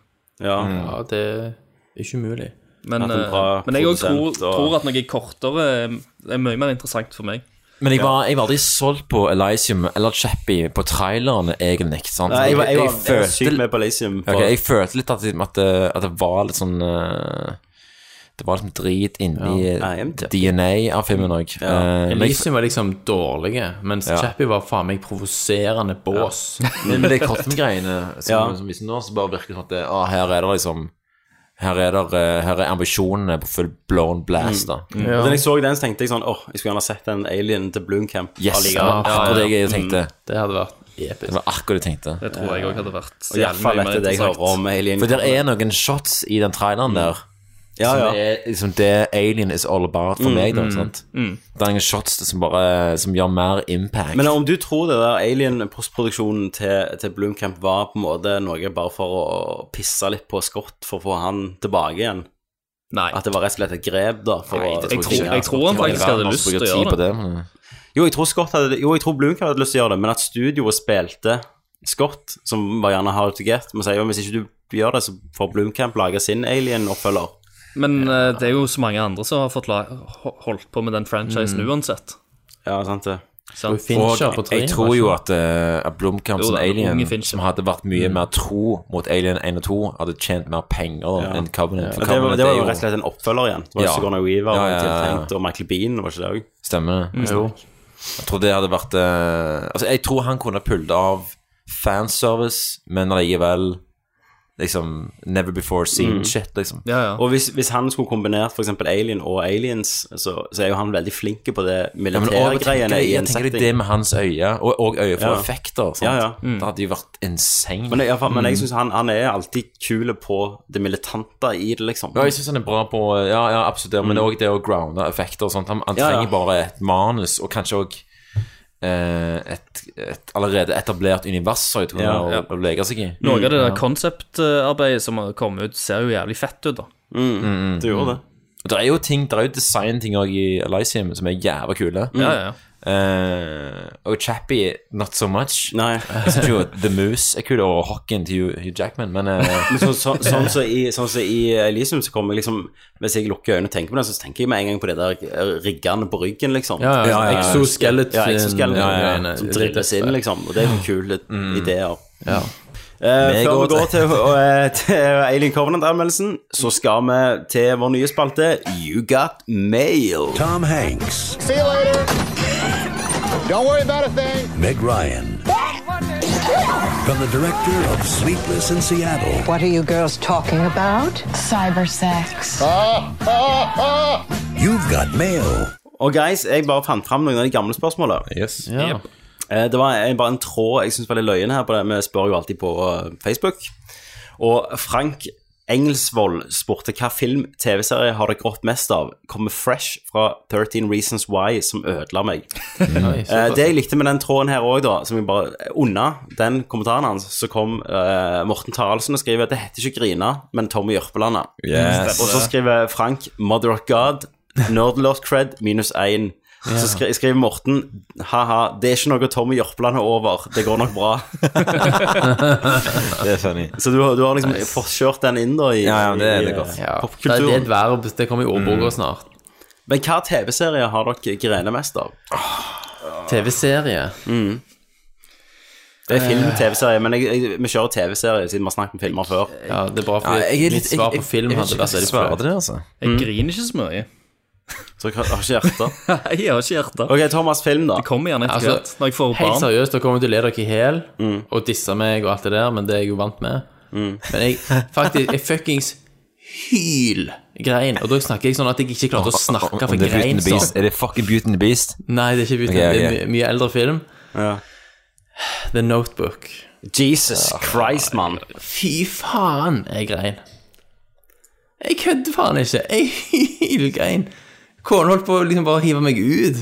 Speaker 1: Ja.
Speaker 8: Ja, det er ikke umulig.
Speaker 7: Men,
Speaker 8: Hatt en
Speaker 7: eh,
Speaker 8: bra
Speaker 7: men jeg òg tror,
Speaker 8: produsent og-
Speaker 7: tror at noe kortere eh, er mye mer interessant for meg.
Speaker 2: men jeg var, jeg var aldri solgt på Elisium eller Chappie på trailerne, egentlig. ikke Sant?
Speaker 1: Nei, jeg var- jeg var- jeg var
Speaker 2: følte-
Speaker 1: sykt med på Elysium, for-
Speaker 2: Ok, jeg følte litt at, liksom, at, det, at det var litt sånn eh, Det var liksom drit inni
Speaker 8: Ja. Nei, jeg vet
Speaker 2: DNA av filmen Eh, òg.
Speaker 8: Elysium var liksom dårlige, mens
Speaker 2: Ja.
Speaker 8: Chappie var faen meg provoserende bås.
Speaker 2: Men med de cotton-greiene som,
Speaker 8: Ja.
Speaker 2: som viser nå, så bare virker det sånn at det, ah, her er det liksom her er, det, eh, her er ambisjonene på full blown blast, da.
Speaker 1: Mm. Og Da jeg så den, så tenkte jeg sånn åh, jeg skulle gjerne sett en alien til Bloomcamp.
Speaker 2: Yes,
Speaker 1: allikevel.
Speaker 2: det var akkurat det jeg tenkte.
Speaker 1: Mm.
Speaker 8: Det hadde vært episk.
Speaker 2: Det var akkurat det jeg tenkte.
Speaker 7: Det tror jeg òg hadde vært
Speaker 1: Og i hvert fall etter det jeg hører om Alien.
Speaker 2: For det er noen shots i den traileren der
Speaker 1: Ja, ja.
Speaker 2: som er liksom det Alien is all about for
Speaker 1: Mm,
Speaker 2: meg, da.
Speaker 1: mm,
Speaker 2: sant?
Speaker 1: mm.
Speaker 2: Det er noen shots som bare Som gjør mer impact.
Speaker 1: Men om du tror det der alien-postproduksjonen til, til Bloomcamp var på en måte noe bare for å pisse litt på Scott for å få han tilbake igjen?
Speaker 7: Nei.
Speaker 1: At det var rett og slett et grep, da? For
Speaker 7: Nei,
Speaker 1: å-
Speaker 7: det- jeg tror- jeg tror han faktisk hadde lyst til å gjøre det.
Speaker 1: Jo, jeg tror, Scott hadde, jo, jeg tror Bloomcamp hadde lyst til å gjøre det, men at studioet spilte Scott, som var gjerne hard to get, men sier jo hvis ikke du gjør det, så får Bloomcamp lage sin alien-oppfølger.
Speaker 7: Men eh, det er jo så mange andre som har fått la ho- holdt på med den franchisen
Speaker 1: Mm.
Speaker 7: uansett.
Speaker 1: Ja, sant det.
Speaker 7: Sant?
Speaker 2: Og jeg tror jo at, eh, at Blomkamp
Speaker 7: Jo
Speaker 2: som
Speaker 7: da,
Speaker 2: Alien,
Speaker 7: unge Fincher.
Speaker 2: som hadde vært mye mer tro mot Alien 1 og 2, hadde tjent mer penger da, enn
Speaker 1: Ja.
Speaker 2: Covenant. for
Speaker 1: Men Det, var,
Speaker 2: Covenant
Speaker 1: det
Speaker 2: er
Speaker 1: var jo rett og slett en oppfølger igjen. Det var
Speaker 2: Ja.
Speaker 1: Sigourney Weaver
Speaker 2: Ja, ja, ja, ja.
Speaker 1: tiltenkt, og Michael Bean, var ikke det òg?
Speaker 2: Stemmer det.
Speaker 1: Mm. Jo.
Speaker 2: Jeg tror det hadde vært eh, Altså, jeg tror han kunne pullet av fanservice, men allikevel liksom Never before seen
Speaker 1: Mm.
Speaker 2: shit, liksom.
Speaker 1: Og hvis, hvis han skulle kombinert f.eks. Alien og Aliens, så, så er jo han veldig flink på det
Speaker 2: Ja, men og tenker
Speaker 1: militærgreiene
Speaker 2: jeg-
Speaker 1: i
Speaker 2: jeg
Speaker 1: en
Speaker 2: tenker
Speaker 1: setting.
Speaker 2: det med hans øye, og, og øye for
Speaker 1: Ja.
Speaker 2: effekter. Sant?
Speaker 1: Ja, ja. Mm.
Speaker 2: Det hadde jo vært insane.
Speaker 1: Men, jeg- men jeg
Speaker 2: Mm.
Speaker 1: syns han, han er alltid kul på det militante i det, liksom.
Speaker 2: Ja, jeg syns han er bra på eh, Ja, ja
Speaker 7: Mm.
Speaker 2: absolutt, det, men det er også det å grounde effekter og sånt. Han, han
Speaker 1: Ja, ja.
Speaker 2: trenger bare et manus, og kanskje òg eh, et, et allerede etablert univers så jeg tror,
Speaker 7: Ja.
Speaker 2: å, å leke seg i.
Speaker 7: Noe av det der
Speaker 2: Ja.
Speaker 7: konseptarbeidet som har kommet ut, ser jo jævlig fett ut, da.
Speaker 2: Mm, mm,
Speaker 7: Det gjorde
Speaker 2: mm.
Speaker 7: det.
Speaker 2: Og Det er jo ting, det er jo designting også i Elysium som er jævla kule.
Speaker 8: Mm.
Speaker 7: Ja, ja, ja.
Speaker 2: Eh, og Chappie, not so much. Jeg synes jo The Moose er kul, og Hocken til Hugh- Hugh Jackman, men eh,
Speaker 1: Men så, så, sånn som i, sånn som i Elysium, så kommer jeg liksom Hvis jeg lukker øynene og tenker på det, så tenker jeg med en gang på det der riggene på ryggen, liksom.
Speaker 8: Ja, ja, ja, ja. Exoskeleton.
Speaker 1: Ja, exoskeleton,
Speaker 8: Ja, ja, ja.
Speaker 1: Som drilles inn, liksom. Og det er jo kule ideer.
Speaker 8: Ja.
Speaker 1: Eh, før
Speaker 8: Vi går
Speaker 1: vi går til, eh, til Alien Covenant-anmeldelsen, så skal vi til vår nye spalte You Got Mail. Tom Hanks.
Speaker 11: See you later. Don't worry about a thing.
Speaker 14: Meg Ryan. From the director of Sleepless in Seattle.
Speaker 15: What are you girls talking about? Cyber sex.
Speaker 1: You've got mail. Og guys, jeg bare fant fram noen av de gamle spørsmålene.
Speaker 8: Ja. Yep.
Speaker 1: Eh, Det var en, bare en tråd jeg syns var litt løyen her på det. Vi spør jo alltid på eh, Facebook. Og Frank Engelsvold spurte hva film, TV-serie har dere grått mest av? Kommer fresh fra 13 Reasons Why, som ødela meg. Eh, det jeg likte med den tråden her òg, da, som jeg bare unna den kommentaren hans, så kom eh, Morten Taraldsen og skriver det heter ikke Grina, men Tommy Jørpelandet.
Speaker 2: Yes.
Speaker 1: Og så skriver Frank Mother of God, Nerdlord Cred minus 1.
Speaker 2: Ja.
Speaker 1: Så skri skriver Morten ha-ha, det er ikke noe Tommy Jørpeland er over, det går nok bra.
Speaker 2: Det er funny.
Speaker 1: Så du, har- du har liksom fått kjørt den inn da i,
Speaker 2: Ja, ja, det er
Speaker 1: i,
Speaker 2: det
Speaker 1: eh,
Speaker 2: godt.
Speaker 8: Ja. Det,
Speaker 1: popkulturen.
Speaker 8: det er et verb. Det kommer i
Speaker 2: Mm.
Speaker 8: ordboka snart.
Speaker 1: Men hva TV-serie har dere grenet mest av?
Speaker 8: TV-serie.
Speaker 1: Mm. Det er film, TV-serie, men jeg, jeg, vi kjører TV-serie siden vi har snakket om filmer før.
Speaker 8: Ja, det er bra, for
Speaker 1: Ja, jeg er litt-
Speaker 8: mitt svar
Speaker 1: jeg-
Speaker 8: på film
Speaker 1: jeg- jeg
Speaker 8: hadde
Speaker 1: vet
Speaker 8: vært
Speaker 1: ikke hva jeg svarer til det, altså. Mm.
Speaker 7: Jeg griner ikke så mye.
Speaker 1: Så jeg har ikke hjerte.
Speaker 7: Nei, jeg har ikke hjerte.
Speaker 1: Ok, Thomas, film, da.
Speaker 7: Det kommer gjerne etter
Speaker 8: Altså,
Speaker 7: hvert, når jeg får
Speaker 8: Helt
Speaker 7: barn.
Speaker 8: seriøst, dere kommer til å le dere i hjel
Speaker 2: Mm.
Speaker 8: og disse meg og alt det der, men det er jeg jo vant med. Men jeg faktisk Jeg fuckings hylgrein. Og da snakker jeg sånn at jeg ikke klarte å snakke, for
Speaker 2: Om
Speaker 8: jeg
Speaker 2: det er Beauty and
Speaker 8: grein
Speaker 7: altså.
Speaker 2: the Beast.
Speaker 8: sånn.
Speaker 2: Er det fucking Beauty and the Beast?
Speaker 8: Nei, det er ikke Beauty
Speaker 2: Ok,
Speaker 8: and the-
Speaker 2: ok.
Speaker 8: Det er my- mye eldre film. The Notebook.
Speaker 1: Jesus Christ, mann.
Speaker 8: Fy faen, jeg grein. Jeg kødder faen ikke. Jeg hylgrein. Kona holdt på å liksom bare hive meg ut.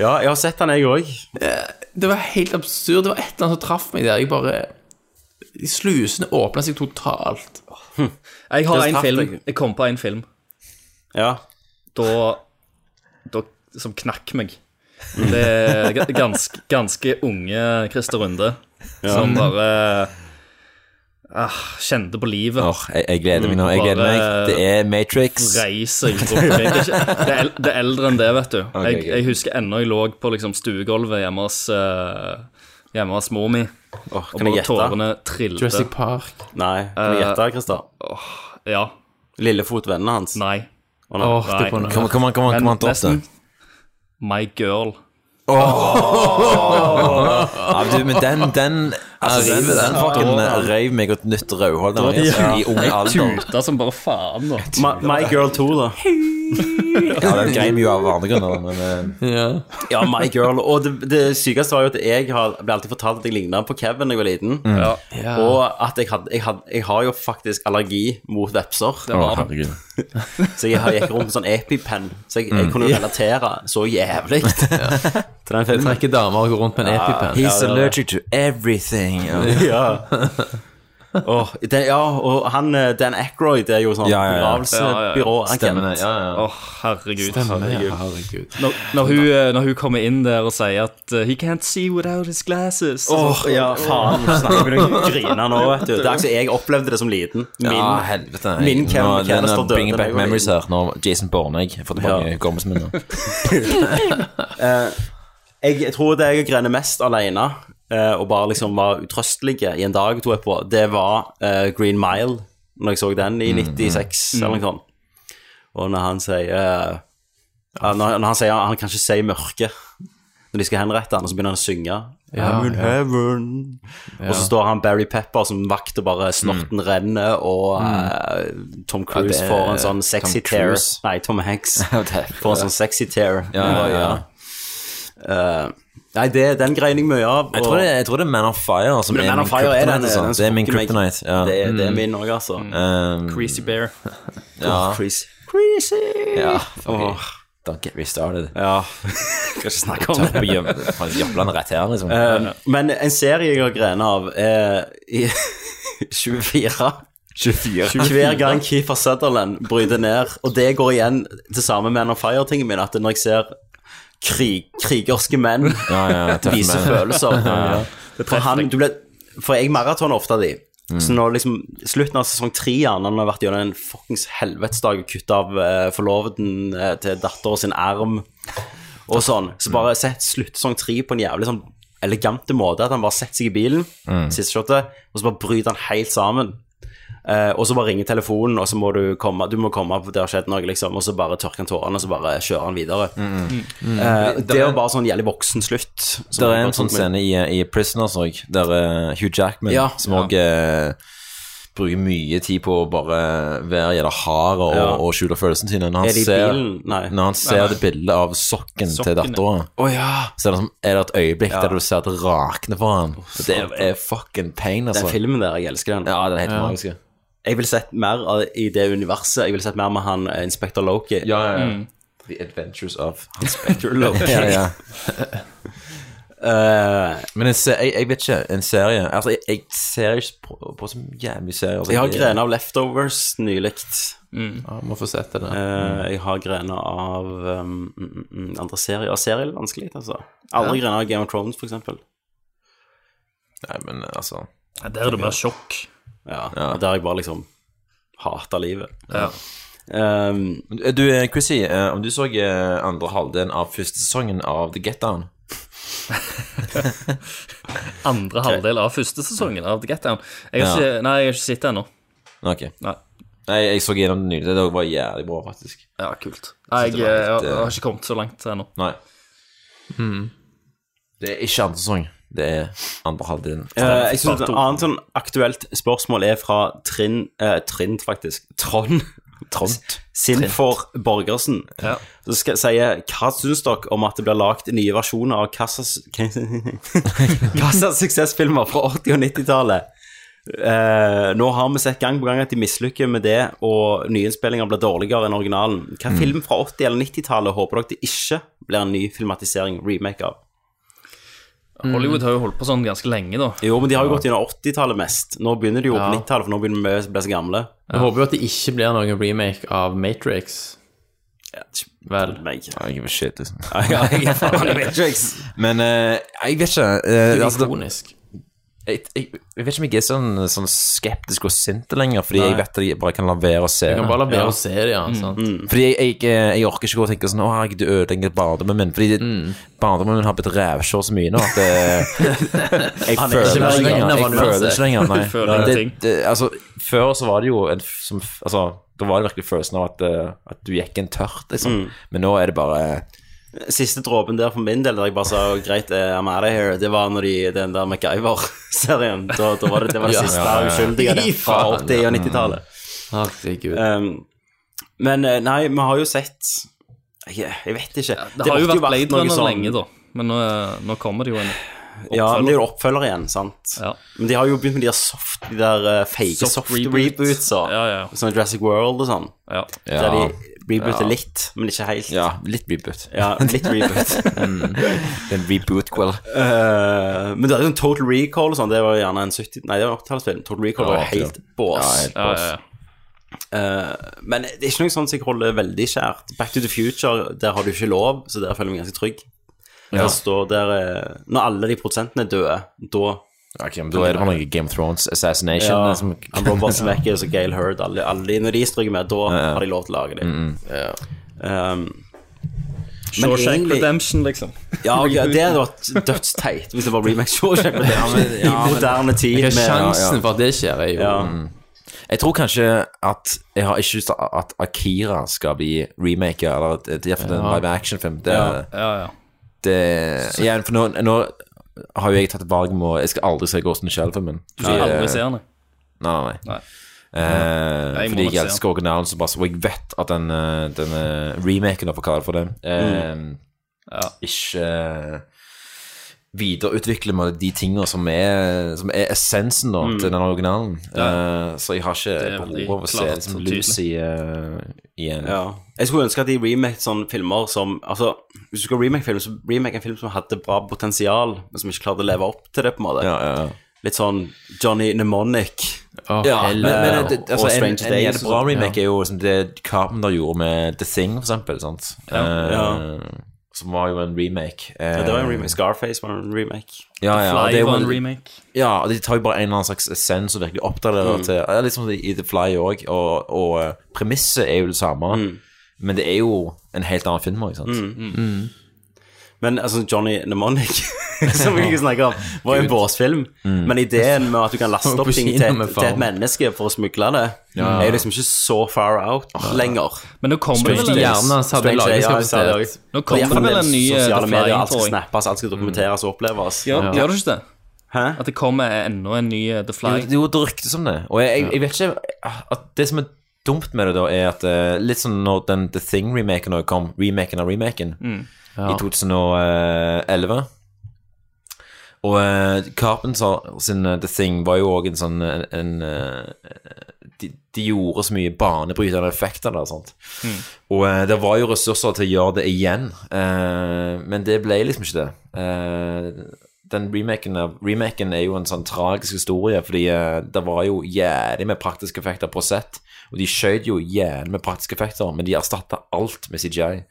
Speaker 1: Ja, jeg har sett den, jeg òg.
Speaker 8: Det var helt absurd. Det var et eller annet som traff meg der. Jeg bare Slusene åpna seg totalt.
Speaker 7: Jeg har
Speaker 8: Det er
Speaker 7: en
Speaker 8: tatt,
Speaker 7: film.
Speaker 8: jeg.
Speaker 7: Jeg kom på en film.
Speaker 1: Ja.
Speaker 7: Da, da Som knakk meg. Det er ga- ganske, ganske unge Christer Runde
Speaker 2: Ja.
Speaker 7: som bare ah, kjente på livet.
Speaker 2: Åh, jeg, jeg gleder meg nå. Jeg gleder meg. Det er Matrix.
Speaker 7: Reiser rundt omkring. Det er ikke- det er el- Det er eldre enn det, vet du.
Speaker 2: Ok,
Speaker 7: Jeg,
Speaker 2: ok.
Speaker 7: jeg husker ennå jeg lå på liksom, stuegulvet hjemme hos, eh, hjemme hos mor mi. og
Speaker 1: kan jeg
Speaker 7: bare
Speaker 1: gjette?
Speaker 7: tårene trilte.
Speaker 8: Jurassic Park.
Speaker 1: Nei, kan du
Speaker 7: Eh,
Speaker 1: gjette, Christer?
Speaker 7: ja.
Speaker 1: Lillefot, vennene hans?
Speaker 7: Nei.
Speaker 1: Å, nei.
Speaker 8: Åh, det kunne- Kom- kom an, kom an,
Speaker 7: Men
Speaker 8: kom an, topp det.
Speaker 7: nesten. My girl.
Speaker 2: Ja, men du, men den, den altså, den, den fucking eh, røyv meg et nytt rødhål da, altså, i ung alder.
Speaker 7: Jeg tuta som bare faen nå.
Speaker 1: My, my Girl 2, da.
Speaker 2: Ja, den grein vi jo av andre grunner, men eh,
Speaker 1: Ja, My Girl. Og det, det sykeste var jo at jeg har, ble alltid fortalt at jeg ligna på Kevin da jeg var liten.
Speaker 2: Mm. Ja.
Speaker 1: Og at jeg, hadde, jeg, hadde, jeg har jo faktisk allergi mot vepser.
Speaker 2: Å, herregud. Mm.
Speaker 1: Så jeg har- gikk rundt med sånn EpiPen, så jeg, jeg kunne jo relatere så jævlig til den filmen.
Speaker 8: Trekker damer og går rundt med en
Speaker 1: Ja,
Speaker 8: EpiPen.
Speaker 1: he's allergic
Speaker 2: to everything.
Speaker 1: Ja. Åh, det, ja, og han eh, Dan Ackroyd er jo sånn
Speaker 2: Ja, ja, ja.
Speaker 1: begravelsesbyråagent.
Speaker 2: Stemmer det, ja, ja.
Speaker 7: Å, herregud.
Speaker 2: Stemmer,
Speaker 7: herregud.
Speaker 2: ja, herregud.
Speaker 7: Når, når, hun, eh, når hun kommer inn der og sier at eh, He can't see without his glasses.
Speaker 1: Åh,
Speaker 7: Så-
Speaker 1: ja, faen. nå Snakker vi noe griner nå, vet du. Det er altså jeg opplevde det som liten. Min,
Speaker 2: ja, Ah, helvete. jeg-
Speaker 1: min Kevin
Speaker 2: nå-
Speaker 1: McCann
Speaker 2: nå
Speaker 1: står døde
Speaker 2: bringer
Speaker 1: da jeg
Speaker 2: back
Speaker 1: var
Speaker 2: memories
Speaker 1: liten.
Speaker 2: her når Jason Bourne jeg får tilbake
Speaker 1: Ja.
Speaker 2: hukommelsen min nå.
Speaker 1: Eh, jeg tror det jeg grener mest alene, eh, og bare liksom var utrøstelig i en dag to etterpå, det var eh, Green Mile, når jeg så den i 96
Speaker 2: mm.
Speaker 1: eller noe sånt. Og når han sier eh, ja, når, når han sier han kan ikke si mørke når de skal henrette han, og så begynner han å synge.
Speaker 2: Ja,
Speaker 1: I'm in
Speaker 2: ja.
Speaker 1: heaven.
Speaker 2: Ja. Mm.
Speaker 1: Og så står han Barry Pepper som vakt og bare snorten renner, og eh, Tom Cruise
Speaker 2: det-
Speaker 1: får en sånn
Speaker 2: Tom
Speaker 1: sexy tear.
Speaker 2: Cruise.
Speaker 1: Nei, Tom Hanks
Speaker 2: Ja, det-
Speaker 1: får en sånn sexy tear.
Speaker 2: Ja, ja, ja.
Speaker 1: Eh, nei, det, den greiner jeg mye av.
Speaker 2: Jeg tror, det, jeg tror det er Man of Fire som
Speaker 1: Men Man
Speaker 2: er min
Speaker 1: of Fire er den-
Speaker 2: kryptonite. altså.
Speaker 1: den
Speaker 2: Det er min
Speaker 1: som fucker meg.
Speaker 2: kryptonite. Ja.
Speaker 1: Det er- det er
Speaker 2: Mm.
Speaker 1: min også, altså.
Speaker 2: Um,
Speaker 7: Creasy Bear.
Speaker 2: Ja.
Speaker 1: Åh, Creasy.
Speaker 2: Ja,
Speaker 1: Åh.
Speaker 2: Don't get me started.
Speaker 1: Ja. Skal ikke snakke om
Speaker 2: Tøffe
Speaker 1: det.
Speaker 2: jøm- faen, jømlene rett her, liksom.
Speaker 1: Eh, men en serie jeg har grenet av, er i 24.
Speaker 2: 24.
Speaker 1: Hver gang Keefer Sutherland bryter ned, og det går igjen til samme Man on Fire-tingen min, at når jeg ser krig, krigerske menn
Speaker 2: ja, ja, tøffe
Speaker 1: vise
Speaker 2: menn.
Speaker 1: følelser
Speaker 2: Ja, ja.
Speaker 1: For, han, du ble, for jeg maratoner ofte av de.
Speaker 2: Mm.
Speaker 1: Så når liksom slutten av sesong tre gjerne når han har vært gjennom en fuckings helvetesdag og kutta av eh, forloveden eh, til datteren sin arm og sånn,
Speaker 2: Mm.
Speaker 1: så bare sett sluttsesong tre på en jævlig sånn elegante måte, at han bare setter seg i bilen,
Speaker 2: Mm.
Speaker 1: siste shotet, og så bare bryter han helt sammen. Eh, og så bare ringer telefonen, og så må du komme, du må komme opp, det har skjedd noe, liksom, og så bare tørker han tårene, og så bare kjører han videre. Eh, det er jo bare sånn jævlig voksen slutt.
Speaker 2: Mm. Det er en sånn scene i, i Prisoners òg, der eh, Hugh Jackman,
Speaker 1: Ja.
Speaker 2: som òg bruker mye tid på å bare være jævla hard og,
Speaker 1: Ja.
Speaker 2: og skjule følelsene sine. Når han
Speaker 1: Er det i
Speaker 2: ser,
Speaker 1: bilen? Nei.
Speaker 2: Når han ser
Speaker 1: Nei, nei.
Speaker 2: det bildet av sokken,
Speaker 1: Sokken,
Speaker 2: til
Speaker 1: ja.
Speaker 2: datteren
Speaker 1: Å, ja.
Speaker 2: så er det, som, er det et øyeblikk
Speaker 1: Ja.
Speaker 2: der du ser at det rakner for han. det er, er fucking pain, altså.
Speaker 1: Den filmen der, jeg elsker den.
Speaker 2: Ja, den er helt
Speaker 1: Ja.
Speaker 2: magisk.
Speaker 1: Jeg vil sett mer av, i det universet. Jeg vil sett mer med han eh, Inspector Loki.
Speaker 2: Ja, ja, ja.
Speaker 1: Mm.
Speaker 2: The Adventures of
Speaker 1: Inspector Loki. Eh,
Speaker 2: ja, ja. Men en se- jeg, jeg vet ikke, en serie Altså, jeg, jeg ser ikke på, på så jævlig mye serier. Altså,
Speaker 1: Jeg har grener av Leftovers nylig.
Speaker 8: Ja, må få sett det.
Speaker 1: Eh, jeg har grener av um, mm, mm, mm, andre serier. Serier er litt vanskelig, altså. Aldri
Speaker 7: Ja.
Speaker 1: grener av Game of Thrones, for eksempel.
Speaker 2: Nei, men altså
Speaker 7: Ja, der er det mer sjokk.
Speaker 1: Ja, og der jeg bare liksom hater livet.
Speaker 7: Ja.
Speaker 1: Um,
Speaker 2: Du, eh, Chrissy, eh, om du så eh, andre halvdelen av første sesongen av The Get Down
Speaker 7: Andre halvdel av første sesongen av The Get Down. Jeg har
Speaker 2: Ja.
Speaker 7: ikke, nei, jeg har ikke sett det ennå.
Speaker 2: Ok.
Speaker 7: Nei.
Speaker 2: jeg så gjennom det nylig. Det var jævlig bra, faktisk.
Speaker 7: Ja, kult. Nei,
Speaker 2: Jeg
Speaker 7: Jeg,
Speaker 2: synes det var
Speaker 7: jeg,
Speaker 2: helt,
Speaker 7: jeg
Speaker 2: eh,
Speaker 7: har ikke kommet så langt ennå.
Speaker 2: Nei.
Speaker 1: Hmm.
Speaker 2: Det er ikke andre sesong. Det er andre halvdelen.
Speaker 1: Eh, jeg synes Et annet sånn aktuelt spørsmål er fra Trinn eh, Trinn, faktisk. Trond.
Speaker 2: Trond.
Speaker 1: Sinfor Borgersen.
Speaker 7: Ja.
Speaker 1: Så skal jeg si eh, hva syns dere om at det blir lagd nye versjoner av Kassas Kassas suksessfilmer fra 80- og 90-tallet? Eh, nå har vi sett gang på gang at de mislykker med det, og nyinnspillinger blir dårligere enn originalen. Hva
Speaker 2: Mm.
Speaker 1: film fra 80- eller 90-tallet håper dere det ikke blir en ny filmatisering, remake av?
Speaker 7: Hollywood har jo holdt på sånn ganske lenge, da.
Speaker 1: Jo, men de har jo gått gjennom 80-tallet mest. Nå begynner de jo på
Speaker 7: Ja.
Speaker 1: 90-tallet, for nå begynner vi å bli så gamle.
Speaker 8: Jeg håper jo at det ikke blir noen remake av Matrix.
Speaker 1: Vel.
Speaker 2: Jeg gir shit, liksom.
Speaker 1: Ja, jeg er faen i Matrix.
Speaker 2: Men eh, jeg vet ikke. eh,
Speaker 8: Det er
Speaker 2: altså, det-
Speaker 8: ikonisk.
Speaker 2: jeg, jeg, jeg vet ikke om jeg er sånn, sånn skeptisk og sint lenger, fordi
Speaker 8: Nei.
Speaker 2: jeg vet at jeg bare kan la være å se
Speaker 8: Jeg kan bare la være
Speaker 2: Ja.
Speaker 8: å se det, ja.
Speaker 7: Mm.
Speaker 8: Sant?
Speaker 2: Fordi jeg, jeg, eh, jeg orker ikke gå og tenke sånn Å, herregud, du ødelegger barndommen min. Fordi det- barndommen min har blitt revkjør så mye nå at eh, Jeg
Speaker 1: Han er
Speaker 2: føler
Speaker 1: ikke
Speaker 2: det
Speaker 1: verden
Speaker 2: ikke lenger.
Speaker 1: av
Speaker 2: Jeg
Speaker 1: hva du
Speaker 2: føler
Speaker 1: har
Speaker 2: det ikke
Speaker 1: sett.
Speaker 2: lenger, nei.
Speaker 1: Du føler
Speaker 2: det,
Speaker 1: ingenting.
Speaker 2: det, altså, før så var det jo en, f- som, f- Altså, da var det virkelig følelsen av at, eh, at du gikk en tørt, liksom.
Speaker 1: Mm.
Speaker 2: Men nå er det bare
Speaker 1: Siste dråpen der for min del, der jeg bare sa greit, eh, I'm out of here, det var når de, den der MacGyver-serien. Da, da var det, det var det
Speaker 2: Ja,
Speaker 1: siste
Speaker 2: ja, ja.
Speaker 1: uskyldige det, fra
Speaker 2: Fy
Speaker 1: 80-
Speaker 2: faen,
Speaker 1: og
Speaker 2: ja.
Speaker 1: 90-tallet.
Speaker 8: Herregud.
Speaker 1: Um, men eh, nei, vi har jo sett Jeg, jeg vet ikke.
Speaker 7: Det har jo
Speaker 1: måtte
Speaker 7: vært Blade
Speaker 1: noe
Speaker 7: Runner
Speaker 1: sånn-
Speaker 7: lenge, da. Men nå, eh, nå kommer det jo en
Speaker 1: Ja, men det er
Speaker 7: oppfølger.
Speaker 1: jo oppfølger igjen, sant. Men de har jo begynt med de der soft De der eh, fake
Speaker 7: Soft
Speaker 1: soft,
Speaker 7: reboot.
Speaker 1: reboots og sånn Jurassic World og sånn.
Speaker 2: Ja.
Speaker 1: Der de rebooter
Speaker 2: Ja.
Speaker 1: litt, men ikke helt.
Speaker 2: Ja, litt reboot.
Speaker 1: Ja, litt reboot.
Speaker 2: Mm. Det er en reboot-quell.
Speaker 1: Eh, men det er jo sånn Total Recall og sånn, det var jo gjerne en 70... Nei, det var en 80-tallsfilm. Total Recall var
Speaker 2: Ja,
Speaker 1: jo helt
Speaker 2: ja.
Speaker 1: bås.
Speaker 2: Ja, helt bås. Ja, ja,
Speaker 1: Eh, men det er ikke noe sånt som jeg holder veldig kjært. Back to the Future, der har du ikke lov, så der føler jeg meg ganske trygg.
Speaker 2: Ja.
Speaker 1: Der står der eh, Når alle de prosentene er døde, da
Speaker 2: Ok, men Da er det bare noe Game of Thrones assassination.
Speaker 1: Ja,
Speaker 2: liksom.
Speaker 1: han Robert Zemeckis og Gail Hurd, alle, alle de, når de stryker med, da
Speaker 2: ja.
Speaker 1: har de lov til å lage dem.
Speaker 2: Mm,
Speaker 1: Um, men
Speaker 7: Shawshank
Speaker 1: egentlig-
Speaker 7: Redemption, liksom.
Speaker 1: Ja, ok, det hadde vært dødsteit hvis det bare blir Max Shawshank
Speaker 2: Ja, men-
Speaker 1: Redemption
Speaker 2: ja,
Speaker 1: i
Speaker 2: men-
Speaker 1: moderne tid.
Speaker 2: Hva er
Speaker 1: med-
Speaker 2: sjansen
Speaker 8: for at det skjer, er jo-
Speaker 1: ja.
Speaker 2: Mm. Jeg tror kanskje at Jeg har ikke lyst til at Akira skal bli remaker, eller at det er for en
Speaker 1: Ja.
Speaker 2: live action-film. Det,
Speaker 1: Ja,
Speaker 2: det igjen, for nå, nå har jo jeg tatt et valg om å Jeg skal aldri se Ghost in the Shell-filmen.
Speaker 7: Du skal
Speaker 2: Fordi- eh,
Speaker 7: aldri se den, jeg.
Speaker 2: Nei, nei. nei. Eh,
Speaker 7: Nei, jeg må
Speaker 2: fordi
Speaker 7: nok se
Speaker 2: jeg
Speaker 7: den.
Speaker 2: elsker originalen så masse, og jeg vet at den, eh, den
Speaker 1: Mm.
Speaker 2: eh, remaken, da, for å kalle det for det, eh, ikke videreutvikle med de tingene som er, som er essensen da,
Speaker 7: Mm.
Speaker 2: til den originalen.
Speaker 1: Ja.
Speaker 2: Eh, så jeg har
Speaker 1: Det er
Speaker 2: ikke
Speaker 1: veldig
Speaker 2: behov av å se
Speaker 1: klart
Speaker 2: liksom,
Speaker 1: og tydelig.
Speaker 2: Lucy eh, igjen.
Speaker 1: Ja. Jeg skulle ønske at de remaket sånne filmer som Altså, hvis du skal remake film, så remake en film som hadde bra potensial, men som ikke klarte å leve opp til det, på en måte. Litt sånn Johnny Mnemonic.
Speaker 2: ja, men, men, det, altså,
Speaker 1: og
Speaker 2: en,
Speaker 1: Strange
Speaker 2: en,
Speaker 1: Days.
Speaker 2: en bra remake er jo som det Carpenter gjorde med The Thing, for eksempel. Sant?
Speaker 1: Ja.
Speaker 2: Eh,
Speaker 1: Ja.
Speaker 2: Som var jo en remake. Eh,
Speaker 1: Ja, det var en remake. Scarface var en remake.
Speaker 2: Ja,
Speaker 7: The
Speaker 2: ja,
Speaker 7: Fly
Speaker 2: og det er jo
Speaker 7: var en remake.
Speaker 2: Ja, og de tar jo bare en eller annen slags essens og virkelig oppdaterer
Speaker 7: Mm.
Speaker 2: til ja, Litt som i The Fly òg, og, og eh, premisset er jo det samme,
Speaker 7: Mm.
Speaker 2: men det er jo en helt annen film òg, sant.
Speaker 1: Mm, mm. Men altså, Johnny Mnemonic, som vi ikke snakker om, var jo en
Speaker 2: Gud.
Speaker 1: båsfilm.
Speaker 2: Mm.
Speaker 1: Men ideen med at du kan laste
Speaker 2: Og
Speaker 1: opp
Speaker 2: på
Speaker 1: ting
Speaker 2: kino
Speaker 1: til,
Speaker 2: med
Speaker 1: et- til
Speaker 2: faren.
Speaker 1: et menneske for å smugle det,
Speaker 2: Ja. Ah.
Speaker 1: er jo liksom ikke så far out lenger.
Speaker 7: Men nå kommer det vel en- Hjernen hans hadde lagringskapasitet. Nå kommer det vel en ny, eh,
Speaker 1: Sosiale
Speaker 7: The
Speaker 1: medier,
Speaker 7: Flying
Speaker 1: alt skal
Speaker 7: Drawing.
Speaker 1: snappes, alt skal dokumenteres og oppleves.
Speaker 7: Gjør, gjør du ikke det?
Speaker 1: Hæ?
Speaker 7: At det kommer enda en ny eh, The Fly?
Speaker 2: Jo, jo, det ryktes om det. Og jeg, jeg, jeg vet ikke at Det som er dumt med det, da, er at eh, litt sånn når den The Thing-remaken også kom, remaken av remaken,
Speaker 7: Mm.
Speaker 2: i 2011 og eh, Carpenter sin eh, The Thing var jo òg en sånn eh, en, eh, de, de gjorde så mye banebrytende effekter der. Sant? Og eh, det var jo ressurser til å gjøre det igjen, eh, men det ble liksom ikke det. Eh, den remaken, av, remaken er jo en sånn tragisk historie, fordi eh, det var jo jævlig med praktiske effekter på sett, og de skjøt jo jævlig med praktiske effekter, men de erstatta alt med CGI.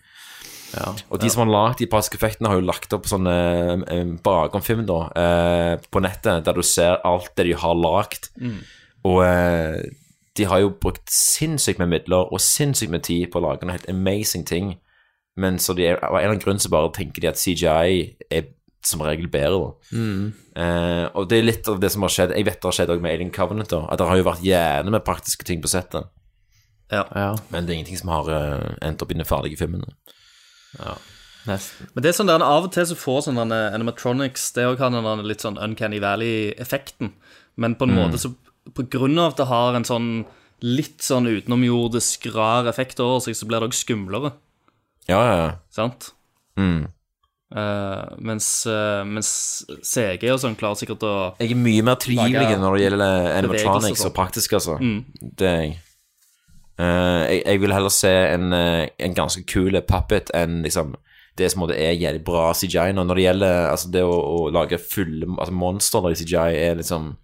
Speaker 2: og de som har lagd de praktiske effektene, har jo lagt opp sånne eh, bakomfilm da, eh, på nettet, der du ser alt det de har lagd.
Speaker 7: Mm.
Speaker 2: Og eh, de har jo brukt sinnssykt med midler og sinnssykt med tid på å lage noen helt amazing ting. Men så de, er- av en eller annen grunn så bare tenker de at CGI er som regel bedre. da.
Speaker 8: Mm.
Speaker 2: Eh, og det er litt av det som har skjedd. Jeg vet det har skjedd også med Alien Covenant. da, At det har jo vært gjerne med praktiske ting på settet. Men det er ingenting som har eh, endt opp i den ferdige filmen.
Speaker 8: Ja, nesten.
Speaker 7: Men det er sånn der, Av og til så får sånn denne animatronics Det også har den der litt sånn Uncanny Valley-effekten. Men på en
Speaker 8: Mm.
Speaker 7: måte så På grunn av at det har en sånn litt sånn utenomjordisk rar effekt over seg, så blir det også skumlere.
Speaker 2: Ja, ja, ja.
Speaker 7: Sant?
Speaker 2: Mm.
Speaker 7: Eh, mens, eh, mens CG og sånn klarer sikkert å
Speaker 2: Jeg er mye mer
Speaker 7: Lage
Speaker 2: trivelig når det gjelder animatronics
Speaker 7: bevegelser
Speaker 2: og praktisk, altså.
Speaker 7: Mm.
Speaker 2: Det er jeg. Eh, jeg. Jeg vil heller se en, eh, en ganske kul puppet enn liksom det som på en måte er jævlig bra CGI. Nå. Når det gjelder altså, det å, å lage fulle altså, monstre da i CGI, er liksom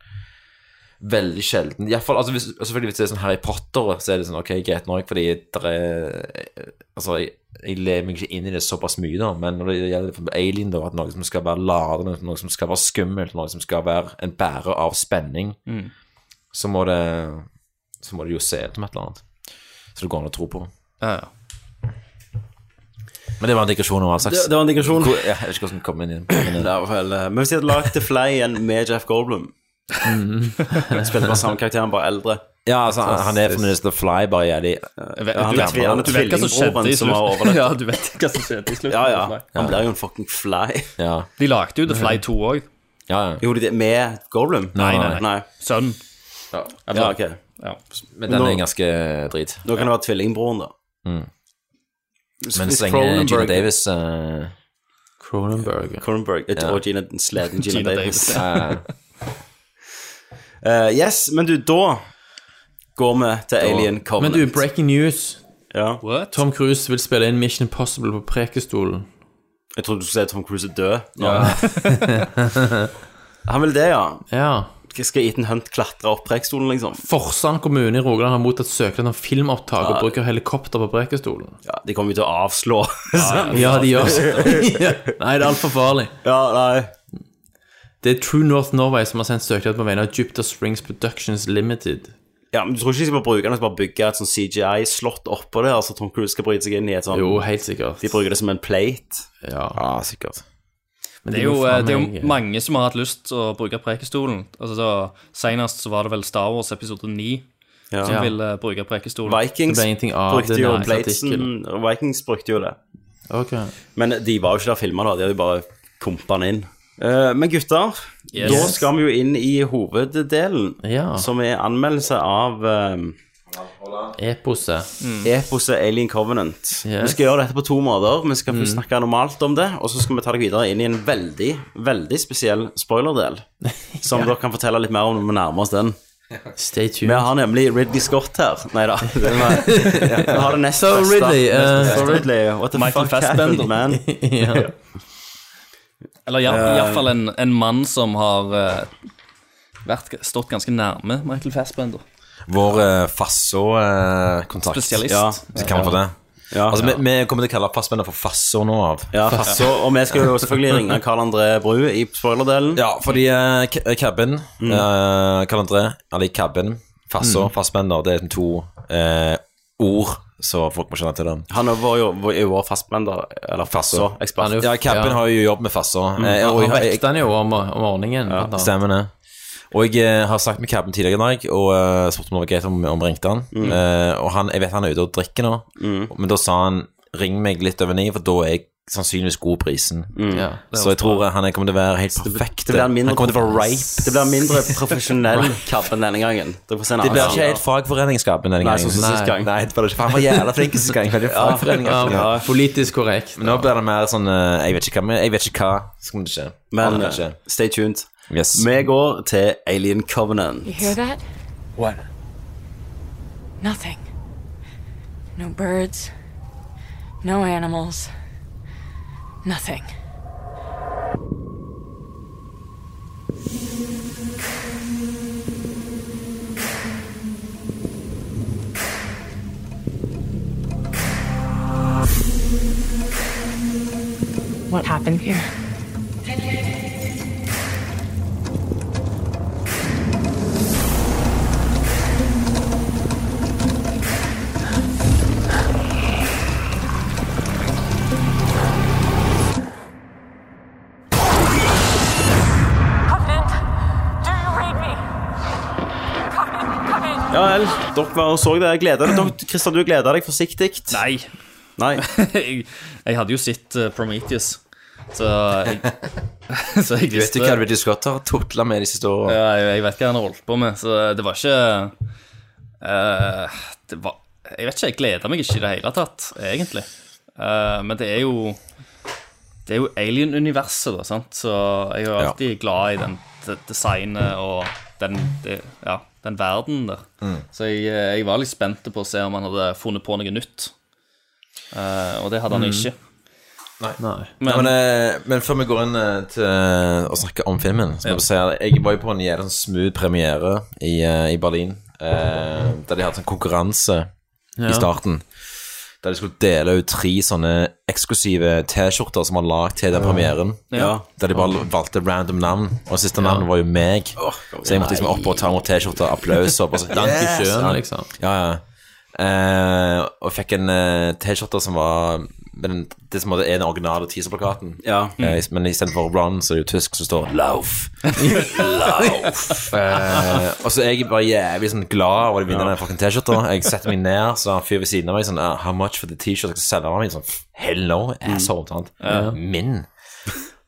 Speaker 2: veldig sjelden. Iallfall altså, hvis, selvfølgelig hvis det er sånn Harry Potter, så er det sånn ok, greit nok, fordi der er Altså, jeg, jeg lever meg ikke inn i det såpass mye, da, men når det gjelder for eksempel Alien, da, at noe som skal være ladende, noe som skal være skummelt, noe som skal være en bærer av spenning,
Speaker 7: Mm.
Speaker 2: så må det Så må det jo se ut som et eller annet. Så det går an å tro på.
Speaker 7: Ja, ja.
Speaker 2: Men det var en digresjon om all slags.
Speaker 1: Det- det var en digresjon.
Speaker 2: Hvor- Ja, jeg vet ikke hvordan vi kom inn i den. men,
Speaker 1: Det er vel, eh, Men hvis de hadde lagd The Fly igjen med Jeff Goldblum
Speaker 2: Mm.
Speaker 1: Spilte bare samme karakteren, bare eldre.
Speaker 2: Ja, altså, han- han er fremdeles The Fly, bare jævlig
Speaker 1: Ja, han er tvi- han er tvillingbroren som har overlevd.
Speaker 7: Ja, du vet hva som skjedde i slutten.
Speaker 1: Ja, ja.
Speaker 7: av Fly.
Speaker 1: Han blir jo en fucking fly.
Speaker 2: Ja.
Speaker 7: De lagde jo The Fly 2 òg.
Speaker 1: Gjorde de det med Goldblum?
Speaker 7: Nei, nei, nei. Sønn.
Speaker 2: Ja,
Speaker 1: Ja, ok.
Speaker 2: men den er
Speaker 1: Nå-
Speaker 2: ganske drit.
Speaker 1: Nå kan det være tvillingbroren, da.
Speaker 2: Mm.
Speaker 1: Hvis-
Speaker 2: Men
Speaker 1: hvis
Speaker 2: så lenge Gina
Speaker 1: Cronenberg-
Speaker 2: Davis eh,
Speaker 8: Cronenberg.
Speaker 1: Cronenberg et-
Speaker 2: Ja.
Speaker 1: og Gina, sleden Gina,
Speaker 2: Gina
Speaker 1: Davis.
Speaker 2: Davis. Ja, ja.
Speaker 1: Eh, yes, men du, da går vi til Alien
Speaker 8: Men
Speaker 1: Covenant.
Speaker 8: du, breaking news.
Speaker 1: Ja.
Speaker 8: Tom Cruise vil spille inn Mission Impossible på Prekestolen.
Speaker 1: Jeg trodde du skulle si at Tom Cruise er død. Nå.
Speaker 8: Ja.
Speaker 1: Han vil det, ja.
Speaker 8: Ja.
Speaker 1: Skal Ethan Hunt klatre opp prekestolen, liksom?
Speaker 8: Forsand kommune i Rogaland har mottatt søknad om filmopptak og
Speaker 1: Ja.
Speaker 8: bruker helikopter på Prekestolen.
Speaker 1: Ja, de kommer jo til å avslå.
Speaker 8: Ja, ja, de gjør det. Ja. Nei, det er altfor farlig.
Speaker 1: Ja, nei.
Speaker 8: Det er True North Norway som har sendt søknad på vegne av Jupiter Springs Productions Limited.
Speaker 1: Ja, men Du tror ikke de skal bruke den, de skal bare bygge et sånn CGI-slott oppå det? Altså Tom Cruise skal bryte seg inn i et sånt
Speaker 8: Jo, helt sikkert.
Speaker 1: De bruker det som en plate?
Speaker 8: Ja,
Speaker 2: sikkert.
Speaker 7: Det er, jo, eh, det er jo mange som har hatt lyst til å bruke Prekestolen. Altså, så, senest så var det vel Star Wars episode 9
Speaker 1: Ja.
Speaker 7: som
Speaker 1: Ja.
Speaker 7: ville bruke Prekestolen.
Speaker 1: Vikings brukte jo platesen Vikings brukte jo det. Men de var jo ikke der filma, da. De hadde jo bare kompa den inn. Eh, men gutter,
Speaker 7: Yes.
Speaker 1: da skal vi jo inn i hoveddelen,
Speaker 8: Ja.
Speaker 1: som er anmeldelse av eh,
Speaker 8: Eposet.
Speaker 1: Eposet Alien Covenant. Vi skal gjøre dette på to måter. Vi skal først
Speaker 8: Mm.
Speaker 1: snakke normalt om det, og så skal vi ta deg videre inn i en veldig, veldig spesiell spoilerdel. Som dere kan fortelle litt mer om når vi nærmer oss den.
Speaker 8: Stay tuned.
Speaker 1: Vi har nemlig Ridley Scott her. Nei da. Vi har det nest
Speaker 8: So
Speaker 1: beste.
Speaker 8: Ridley,
Speaker 1: Nest
Speaker 8: eh,
Speaker 1: beste.
Speaker 8: sorry.
Speaker 1: Ridley, What the
Speaker 7: Michael
Speaker 1: fuck happened,
Speaker 7: Fassbender.
Speaker 1: man?
Speaker 7: Ja. Eller
Speaker 1: Eh.
Speaker 7: iallfall en, en mann som har eh, vært, stått ganske nærme Michael Fassbender.
Speaker 2: Vår uh, Fasso-kontakt.
Speaker 7: Spesialist.
Speaker 2: Ja, så kan vi få det.
Speaker 1: Ja.
Speaker 2: altså,
Speaker 1: Ja.
Speaker 2: Vi, vi kommer til å kalle Fassbender for Fasso nå av.
Speaker 1: Ja, Fasso, og vi skal jo selvfølgelig ringe Karl André Bru i spoilerdelen.
Speaker 2: Ja, fordi eh, K- eh, Cabin, mm. Karl André, eller Cabin, Fasso,
Speaker 1: Mm.
Speaker 2: Fassbender, det er to eh, ord, så folk må skjønne til dem.
Speaker 1: Han er vår, jo- vår, er vår fastbender, eller Fasso, ekspert.
Speaker 2: Han er jo- Ja, Cabin har jo jobb med Fasso.
Speaker 1: Mm.
Speaker 2: Eh, og
Speaker 1: Han
Speaker 2: jeg-
Speaker 1: vekter
Speaker 8: Den er jo om, om ordningen. blant annet.
Speaker 2: Stemmer det. Og jeg eh, har snakket med Cabin tidligere i dag og eh, spurt om det var greit om om ringte han.
Speaker 1: Mm.
Speaker 2: Eh, og han, jeg vet han er ute og drikker nå, men da sa han ring meg litt over ni, for da er jeg sannsynligvis god på isen.
Speaker 1: Mm. Ja, det
Speaker 2: Så jeg tror eh, han er- kommer til å være helt perfekt. Han kommer til å være rape.
Speaker 1: Det blir mindre profesjonell Cabin denne gangen. Dere får se en
Speaker 2: Det
Speaker 1: annen
Speaker 2: blir
Speaker 1: side.
Speaker 2: ikke helt fagforeningsskapen denne
Speaker 1: Nei,
Speaker 2: gangen.
Speaker 1: sånn som sist gang.
Speaker 2: Nei, det blir det ikke. For han var jævla flink sist gang. Det er fagforening.
Speaker 8: Ja, ja, Politisk korrekt.
Speaker 2: Men nå blir det mer sånn eh, Jeg vet ikke hva, men jeg vet ikke hva som kommer til å skje.
Speaker 1: Men eh,
Speaker 2: Aner ikke.
Speaker 1: stay tuned. Vi går til Alien Covenant.
Speaker 9: You hear that?
Speaker 1: What?
Speaker 9: Nothing. No birds. No animals. Nothing.
Speaker 15: What happened here?
Speaker 1: Ja vel, dere var og så det. Jeg gleder dere. Dere- Christian, du gleder deg forsiktig.
Speaker 7: Nei.
Speaker 1: Nei.
Speaker 7: jeg, jeg hadde jo sett eh, Prometheus, så jeg, så jeg
Speaker 2: Du vet jo hva Ridley Scott har tutla med de siste årene.
Speaker 7: Ja, jeg, jeg vet hva han har holdt på med, så det var ikke eh, det var, Jeg vet ikke, jeg gleder meg ikke i det hele tatt, egentlig. Eh, men det er jo Det er jo alien-universet, da, sant, så jeg er jo
Speaker 2: Ja.
Speaker 7: alltid glad i den det designet og den, det, ja, den verden der.
Speaker 2: Mm.
Speaker 7: Så jeg, eh, jeg var litt spent på å se om han hadde funnet på noe nytt, Eh, og det hadde han
Speaker 2: Mm.
Speaker 7: ikke.
Speaker 2: Nei.
Speaker 7: Men-
Speaker 2: Men, eh, men før vi går inn eh, til å snakke om filmen så må
Speaker 7: Ja.
Speaker 2: vi si at Jeg var jo på en jævlig sånn smooth premiere i, eh, i Berlin, eh, der de hadde sånn konkurranse
Speaker 8: Ja.
Speaker 2: i starten. Der de skulle dele ut tre sånne eksklusive T-skjorter som var lagd til den premieren.
Speaker 1: Ja.
Speaker 2: Der de bare valgte random navn, og siste navn var jo meg. Så jeg måtte liksom opp og ta imot T-skjorter, applaus og bare sånn
Speaker 8: Langt i
Speaker 2: yes!
Speaker 8: sjøen,
Speaker 2: Ja.
Speaker 8: liksom.
Speaker 2: Ja, ja. Eh, og fikk en eh, T-skjorte som var med den, det som er den originale teaserplakaten.
Speaker 1: Ja.
Speaker 2: Eh, is- men istedenfor Ron, så er det jo tysk som står Lauf. Lauf. eh, og så er jeg bare jævlig sånn glad over å vinne den fucking T-skjorta. Jeg setter meg ned, så har en fyr ved siden av meg sånn «Ah, How much for the T-shirt? Jeg skal selge den. Sånn, Hell no, asshole. Sant?
Speaker 1: Ja.
Speaker 2: Min.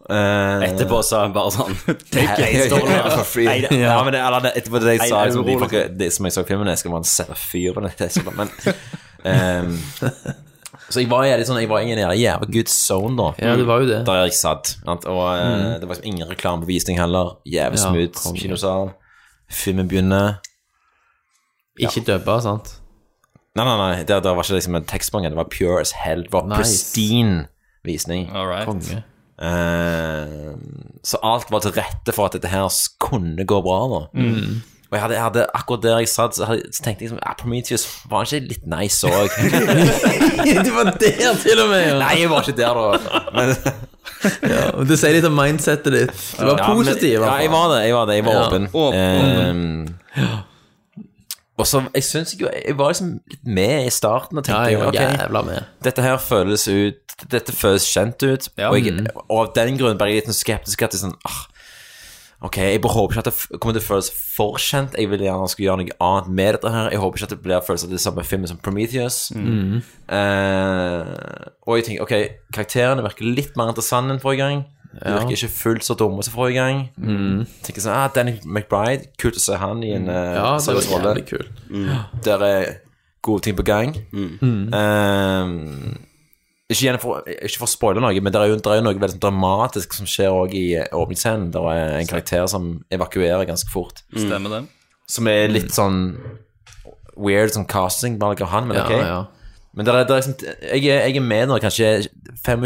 Speaker 2: Eh,
Speaker 1: Etterpå sa han bare sånn
Speaker 2: Take it. For free.
Speaker 1: Nei, det-
Speaker 2: Ja, men det, eller, det, etterpå det jeg
Speaker 1: Nei,
Speaker 2: sa
Speaker 1: det er
Speaker 2: liksom, de
Speaker 1: rolig.
Speaker 2: folk, det, Som jeg så i filmen, jeg skal bare sette fyr på dette. sånn, Men, ehm, så jeg var, jævlig sånn, jeg var i en jævla jævla good zone, da.
Speaker 8: Ja, det var jo det.
Speaker 2: Der jeg satt. sant? Og eh, det var liksom ingen reklamebevisning heller. Jævlig
Speaker 8: Ja,
Speaker 2: smooth
Speaker 8: konge.
Speaker 2: kinosal. Filmen begynner.
Speaker 8: Ikke dubba, sant?
Speaker 2: Nei, nei, nei, det, det var ikke liksom en tekstmange. Det var pure as hell. Det var
Speaker 8: Nice.
Speaker 2: pristine visning.
Speaker 7: All right.
Speaker 8: Konge.
Speaker 2: Eh, så alt var til rette for at dette her s- kunne gå bra, da.
Speaker 8: Mm.
Speaker 2: Og jeg hadde, jeg hadde akkurat der jeg satt, så, hadde, så tenkte jeg liksom, ah, Prometheus var han ikke litt nice òg?
Speaker 8: du var der til og med! Ja.
Speaker 2: Nei, jeg var ikke der, da. Men,
Speaker 8: Ja, og det sier litt om mindsetet ditt. Du var
Speaker 2: Ja, men-
Speaker 8: positiv, i hvert
Speaker 2: Ja,
Speaker 8: fall.
Speaker 2: jeg var det. Jeg var, det, jeg var
Speaker 8: Ja,
Speaker 2: åpen.
Speaker 8: åpen.
Speaker 2: Eh, og så, jeg synes jo, jeg var liksom litt med i starten og
Speaker 8: Ja,
Speaker 2: tenkte
Speaker 8: jeg var
Speaker 2: ok,
Speaker 8: jævla med.
Speaker 2: Dette her føles ut Dette føles kjent ut, og, jeg,
Speaker 8: Mm.
Speaker 2: og av den grunn ble jeg litt sånn skeptisk at jeg sånn ah, Ok, jeg bare håper ikke at det f- kommer til å føles for kjent. Jeg vil gjerne skulle gjøre noe annet med dette her. Jeg håper ikke at det blir følelsen av det samme filmen som Prometheus.
Speaker 8: Mm.
Speaker 2: Eh, og jeg tenker, ok, karakterene virker litt mer interessante enn forrige gang. De virker ikke fullt så dumme som forrige gang. Tenker sånn, ah, Danny McBride, kult å se han i en eh,
Speaker 8: Mm. Ja, det var
Speaker 2: seriøs rolle.
Speaker 8: jævlig kult.
Speaker 2: Der er gode ting på gang.
Speaker 8: Mm.
Speaker 2: Eh, ikke, igjen for, ikke for å spoile noe, men det er jo, det er jo noe veldig sånn dramatisk som skjer også i eh, åpningsscenen. Det er en karakter som evakuerer ganske fort.
Speaker 7: Stemmer det.
Speaker 2: Som er litt sånn weird sånn castingvalg av han, men
Speaker 8: Ja,
Speaker 2: ok.
Speaker 8: ja.
Speaker 2: Men det er, det er liksom, jeg, er, jeg er med når kanskje 25,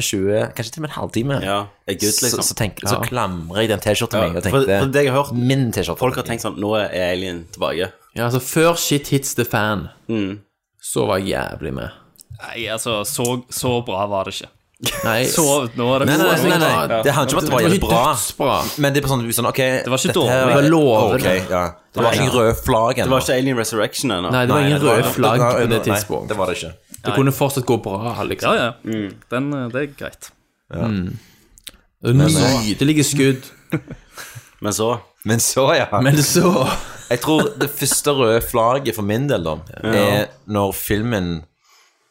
Speaker 2: kanskje til og med en halvtime.
Speaker 1: jeg er good, liksom.
Speaker 2: så, så, tenk,
Speaker 1: Ja.
Speaker 2: så klamrer jeg den T-skjorten min og
Speaker 1: for,
Speaker 2: tenker
Speaker 1: for det jeg har hørt,
Speaker 2: min T-skjorte.
Speaker 1: Folk har tenkt sånn Nå er Alien tilbake.
Speaker 8: Ja, altså, før shit hits the fan,
Speaker 1: Mm.
Speaker 8: så var jeg jævlig med.
Speaker 7: Nei, altså, så, så bra var det ikke.
Speaker 8: Nei,
Speaker 7: Så, nå er det
Speaker 2: Nei, nei, nei, nei, nei.
Speaker 7: Ja.
Speaker 2: Det handler ikke om at det var jævlig bra. Men det er på sånn, sånn ok
Speaker 7: var ikke
Speaker 2: dette
Speaker 7: dårlig.
Speaker 2: her-
Speaker 7: Det var lover.
Speaker 2: ok, ja. Det var ikke røde flagg
Speaker 1: Det var ikke Alien Resurrection ennå.
Speaker 8: Nei, det var ingen
Speaker 2: det var-
Speaker 8: røde flagg
Speaker 2: det var-
Speaker 8: på det
Speaker 2: nei,
Speaker 8: tidspunkt.
Speaker 2: Det var det ikke.
Speaker 8: Det kunne fortsatt gå bra,
Speaker 7: Ja,
Speaker 8: liksom.
Speaker 7: ja. Den, eh, det er greit.
Speaker 8: Mm. Nydelige skudd.
Speaker 1: Men så
Speaker 2: Men så, ja.
Speaker 8: Men så
Speaker 2: Jeg tror det første røde flagget for min del, da, er når filmen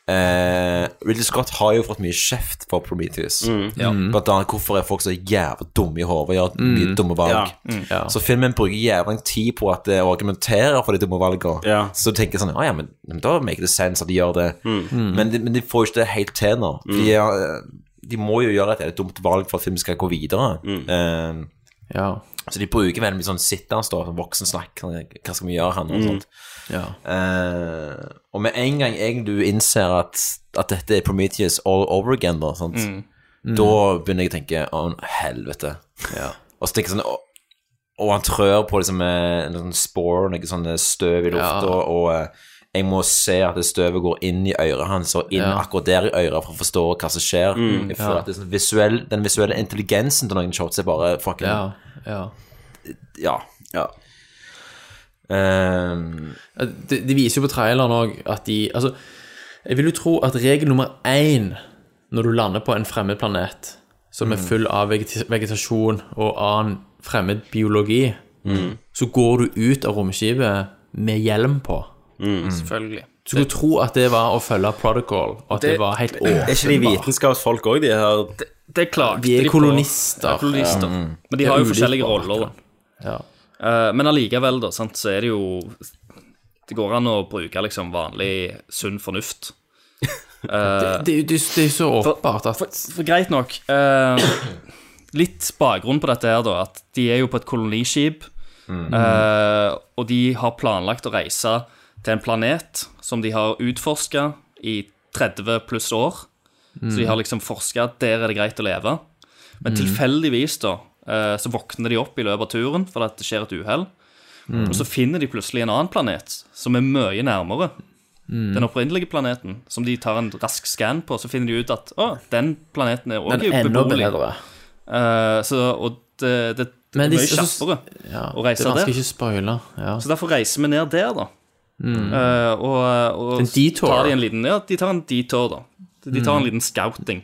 Speaker 2: eh, Ridley Scott har jo fått mye kjeft for Prometheus.
Speaker 1: Mm. Ja.
Speaker 2: Blant annet hvorfor er folk så jævla dumme i hodet og gjør mye
Speaker 1: Mm.
Speaker 2: dumme valg.
Speaker 1: Ja. Mm. Ja.
Speaker 2: Så filmen bruker jævla lang tid på at det argumenterer for de dumme valgene.
Speaker 1: Ja.
Speaker 2: Så du tenker sånn Å ja, men, men da make det sense at de gjør det.
Speaker 1: Mm.
Speaker 2: Mm. Men, de, men de får jo ikke det helt til nå. De, er- eh, de må jo gjøre et, et dumt valg for at filmen skal gå videre.
Speaker 1: Mm.
Speaker 2: Eh, Så de bruker veldig mye sånn sittende stå, sånn voksensnakk. sånn, Hva skal vi gjøre her nå? og
Speaker 8: Mm.
Speaker 2: sånt. Eh, og med en gang jeg, du innser at, at dette er Prometheus all over again, da, sant?
Speaker 8: Mm. Mm.
Speaker 2: da begynner jeg å tenke Å, helvete.
Speaker 8: Ja.
Speaker 2: Og så tenker jeg sånn «Å, og han trør på liksom, eh, en sånn spore, noe sånn eh, støv i lufta,
Speaker 8: Ja.
Speaker 2: og eh, jeg må se at det støvet går inn i øret hans, og inn
Speaker 8: Ja.
Speaker 2: akkurat der i øret, for å forstå hva som skjer.
Speaker 8: Mm.
Speaker 2: Jeg føler
Speaker 8: Ja.
Speaker 2: at det er sånn visuell, Den visuelle intelligensen til noen shots er bare fucking
Speaker 8: Ja, ja.
Speaker 2: Ja. ja. Ehm,
Speaker 8: det, det viser jo på traileren òg at de Altså, jeg vil jo tro at regel nummer én når du lander på en fremmed planet som er
Speaker 2: Mm.
Speaker 8: full av vegeta- vegetasjon og annen fremmed biologi,
Speaker 2: Mm.
Speaker 8: så går du ut av romskipet med hjelm på.
Speaker 7: Selvfølgelig.
Speaker 8: Du skulle tro at det var å følge protocol, og at det, var helt
Speaker 1: Er ikke de
Speaker 8: åpenbart.
Speaker 1: vitenskapsfolk òg, de her?
Speaker 7: Det klagde
Speaker 8: Vi er
Speaker 7: de på.
Speaker 8: kolonister.
Speaker 7: Ja, kolonister.
Speaker 8: Ja, mm.
Speaker 7: Men de har jo
Speaker 8: Det er
Speaker 7: forskjellige
Speaker 8: ulik
Speaker 7: roller, da.
Speaker 8: Ja.
Speaker 7: Eh, men allikevel, da, sant, så er det jo Det går an å bruke liksom vanlig sunn fornuft. Eh,
Speaker 8: Det, det, det, det er jo så åpenbart at
Speaker 7: for greit nok eh, Litt bakgrunn på dette her, da, at de er jo på et koloniskip.
Speaker 8: Mm.
Speaker 7: eh, og de har planlagt å reise til en planet som de har utforska i 30 pluss år. Så de har
Speaker 8: Mhm.
Speaker 7: liksom forska at der er det greit å leve. Men
Speaker 8: Mm.
Speaker 7: tilfeldigvis da, eh, så våkner de opp i løpet av turen fordi at det skjer et uhell.
Speaker 8: Mm.
Speaker 7: Og så finner de plutselig en annen planet som er mye nærmere
Speaker 8: Mm.
Speaker 7: den opprinnelige planeten, som de tar en rask skann på, så finner de ut at å, den planeten er
Speaker 8: Den
Speaker 7: også
Speaker 8: er enda
Speaker 7: beboelig.
Speaker 8: bedre.
Speaker 7: Eh, så, og det, det, det
Speaker 8: Men
Speaker 7: er
Speaker 8: de-
Speaker 7: mye
Speaker 8: altså,
Speaker 7: kjappere
Speaker 8: ja,
Speaker 7: å
Speaker 8: det er
Speaker 7: reise
Speaker 8: vanskelig ikke
Speaker 7: der.
Speaker 8: å spoile. Ja.
Speaker 7: Så derfor reiser vi ned der, da.
Speaker 8: Mm.
Speaker 7: Eh, og og
Speaker 8: En detour.
Speaker 7: tar de en liten Ja, de tar en detour, da. De tar en
Speaker 8: Mm.
Speaker 7: liten scouting.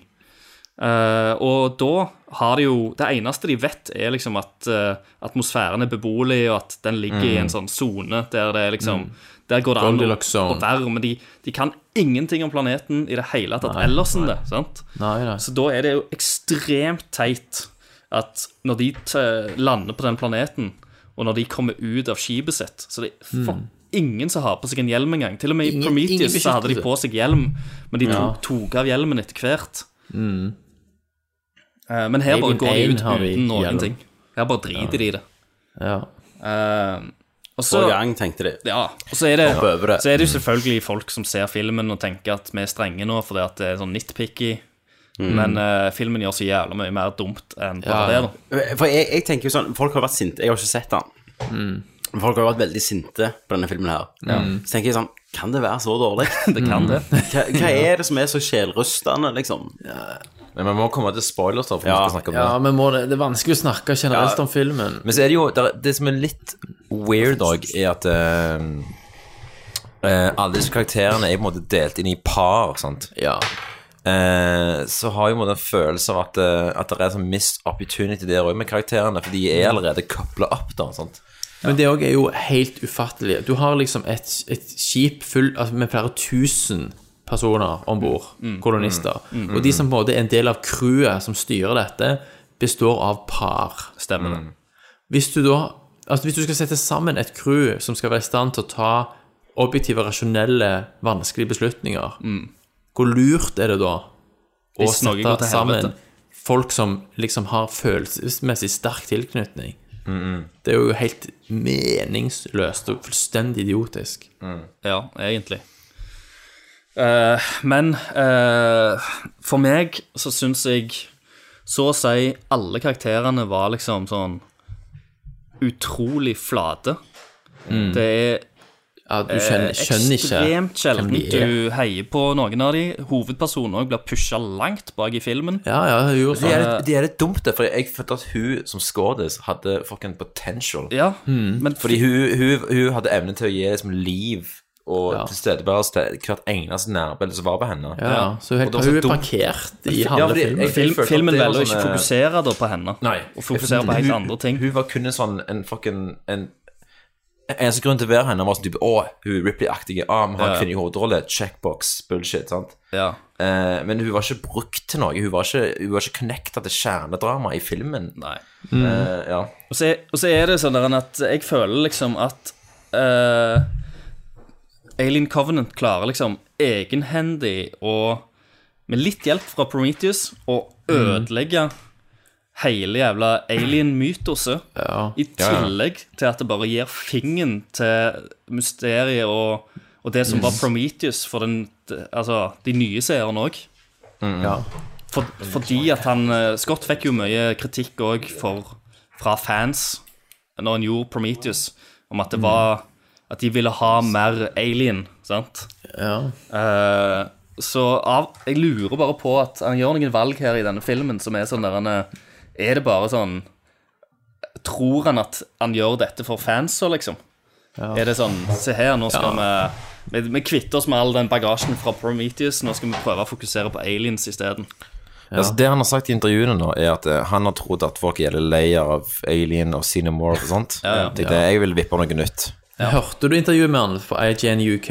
Speaker 7: Eh, og da har de jo Det eneste de vet, er liksom at eh, atmosfæren er beboelig, og at den ligger i en
Speaker 8: Mm.
Speaker 7: sånn sone der det er liksom
Speaker 8: Mm.
Speaker 7: Der går det an å,
Speaker 8: Goldilocks zone.
Speaker 7: å være, men de, de kan ingenting om planeten i det hele tatt
Speaker 8: Nei,
Speaker 7: ellers enn
Speaker 8: nei.
Speaker 7: det. sant?
Speaker 8: Nei, nei.
Speaker 7: Så da er det jo ekstremt teit at når de t- lander på den planeten, og når de kommer ut av skipet sitt, så det er for
Speaker 8: Mm.
Speaker 7: ingen som har på seg en hjelm engang. Til og med i
Speaker 8: Ingen- ingen
Speaker 7: Prometheus så hadde de
Speaker 8: beskyttelse.
Speaker 7: på seg hjelm, men de
Speaker 8: Ja.
Speaker 7: tok, tok av hjelmen etter hvert.
Speaker 8: Mm.
Speaker 7: Eh, Men her bare
Speaker 8: Alien
Speaker 7: går de
Speaker 8: 1
Speaker 7: ut
Speaker 8: har de
Speaker 7: uten
Speaker 8: hjelm.
Speaker 7: noen ting. Her bare driter de i det.
Speaker 8: Ja.
Speaker 7: Eh, og så,
Speaker 1: Forrige gang, tenkte de.
Speaker 7: ja, og så er, det,
Speaker 1: Hoppe over det.
Speaker 7: så er det jo selvfølgelig folk som ser filmen og tenker at vi er strenge nå fordi at det er sånn nitpicky.
Speaker 8: Mm.
Speaker 7: Men eh, filmen gjør så jævla mye mer dumt enn bare det, da.
Speaker 1: For jeg, jeg tenker jo sånn Folk har vært sinte. Jeg har ikke sett den. Men Folk har vært veldig sinte på denne filmen her.
Speaker 7: Ja.
Speaker 1: Så tenker jeg sånn Kan det være så dårlig? Mm.
Speaker 7: Det kan det.
Speaker 1: Hva, hva er det som er så sjelrystende, liksom?
Speaker 2: Men vi må komme til spoilers, da, for
Speaker 1: Ja.
Speaker 2: vi skal snakke om
Speaker 8: ja,
Speaker 2: det.
Speaker 8: men må det, det er vanskelig å snakke generelt
Speaker 2: Ja.
Speaker 8: om filmen.
Speaker 2: Men så er det jo der, Det som er litt weird òg, er at eh, eh, alle disse karakterene er på en måte delt inn i par, sant?
Speaker 8: Ja.
Speaker 2: Eh, så har jeg på en måte en følelse av at, eh, at det er sånn missed opportunity der òg med karakterene, for de er allerede kobla opp, da. Sant?
Speaker 8: Men det òg er jo helt ufattelig. Du har liksom et, et skip full, altså med flere tusen personer om bord, kolonister.
Speaker 2: Mm. Mm.
Speaker 8: Og de som både er en del av crewet som styrer dette, består av par.
Speaker 7: Stemmer det.
Speaker 8: Hvis du da Altså, hvis du skal sette sammen et crew som skal være i stand til å ta objektive, rasjonelle, vanskelige beslutninger, hvor lurt er det da å
Speaker 7: Hvis noe går
Speaker 8: sette
Speaker 7: til
Speaker 8: sammen
Speaker 7: helvete.
Speaker 8: folk som liksom har følelsesmessig sterk tilknytning? Det er jo helt meningsløst og fullstendig idiotisk.
Speaker 7: Ja, egentlig. Eh, men eh, for meg så syns jeg så å si alle karakterene var liksom sånn utrolig flate.
Speaker 8: Mm.
Speaker 7: Det er
Speaker 8: Ja, du skjønner-
Speaker 7: eh,
Speaker 8: skjønner ikke
Speaker 7: ekstremt
Speaker 8: hvem
Speaker 7: sjelden
Speaker 8: de er.
Speaker 7: du heier på noen av de. Hovedpersonen òg blir pusha langt bak i filmen.
Speaker 2: Det
Speaker 8: sånn.
Speaker 2: er, litt- det er litt dumt, det, for jeg følte at hun som skådis hadde fucking potential.
Speaker 7: Ja,
Speaker 2: Mm.
Speaker 7: men-
Speaker 2: Fordi hun, hun, hun hadde evne til å gi liksom liv og
Speaker 8: Ja.
Speaker 2: tilstedeværelse til hvert eneste nærbilde som var på henne.
Speaker 8: Ja, så hun helt-
Speaker 2: Og det var
Speaker 8: hun
Speaker 2: så
Speaker 8: er
Speaker 2: dumt.
Speaker 8: parkert i
Speaker 2: Ja,
Speaker 8: halve
Speaker 2: fordi jeg-
Speaker 8: filmen.
Speaker 2: jeg
Speaker 8: Film-
Speaker 2: følte at
Speaker 8: filmen
Speaker 2: det var
Speaker 8: velger å ikke
Speaker 2: sånn, eh,
Speaker 7: fokusere da på henne,
Speaker 2: Nei.
Speaker 7: og fokusere på
Speaker 2: Hun-
Speaker 7: helt andre ting.
Speaker 2: Hun var kun en sånn en fucking en, Eneste grunn til å være henne var sånn type Å, hun er Ripley-aktig. Ah, vi har en
Speaker 7: Ja.
Speaker 2: kvinne i hovedrolle. Checkbox. Bullshit. sant?
Speaker 7: Ja.
Speaker 2: Eh, men hun var ikke brukt til noe. Hun var ikke, hun var ikke connecta til kjernedramaet i filmen.
Speaker 7: Nei.
Speaker 2: Mm.
Speaker 7: Mm.
Speaker 2: ja.
Speaker 7: Og så, og så er det sånn der at jeg føler liksom at eh, Alien Covenant klarer liksom egenhendig og med litt hjelp fra Prometheus å
Speaker 2: Hmm.
Speaker 7: ødelegge hele jævla alien-mytoset. I
Speaker 8: Ja, ja.
Speaker 7: tillegg til at det bare gir fingeren til mysteriet og, og det som var
Speaker 8: Mm.
Speaker 7: Prometheus for den, altså, de nye seerne òg.
Speaker 8: Ja.
Speaker 7: For, fordi at han eh, Scott fikk jo mye kritikk òg fra fans når han gjorde Prometheus, om
Speaker 8: Mm.
Speaker 7: at det var At de ville ha mer alien, sant?
Speaker 8: Ja.
Speaker 7: Eh, så av, jeg lurer bare på at han gjør noen valg her i denne filmen som er sånn der han eh, Er det bare sånn Tror han at han gjør dette for fansa, liksom? Er det sånn Se her, nå skal vi vi, vi kvitter oss med all den bagasjen fra Prometheus. Nå skal vi prøve å fokusere på aliens isteden.
Speaker 2: Altså, det han har sagt i intervjuene nå, er at eh, han har trodd at folk er lei av Alien og Cinemore og sånt.
Speaker 8: Ja, ja.
Speaker 2: Tenkte, Jeg vil vippe noe nytt.
Speaker 8: Hørte du intervjuet med han fra IGN UK?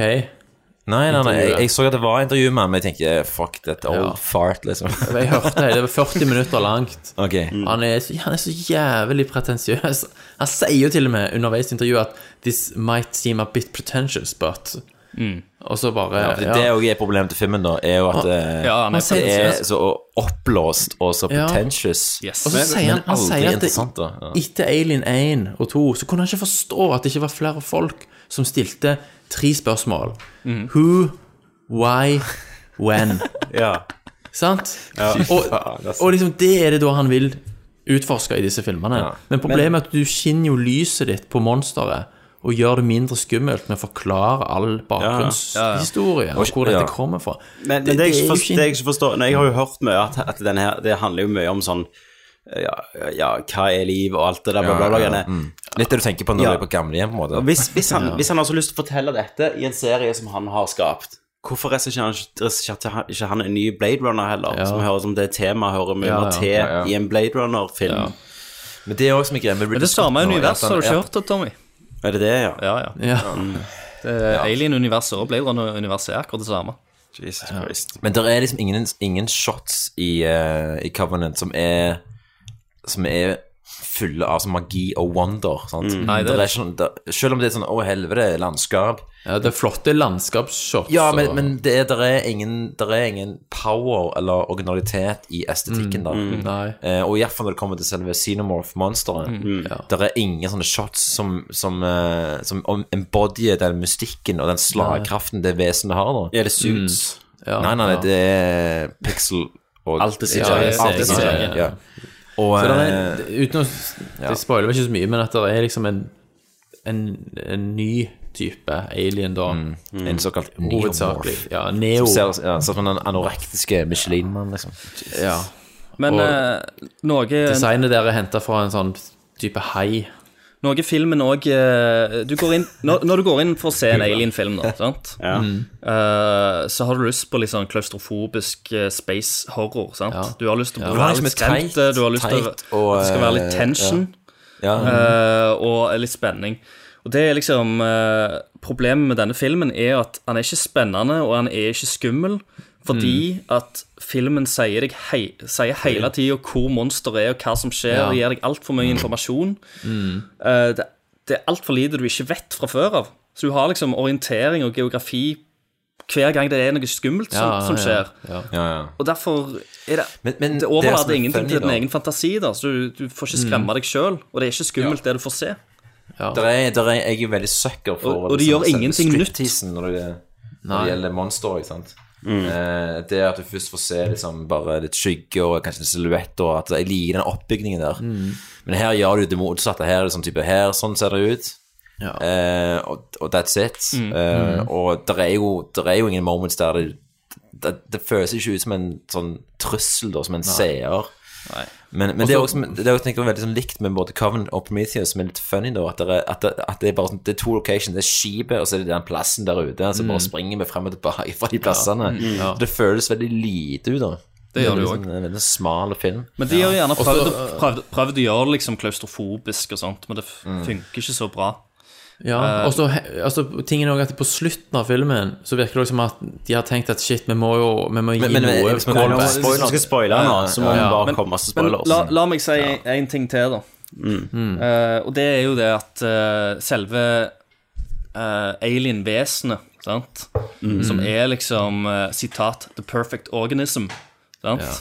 Speaker 2: Nei, nei, nei, jeg, jeg så at det var intervju med ham, men jeg tenkte eh, fuck that old
Speaker 8: Ja.
Speaker 2: fart, liksom.
Speaker 8: Jeg hørte det. Det var 40 minutter langt.
Speaker 2: Ok.
Speaker 8: Han, er, så- han er så jævlig pretensiøs. Han sier jo til og med underveis i intervjuet at This might seem a bit pretentious, but Og så bare
Speaker 2: Mm. Ja, fordi Det òg er problemet til filmen, da, er jo at eh,
Speaker 8: Ja, han er
Speaker 2: det er
Speaker 8: pretensiøs.
Speaker 2: så oppblåst og så
Speaker 8: Ja.
Speaker 2: pretentious.
Speaker 8: Og så sier han, han sier at det, etter Alien 1 og 2 så kunne han ikke forstå at det ikke var flere folk som stilte tre spørsmål.
Speaker 2: Mm.
Speaker 8: Who, why, when? Sant?
Speaker 2: Ja, fy
Speaker 8: og,
Speaker 2: faen, altså.
Speaker 8: og liksom det er det da han vil utforske i disse filmene.
Speaker 2: Ja.
Speaker 8: Men problemet er at du skinner jo lyset ditt på monsteret og gjør det mindre skummelt med å forklare all
Speaker 1: Ja, ja.
Speaker 8: bakgrunnshistorie og hvor
Speaker 1: Ja.
Speaker 8: dette kommer fra.
Speaker 1: Men, men det, jeg ikke
Speaker 8: jo
Speaker 1: forstår, det jeg ikke forstår Nei, Jeg har jo hørt mye at, at den her, det handler jo mye om sånn ja, ja, hva er liv, og alt det der, bla, bla, bla.
Speaker 2: Ja, ja,
Speaker 1: greiene.
Speaker 2: mm. Litt det du tenker på når du er på gamlehjem, på en måte.
Speaker 1: Hvis, hvis, han,
Speaker 2: Ja.
Speaker 1: hvis han har så lyst til å fortelle dette i en serie som han har skapt, hvorfor regisserte han, regisserte han ikke han en ny Blade Runner heller? Som høres som det temaet hører mye
Speaker 2: Ja,
Speaker 1: mer
Speaker 2: ja,
Speaker 1: til
Speaker 2: ja, ja.
Speaker 1: i en Blade Runner-film.
Speaker 2: Ja. Men det er også som er greia med
Speaker 7: Men det samme universet har du ikke hørt det, Tommy?
Speaker 1: Er det det, ja?
Speaker 7: Ja, ja.
Speaker 8: Ja.
Speaker 7: Det er Alien-universet og Blade Runner-universet er akkurat det samme.
Speaker 1: Jesus Christ.
Speaker 2: Men det er liksom ingen, ingen shots i, eh, i Covenant som er Som er fulle av sånn magi og wonder. Sant?
Speaker 8: Mm. Nei, det er
Speaker 2: Der ikke noe- der, selv om det er sånn Å, helvete, landskap.
Speaker 8: Ja, det er flotte landskapsshots.
Speaker 2: Ja, men,
Speaker 8: og-
Speaker 2: men det er, der er, ingen, der er ingen power eller originalitet i
Speaker 8: Mm,
Speaker 2: estetikken der.
Speaker 8: mm, nei.
Speaker 2: Eh, og iallfall når det kommer til selve Xenomorph-monsteret.
Speaker 8: Mm, ja.
Speaker 2: Der er ingen sånne shots som, som, eh, som om- embodyer den mystikken og den slagkraften det vesenet har. da
Speaker 1: Er det suits?
Speaker 2: Mm. Ja, nei, nei,
Speaker 1: ja.
Speaker 2: det er pixel og
Speaker 1: Alt er CGI.
Speaker 2: Ja, ja, alt er
Speaker 1: CGI,
Speaker 2: CGI,
Speaker 1: ja.
Speaker 2: ja. Og,
Speaker 8: så det er,
Speaker 2: eh,
Speaker 8: uten å
Speaker 2: ja.
Speaker 8: Det spoiler vel ikke så mye, men at det er liksom en, en, en ny type alien, da.
Speaker 2: eh, En såkalt
Speaker 8: Hovedsakelig.
Speaker 2: Mm. neomorph.
Speaker 8: Ja, neo.
Speaker 2: Som ser ja, sånn som den anorektiske Michelin-mannen, liksom.
Speaker 8: Ja.
Speaker 7: Men
Speaker 8: Og
Speaker 7: eh, noe
Speaker 8: Designet der er henta fra en sånn type hai.
Speaker 7: Noe filmen òg når, når du går inn for å se en alien-film, da, sant?
Speaker 8: Mm.
Speaker 7: Eh, så har du lyst på litt sånn klaustrofobisk eh, space horror, sant? Du har lyst til
Speaker 2: Ja.
Speaker 7: å
Speaker 2: Det var
Speaker 7: være
Speaker 2: liksom
Speaker 7: litt
Speaker 2: teit-
Speaker 7: skremt, eh, du har lyst til å-
Speaker 2: teit og,
Speaker 7: at det skal være
Speaker 2: eh,
Speaker 7: litt tension
Speaker 2: ja.
Speaker 7: eh, og litt spenning. Og det er liksom eh, Problemet med denne filmen er at han er ikke spennende, og han er ikke skummel, Fordi
Speaker 2: Mm.
Speaker 7: at filmen sier, deg hei, sier hele tida hvor monsteret er, og hva som skjer,
Speaker 16: Ja.
Speaker 7: og gir deg altfor mye informasjon.
Speaker 16: Mm.
Speaker 7: Eh, det, det er altfor lite du ikke vet fra før av. Så du har liksom orientering og geografi hver gang det er noe skummelt som, som skjer.
Speaker 2: Ja, ja. ja.
Speaker 7: Og derfor er det Det
Speaker 2: det som
Speaker 7: overlater
Speaker 2: er
Speaker 7: ingenting
Speaker 2: funny
Speaker 7: til din
Speaker 2: da-
Speaker 7: egen fantasi, da. Så du, du får ikke skremme deg sjøl, og det er ikke skummelt, det du får se.
Speaker 2: Der er, der er, jeg er veldig sucker for
Speaker 7: Og- og de gjør
Speaker 2: selve
Speaker 7: ingenting nytt.
Speaker 2: stripteasen Når det, når
Speaker 7: Nei.
Speaker 2: det gjelder monstre, ikke sant.
Speaker 7: Mm.
Speaker 2: Eh, det at du først får se liksom, bare litt skygge og kanskje en silhuett, og at jeg liker den oppbygningen der.
Speaker 16: Mm.
Speaker 2: Men her gjør du det motsatte. Her er det sånn type Her, sånn ser det ut. Eh, og, og that's it.
Speaker 16: Mm.
Speaker 2: Eh,
Speaker 16: Mm.
Speaker 2: og det er, jo, der er jo ingen moments der det det, det føles ikke ut som en sånn trussel, da, som en
Speaker 16: Nei.
Speaker 2: seer. Men, men
Speaker 16: Og
Speaker 2: det er
Speaker 16: så-
Speaker 2: også, det er også tenker jeg, veldig sånn likt med både Coven og Prometheus, som er litt funny, da, at, det er, at, det, at det er bare sånn, det er to locations. Det er skipet, og så er det den plassen der ute. Så
Speaker 16: Mm.
Speaker 2: bare springer vi frem og tilbake fra de plassene.
Speaker 16: Mm. Ja.
Speaker 2: Det føles veldig lite ut, da.
Speaker 7: Det gjør det jo
Speaker 2: er liksom En veldig smal film.
Speaker 7: Men de har jo gjerne
Speaker 2: Og så-
Speaker 7: prøvd, å- prøvd, prøvd å gjøre det liksom klaustrofobisk og sånt, men det f- funker ikke så bra.
Speaker 8: Ja,
Speaker 7: Eh,
Speaker 8: og så he- altså, tingen er også at på slutten av filmen så virker det som at de har tenkt at shit, vi må jo vi må gi
Speaker 2: Men- men-
Speaker 8: noe
Speaker 2: hvis man-
Speaker 8: callback.
Speaker 2: hvis man skal spoile
Speaker 8: Ja,
Speaker 2: nå, så må man bare
Speaker 7: Men-
Speaker 2: komme masse
Speaker 7: men
Speaker 2: spoilers.
Speaker 7: La, la meg si en en ting til, da. Eh, og det er jo det at eh, selve uh, alien-vesenet, sant,
Speaker 16: Mm.
Speaker 7: som er liksom eh, sitat 'the perfect organism', sant,
Speaker 16: Ja.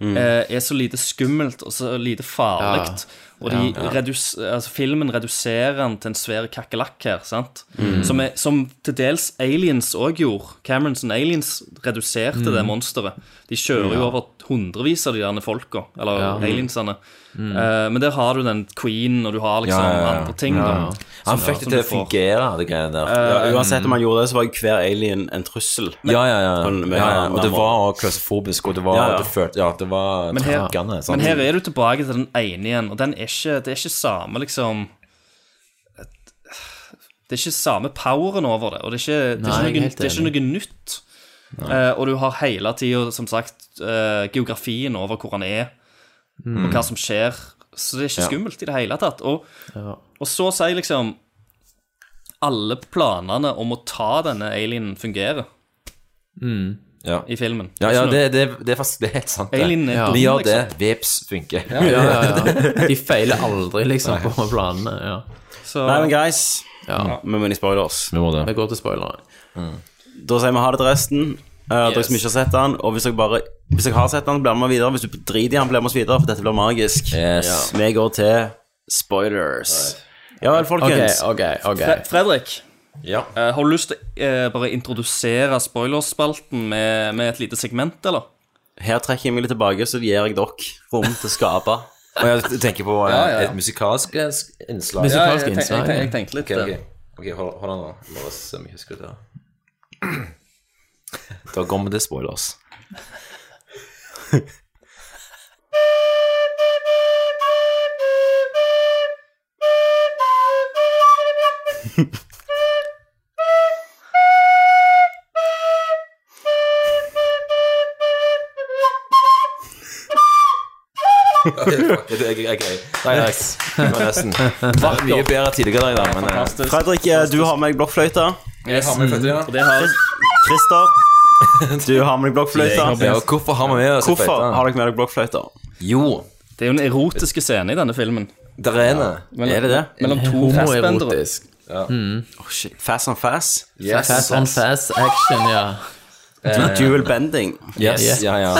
Speaker 16: Mm.
Speaker 7: eh, er så lite skummelt og så lite farlig.
Speaker 16: Ja.
Speaker 7: Og de
Speaker 16: Ja, ja.
Speaker 7: redus altså, filmen reduserer den til en svær kakerlakk her, sant?
Speaker 16: Mm.
Speaker 7: Som, er, som til dels Aliens òg gjorde. Camerons and Aliens reduserte
Speaker 16: Mm.
Speaker 7: det monsteret. De kjører
Speaker 16: Ja.
Speaker 7: jo over hundrevis av de der folka, eller
Speaker 16: Ja.
Speaker 7: aliensene.
Speaker 16: Mm.
Speaker 7: Eh, men der har du den queen, og du har liksom
Speaker 2: Ja, ja, ja.
Speaker 7: andre ting.
Speaker 2: Ja,
Speaker 7: da,
Speaker 2: ja. Han
Speaker 7: som-
Speaker 2: fikk det til
Speaker 7: som du
Speaker 2: å
Speaker 7: får.
Speaker 2: fungere, det greiene der.
Speaker 1: Ja,
Speaker 2: Ja,
Speaker 1: uansett om
Speaker 2: mm.
Speaker 1: han gjorde det, så var jo hver alien en trussel.
Speaker 2: Ja, ja, ja.
Speaker 1: På en-
Speaker 2: ja, ja. Og det var også klaustrofobisk, og det var
Speaker 1: Ja, ja.
Speaker 2: Det følte, ja, det var
Speaker 7: Men her,
Speaker 2: trankende, sant?
Speaker 7: men her er du tilbake til den ene igjen, og den er ikke, det er ikke samme liksom Det er ikke samme poweren over det, og det er ikke, det er
Speaker 8: Nei, jeg er
Speaker 7: ikke, noe,
Speaker 8: helt
Speaker 7: det er ikke noe nytt. Eh, og du har hele tida, som sagt, eh, geografien over hvor han er,
Speaker 8: Mm.
Speaker 7: og hva som skjer. Så det er ikke
Speaker 8: Ja.
Speaker 7: skummelt i det hele tatt. Og,
Speaker 8: Ja.
Speaker 7: og så sier liksom alle planene om å ta denne alienen fungerer
Speaker 2: Mm. Ja.
Speaker 7: i filmen.
Speaker 2: Ja, ja
Speaker 7: Ikke noe-
Speaker 2: det, det, det er faktisk det er helt sant. det.
Speaker 7: Alien er
Speaker 2: ja.
Speaker 7: dum,
Speaker 2: Vi gjør det.
Speaker 7: liksom.
Speaker 2: Veps funker.
Speaker 8: Ja, ja, ja, ja. De feiler aldri, liksom,
Speaker 2: Nei.
Speaker 8: på planene. Ja.
Speaker 7: Så...
Speaker 1: Nei, men guys,
Speaker 8: Ja.
Speaker 1: vi må inn i spoilers.
Speaker 2: Vi må det.
Speaker 8: Vi går til spoilere.
Speaker 1: Da sier vi ha det til resten. Uh, Dere
Speaker 8: Yes.
Speaker 1: som ikke har sett den, og hvis dere, bare, hvis dere har sett den, blir med videre. Hvis du driter i den, blir med oss videre, for dette blir magisk.
Speaker 2: Yes.
Speaker 1: Vi går til spoilers. Ja vel, folkens.
Speaker 8: Ok, ok, ok.
Speaker 7: Fre Fredrik,
Speaker 2: Ja.
Speaker 7: eh, har du lyst til å bare introdusere spoilerspalten med, med et lite segment, eller?
Speaker 1: Her trekker jeg meg litt tilbake, så gir jeg dere rom til å skape.
Speaker 2: Og jeg tenker på eh,
Speaker 7: Ja, ja, ja.
Speaker 2: et musikalsk eh, sk- innslag.
Speaker 7: Musikalsk Ja, jeg tenk- innslag, jeg tenk- ja. jeg tenkte litt,
Speaker 2: Ok, ok.
Speaker 7: eh.
Speaker 2: Ok, hold, hold an, da. Bare se om jeg husker det. Da kommer det spoilers. Ok, fuck, det er gøy, ok. Nei, nei, det var nesten. Det var mye bedre tidligere i dag, da. Men, eh,
Speaker 1: Fredrik, eh, du har med deg blokkfløyte.
Speaker 2: Jeg har med fløyte, ja.
Speaker 7: Og det har
Speaker 1: Christer, du har med deg blokkfløyte.
Speaker 2: Ja, og hvorfor har vi med oss
Speaker 1: Hvorfor
Speaker 2: fløyte?
Speaker 1: har dere med dere blokkfløyte?
Speaker 2: Jo.
Speaker 7: Det er jo en erotisk scene i denne filmen.
Speaker 2: Der er det.
Speaker 7: Mellom-
Speaker 1: Er det det?
Speaker 7: Mellom to
Speaker 8: Eh,
Speaker 7: fastbendere.
Speaker 2: Ja.
Speaker 1: Oh, shit. Fast on fast?
Speaker 8: Yes. Fast on fast action, ja.
Speaker 1: Du- Dual bending.
Speaker 2: Yes,
Speaker 8: Yes.
Speaker 2: ja, ja.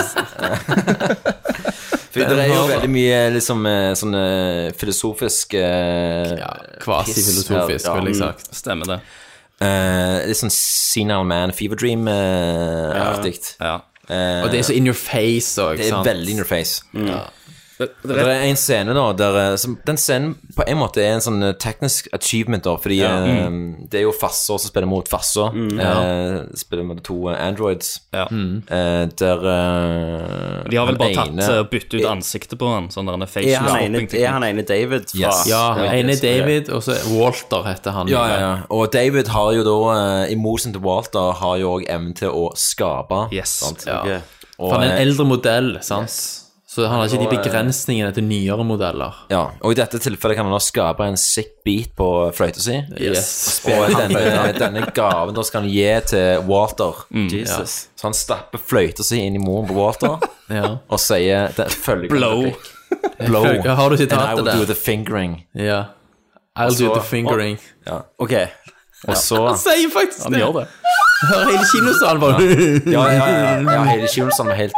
Speaker 2: For det er jo veldig mye liksom, eh, sånn eh, filosofisk eh,
Speaker 8: kvasifilosofisk,
Speaker 2: piss her, ja.
Speaker 8: ville jeg sagt.
Speaker 7: Stemmer det.
Speaker 2: Eh, litt sånn Senile Man Fever Dream-aktig.
Speaker 8: Og det er så in your face òg,
Speaker 2: Eh, Det er
Speaker 8: sant?
Speaker 2: veldig in your face.
Speaker 8: Ja.
Speaker 7: Det,
Speaker 2: Og Altså, Det er en scene da der, eh, som, Den scenen på en måte er en sånn eh, teknisk achievement, da, fordi
Speaker 16: Ja.
Speaker 2: eh, det er jo Fasser som spiller mot Fasser.
Speaker 16: Ja.
Speaker 2: eh, spiller mot to eh, androids.
Speaker 7: Mm.
Speaker 2: Eh, der eh,
Speaker 7: De har
Speaker 2: han
Speaker 7: vel bare tatt
Speaker 2: ene-
Speaker 7: eh, byttet ut ansiktet på han, sånn der han er
Speaker 1: Er han ene,
Speaker 7: facial-shopping.
Speaker 1: er han ene David fra
Speaker 2: Yes.
Speaker 8: Ja,
Speaker 2: Ja,
Speaker 8: ene
Speaker 2: yes,
Speaker 8: er David, og så Walter heter han.
Speaker 2: Ja, ja, ja. Og David har jo da, eh, i motsetning til Walter, har jo òg evnen til å skape.
Speaker 7: Yes.
Speaker 2: sant?
Speaker 8: Ja.
Speaker 2: Og,
Speaker 8: For han er en
Speaker 2: eh,
Speaker 8: eldre modell, sant? Så Så han har ikke de begrensningene til nyere modeller.
Speaker 2: Ja, og i dette tilfellet kan han da skape en sick beat på fløyta si.
Speaker 8: Yes.
Speaker 2: Og denne, denne gaven da skal han gi til Walter.
Speaker 8: Mm.
Speaker 1: Jesus.
Speaker 2: Så han stapper fløyta si inn i muren på Walter
Speaker 8: Ja.
Speaker 2: og sier det følgende
Speaker 8: Blow.
Speaker 2: replikk. Blow.
Speaker 8: Følger- har du sitatet
Speaker 2: And I will
Speaker 8: der?
Speaker 2: do the fingering.
Speaker 8: Ja. I'll do the fingering.
Speaker 2: Og, ja. Ok. Og så
Speaker 8: Han sier faktisk
Speaker 7: Han gjør det.
Speaker 8: Hører hele kinosalen bare
Speaker 2: Ja, ja, ja, ja hele Kilson er helt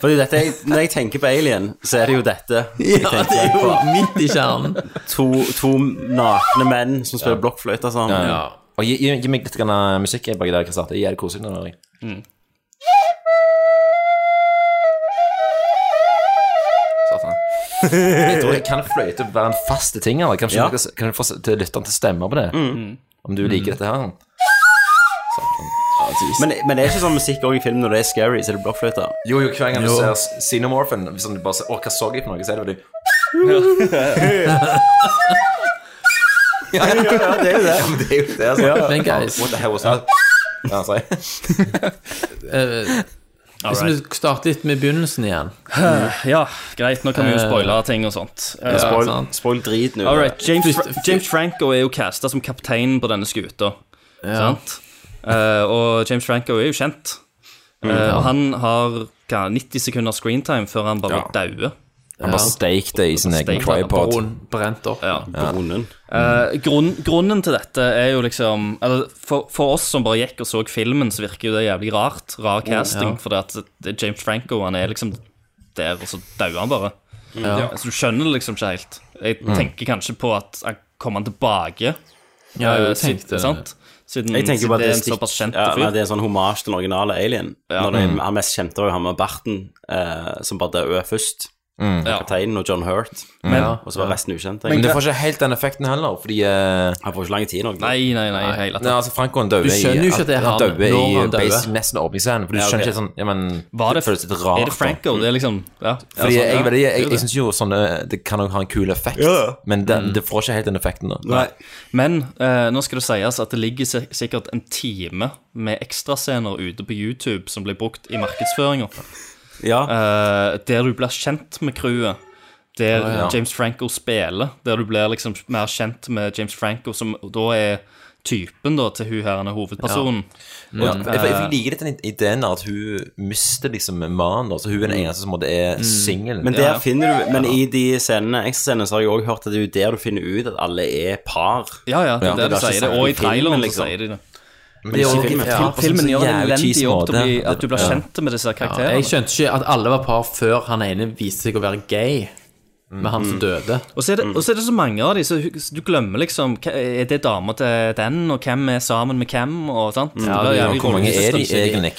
Speaker 1: Fordi dette, er- Når jeg tenker på Alien, så er det jo dette. jeg
Speaker 8: Ja,
Speaker 1: tenker
Speaker 8: det er jo
Speaker 1: på.
Speaker 8: midt i kjernen.
Speaker 1: To, to nakne menn som spiller blokkfløyte sammen.
Speaker 2: Ja. Og gi, gi, gi meg litt grann, eh, musikk baki der, Kristian. Det er jævlig koselig. når jeg-
Speaker 8: Mm.
Speaker 2: Satan. Jeg tror jeg kan fløyte være en fast ting. Eller? Kanskje
Speaker 1: Ja.
Speaker 2: dere s- kan du få s- til lytteren til å stemme på det?
Speaker 1: Mm.
Speaker 2: Om du liker dette her?
Speaker 1: Men, men det er ikke sånn musikk også i film når det er scary, så er det blokkfløyte.
Speaker 2: Jo, jo, hver gang du
Speaker 1: Jo.
Speaker 2: ser Xenomorphen Hvis du bare ser, åh, hva så jeg på noe? Så er det bare ja, ja,
Speaker 1: det
Speaker 2: ja,
Speaker 1: er jo det.
Speaker 2: men det er jo det, altså.
Speaker 8: Ja. Men guys-
Speaker 2: What the hell was that? Ja, sorry.
Speaker 8: Eh, Hvis vi starter litt med begynnelsen igjen
Speaker 7: Ja, greit. Nå kan vi jo
Speaker 8: Eh,
Speaker 7: spoile ting og sånt. Eh,
Speaker 1: spoil,
Speaker 7: sant.
Speaker 1: spoil drit nå.
Speaker 7: All right, James,
Speaker 1: Først-
Speaker 7: Fra James Franco er jo casta som kaptein på denne skuta. Sant? Eh, og James Franco er jo kjent. Eh,
Speaker 2: Mm.
Speaker 7: Og han har hva, 90 sekunder screentime før han bare
Speaker 2: Ja.
Speaker 7: dauer.
Speaker 2: Han bare steak det i sin egen
Speaker 7: Steak det.
Speaker 2: tripod.
Speaker 8: Broen brent opp
Speaker 7: Ja.
Speaker 1: Bronen.
Speaker 7: Eh, grunn, grunnen til dette er jo liksom eller for, for oss som bare gikk og så filmen, så virker jo det jævlig rart. Rar casting.
Speaker 8: Mm, ja.
Speaker 7: For at det- James Franco han er liksom der, og så dauer han bare.
Speaker 8: Mm, Ja.
Speaker 7: Så du skjønner det liksom ikke helt. Jeg
Speaker 8: Mm.
Speaker 7: tenker kanskje på at han kommer han tilbake.
Speaker 8: Ja, jeg
Speaker 7: eh,
Speaker 8: tenkte
Speaker 7: siden,
Speaker 8: det.
Speaker 7: sant? Siden,
Speaker 1: Jeg tenker
Speaker 7: siden
Speaker 1: bare at det,
Speaker 7: det er en
Speaker 1: stikk-
Speaker 7: såpass kjent
Speaker 1: ja,
Speaker 7: fyr.
Speaker 1: nei, det er en sånn hommage til den originale Alien.
Speaker 7: Ja.
Speaker 1: Når det,
Speaker 7: Mm.
Speaker 1: Han mest kjente var jo han med barten, eh, som bare døde først.
Speaker 2: Mm.
Speaker 7: Ja.
Speaker 1: Kapteinen og John Hurt.
Speaker 7: Mm.
Speaker 2: Men-
Speaker 1: og så var resten ukjent.
Speaker 2: Men du får ikke helt den effekten heller, fordi eh,
Speaker 1: Han får ikke lang tid nok.
Speaker 7: Nei, nei, nei, i hele
Speaker 2: Nei,
Speaker 7: tatt.
Speaker 2: altså Francoen døde
Speaker 8: Du skjønner jo ikke at det er han,
Speaker 2: døde
Speaker 8: når
Speaker 2: i
Speaker 8: han døde.
Speaker 2: basic nesten åpningsscenen. For du
Speaker 7: Ja, ok.
Speaker 2: skjønner ikke sånn ja, men,
Speaker 7: Var det,
Speaker 2: føles litt rart.
Speaker 7: er det
Speaker 2: da.
Speaker 7: Franco? Det er liksom ja.
Speaker 2: Fordi jeg,
Speaker 7: ja, sånn,
Speaker 2: jeg,
Speaker 7: ja.
Speaker 2: jeg, jeg,
Speaker 7: Det Mm. er jo det.
Speaker 2: synes jo sånne Det kan jo ha en kul effekt,
Speaker 7: Ja.
Speaker 2: men den, det får ikke helt den effekten. da
Speaker 7: Mm. Men eh, nå skal det sies at det ligger sik- sikkert en time med ekstrascener ute på YouTube som blir brukt i markedsføringa. der du blir kjent med crewet. Der
Speaker 2: Å, ja.
Speaker 7: James Franco spiller. Der du blir liksom mer kjent med James Franco, som da er typen da til hun her han er hovedpersonen.
Speaker 2: Og jeg, jeg, jeg
Speaker 7: Eh,
Speaker 2: liker litt den ideen der at hun mister liksom mannen. da, Så hun er
Speaker 7: Mm.
Speaker 2: den eneste som på en måte er singel.
Speaker 1: Men der finner du Men i de scenene, ekstrascenene så har jeg også hørt at det er jo der du finner ut at alle er par.
Speaker 7: Ja, ja, det er det
Speaker 1: var
Speaker 7: de
Speaker 1: ikke sant
Speaker 7: sier. det, Og i
Speaker 1: i filmen,
Speaker 7: traileren så
Speaker 1: liksom.
Speaker 7: sier de det.
Speaker 1: Men det er jo-
Speaker 7: Fil-
Speaker 1: ja,
Speaker 7: fil-
Speaker 1: på
Speaker 8: Altså,
Speaker 1: sånn
Speaker 7: filmen gjør en
Speaker 2: jævlig
Speaker 7: elendig
Speaker 2: cheese
Speaker 7: jobb til å bli,
Speaker 2: måte.
Speaker 7: at du blir
Speaker 2: Ja.
Speaker 7: kjent med disse
Speaker 8: Ja,
Speaker 7: karakterene.
Speaker 8: Jeg skjønte ikke at alle var par før han ene viste seg å være gay med han som døde.
Speaker 7: Og så, er det, og så er det så mange av de, så hu- så du glemmer liksom hva- Er det dama til den, og hvem er sammen med hvem, og sant?
Speaker 2: Ja,
Speaker 7: Det
Speaker 2: det
Speaker 7: blir
Speaker 2: er jo
Speaker 7: jævlig
Speaker 2: Hvor mange er de
Speaker 7: rollesystem.
Speaker 2: egentlig?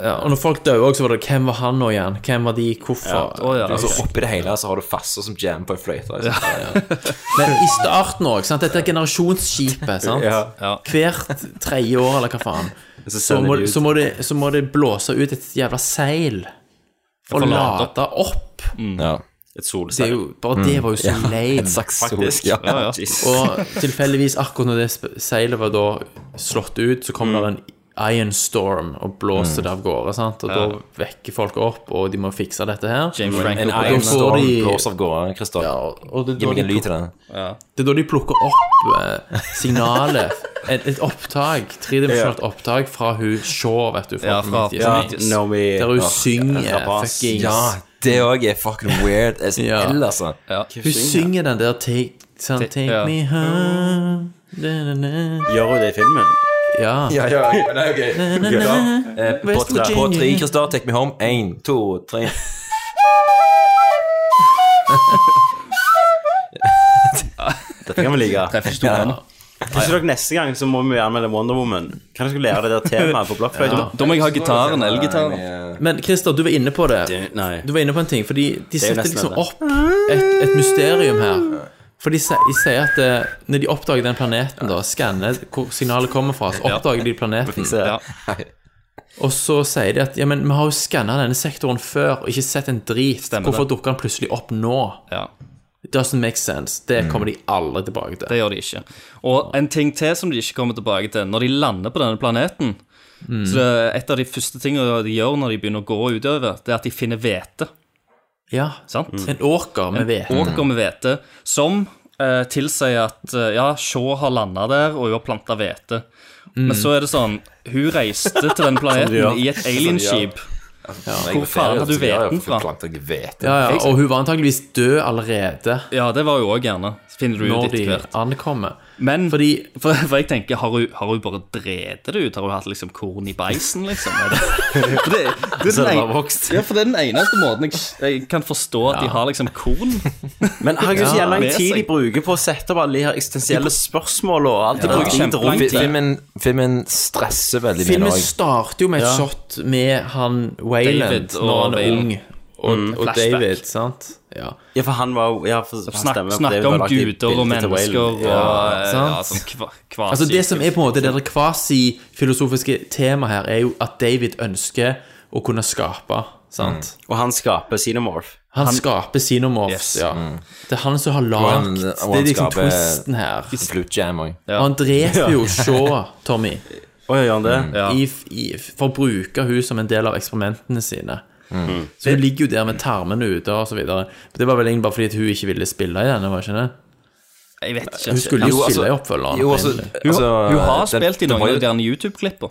Speaker 8: Ja, og når folk døde også, så var det Hvem var han nå igjen? Hvem var de? Hvorfor?
Speaker 7: Å, ja.
Speaker 2: Altså Oppi det hele så har du fasser som jammer på en fløyte. liksom.
Speaker 8: Men i starten òg. Dette er generasjonsskipet. sant?
Speaker 2: Ja.
Speaker 8: Hvert tredje år, eller hva faen.
Speaker 1: Så
Speaker 8: Så
Speaker 1: sender
Speaker 8: må,
Speaker 1: de ut.
Speaker 8: så, må det, så må det blåse ut et jævla seil. Og
Speaker 7: For å lade
Speaker 8: lade opp.
Speaker 2: Ja.
Speaker 1: Et
Speaker 8: Det er
Speaker 1: solseil.
Speaker 8: jo, bare det var jo så
Speaker 2: Mm. Ja,
Speaker 8: lame.
Speaker 2: Et slags
Speaker 1: Faktisk.
Speaker 2: Ja.
Speaker 7: Ja, ja.
Speaker 1: Jesus.
Speaker 8: Og tilfeldigvis, akkurat når det sp- seilet var da slått ut, så kom det en iron storm og blåste
Speaker 2: Mm.
Speaker 8: det av gårde. sant? Og
Speaker 7: Ja.
Speaker 8: da vekker folk opp, og de må fikse dette her.
Speaker 7: James
Speaker 2: En
Speaker 7: Franco.
Speaker 8: da
Speaker 2: iron
Speaker 8: får
Speaker 2: storm
Speaker 8: de-
Speaker 2: blåser av gårde, Christer.
Speaker 8: Ja, og det,
Speaker 2: Gi
Speaker 8: er da
Speaker 2: meg
Speaker 8: de
Speaker 2: en lyd
Speaker 8: pluk-
Speaker 2: til den.
Speaker 7: Ja.
Speaker 8: det er da de plukker opp eh, signalet. Et, et opptak, tredimensjonalt opptak fra hun Shaw, vet du.
Speaker 7: Ja, fra-
Speaker 1: Ja,
Speaker 8: 1990s,
Speaker 1: Naomi
Speaker 8: der hun
Speaker 1: ja,
Speaker 8: synger
Speaker 1: Rapaz.
Speaker 8: fuckings
Speaker 2: Ja,
Speaker 7: Ah,
Speaker 2: det òg er fucking weird as
Speaker 8: Ja.
Speaker 2: hell, altså.
Speaker 7: Ja.
Speaker 8: Hun synger den der Take, sånn,
Speaker 7: Take-
Speaker 8: take
Speaker 7: ja.
Speaker 8: me home da, da, da.
Speaker 1: Gjør hun det i filmen?
Speaker 8: Ja.
Speaker 2: Ja, ja, ja, nei, ok. Ja. Eh, På
Speaker 8: West
Speaker 2: tre, på
Speaker 8: Virginia.
Speaker 2: tre Kristian, take me home. Én, to, tre.
Speaker 1: Dette kan vi like.
Speaker 7: Treffer ikke tonen.
Speaker 1: Kanskje dere neste gang så må vi anmelde Wonder Woman. Kan dere lære det der temaet på blokkfløyta?
Speaker 7: Da- Da må jeg ha gitaren, elgitaren.
Speaker 8: Men Christer, du var inne på det.
Speaker 1: Det- nei.
Speaker 8: Du var inne på en ting, fordi de
Speaker 1: er jo
Speaker 8: setter
Speaker 1: nesten
Speaker 8: liksom
Speaker 1: det.
Speaker 8: opp et, et mysterium her. For de sier, de sier at eh, når de oppdager den planeten, da, skanner hvor signalet kommer fra, så oppdager de planeten.
Speaker 7: Ja.
Speaker 8: Og så sier de at ja, men vi har jo skanna denne sektoren før og ikke sett en drit.
Speaker 7: Stemmer
Speaker 8: Hvorfor
Speaker 7: det.
Speaker 8: dukker den plutselig opp nå?
Speaker 7: ja.
Speaker 8: It doesn't make sense. Det kommer de aldri tilbake til.
Speaker 7: Det gjør de ikke. Og en ting til som de ikke kommer tilbake til. Når de lander på denne planeten
Speaker 8: Mm.
Speaker 7: Så det er Et av de første tingene de gjør når de begynner å gå utover, det er at de finner hvete.
Speaker 8: Ja, Mm.
Speaker 7: sant? Mm.
Speaker 8: En åker med hvete.
Speaker 7: En åker med hvete, som eh, tilsier at eh, ja, Shaw har landa der, og hun har planta hvete.
Speaker 8: Mm.
Speaker 7: Men så er det sånn Hun reiste til den planeten
Speaker 8: Som de gjør.
Speaker 7: i et alienskip. Hvor faen har du hveten fra?
Speaker 8: Ja, ja, og hun var antageligvis død allerede.
Speaker 7: Ja, det var jo òg gjerne. Finner du
Speaker 8: Når
Speaker 7: ut etter
Speaker 8: de
Speaker 7: hvert.
Speaker 8: ankommer.
Speaker 7: Men for, for jeg tenker, har hun, har hun bare drevet det ut? Har hun hatt liksom korn i beisen, liksom? Er det, for det, det, er
Speaker 1: Så
Speaker 7: den
Speaker 1: det
Speaker 7: en-
Speaker 1: har vokst.
Speaker 7: ja, for det er den eneste måten jeg, jeg kan forstå at de har liksom korn.
Speaker 1: Men herregud, så
Speaker 7: Ja.
Speaker 1: jævla lang
Speaker 7: Med seg.
Speaker 1: tid de bruker på å sette opp alle de her eksistensielle spørsmål og alt. De
Speaker 2: Ja.
Speaker 1: bruker kjempelang
Speaker 2: Fi-
Speaker 1: tid.
Speaker 2: Filmen, filmen stresser veldig mye.
Speaker 8: Filmen
Speaker 2: nå, jeg-
Speaker 8: starter jo med et
Speaker 2: Ja.
Speaker 8: shot med han Wayland
Speaker 2: David og
Speaker 8: når han er
Speaker 2: Wayland.
Speaker 8: ung. Og,
Speaker 2: Mm.
Speaker 8: og
Speaker 2: Flashback.
Speaker 8: David, sant? Ja.
Speaker 1: Ja, for han var jo ja, for, han
Speaker 7: Snakk-
Speaker 1: stemmer, for
Speaker 7: snakke
Speaker 1: det er jo
Speaker 7: om
Speaker 1: bare lagt i
Speaker 7: guder og
Speaker 1: bildet til Whalen.
Speaker 7: mennesker og
Speaker 1: Ja,
Speaker 7: ja,
Speaker 8: sant?
Speaker 7: sånn kva, kvasi
Speaker 8: Altså Det som er på en måte det der kvasifilosofiske temaet her, er jo at David ønsker å kunne skape. Sant?
Speaker 1: Og han skaper Xenomorph.
Speaker 8: Han,
Speaker 1: Han-
Speaker 8: skaper Xenomorphs,
Speaker 1: Yes.
Speaker 8: ja.
Speaker 1: Mm.
Speaker 8: Det er han som har
Speaker 2: Og han-
Speaker 8: lagd
Speaker 2: og
Speaker 8: Det
Speaker 2: han
Speaker 8: er liksom
Speaker 2: skaper
Speaker 8: twisten her.
Speaker 2: Blue Jam òg.
Speaker 8: Og Han dreper jo Shaw, Tommy,
Speaker 1: Å, gjør han det? Ja.
Speaker 8: i, i, for å bruke hun som en del av eksperimentene sine.
Speaker 1: Mm.
Speaker 8: Så hun ligger jo der med tarmene ute og så videre. Men Det var vel egentlig bare fordi at hun ikke ville spille i denne, var ikke det?
Speaker 7: Jeg vet ikke.
Speaker 8: Hun skulle jo spille i oppfølgeren.
Speaker 2: altså- jo, altså-
Speaker 8: egentlig.
Speaker 7: Hun,
Speaker 2: altså,
Speaker 7: hun har
Speaker 2: det-
Speaker 7: spilt i
Speaker 2: det var
Speaker 7: noen
Speaker 2: jo-
Speaker 7: av de YouTube-klipper.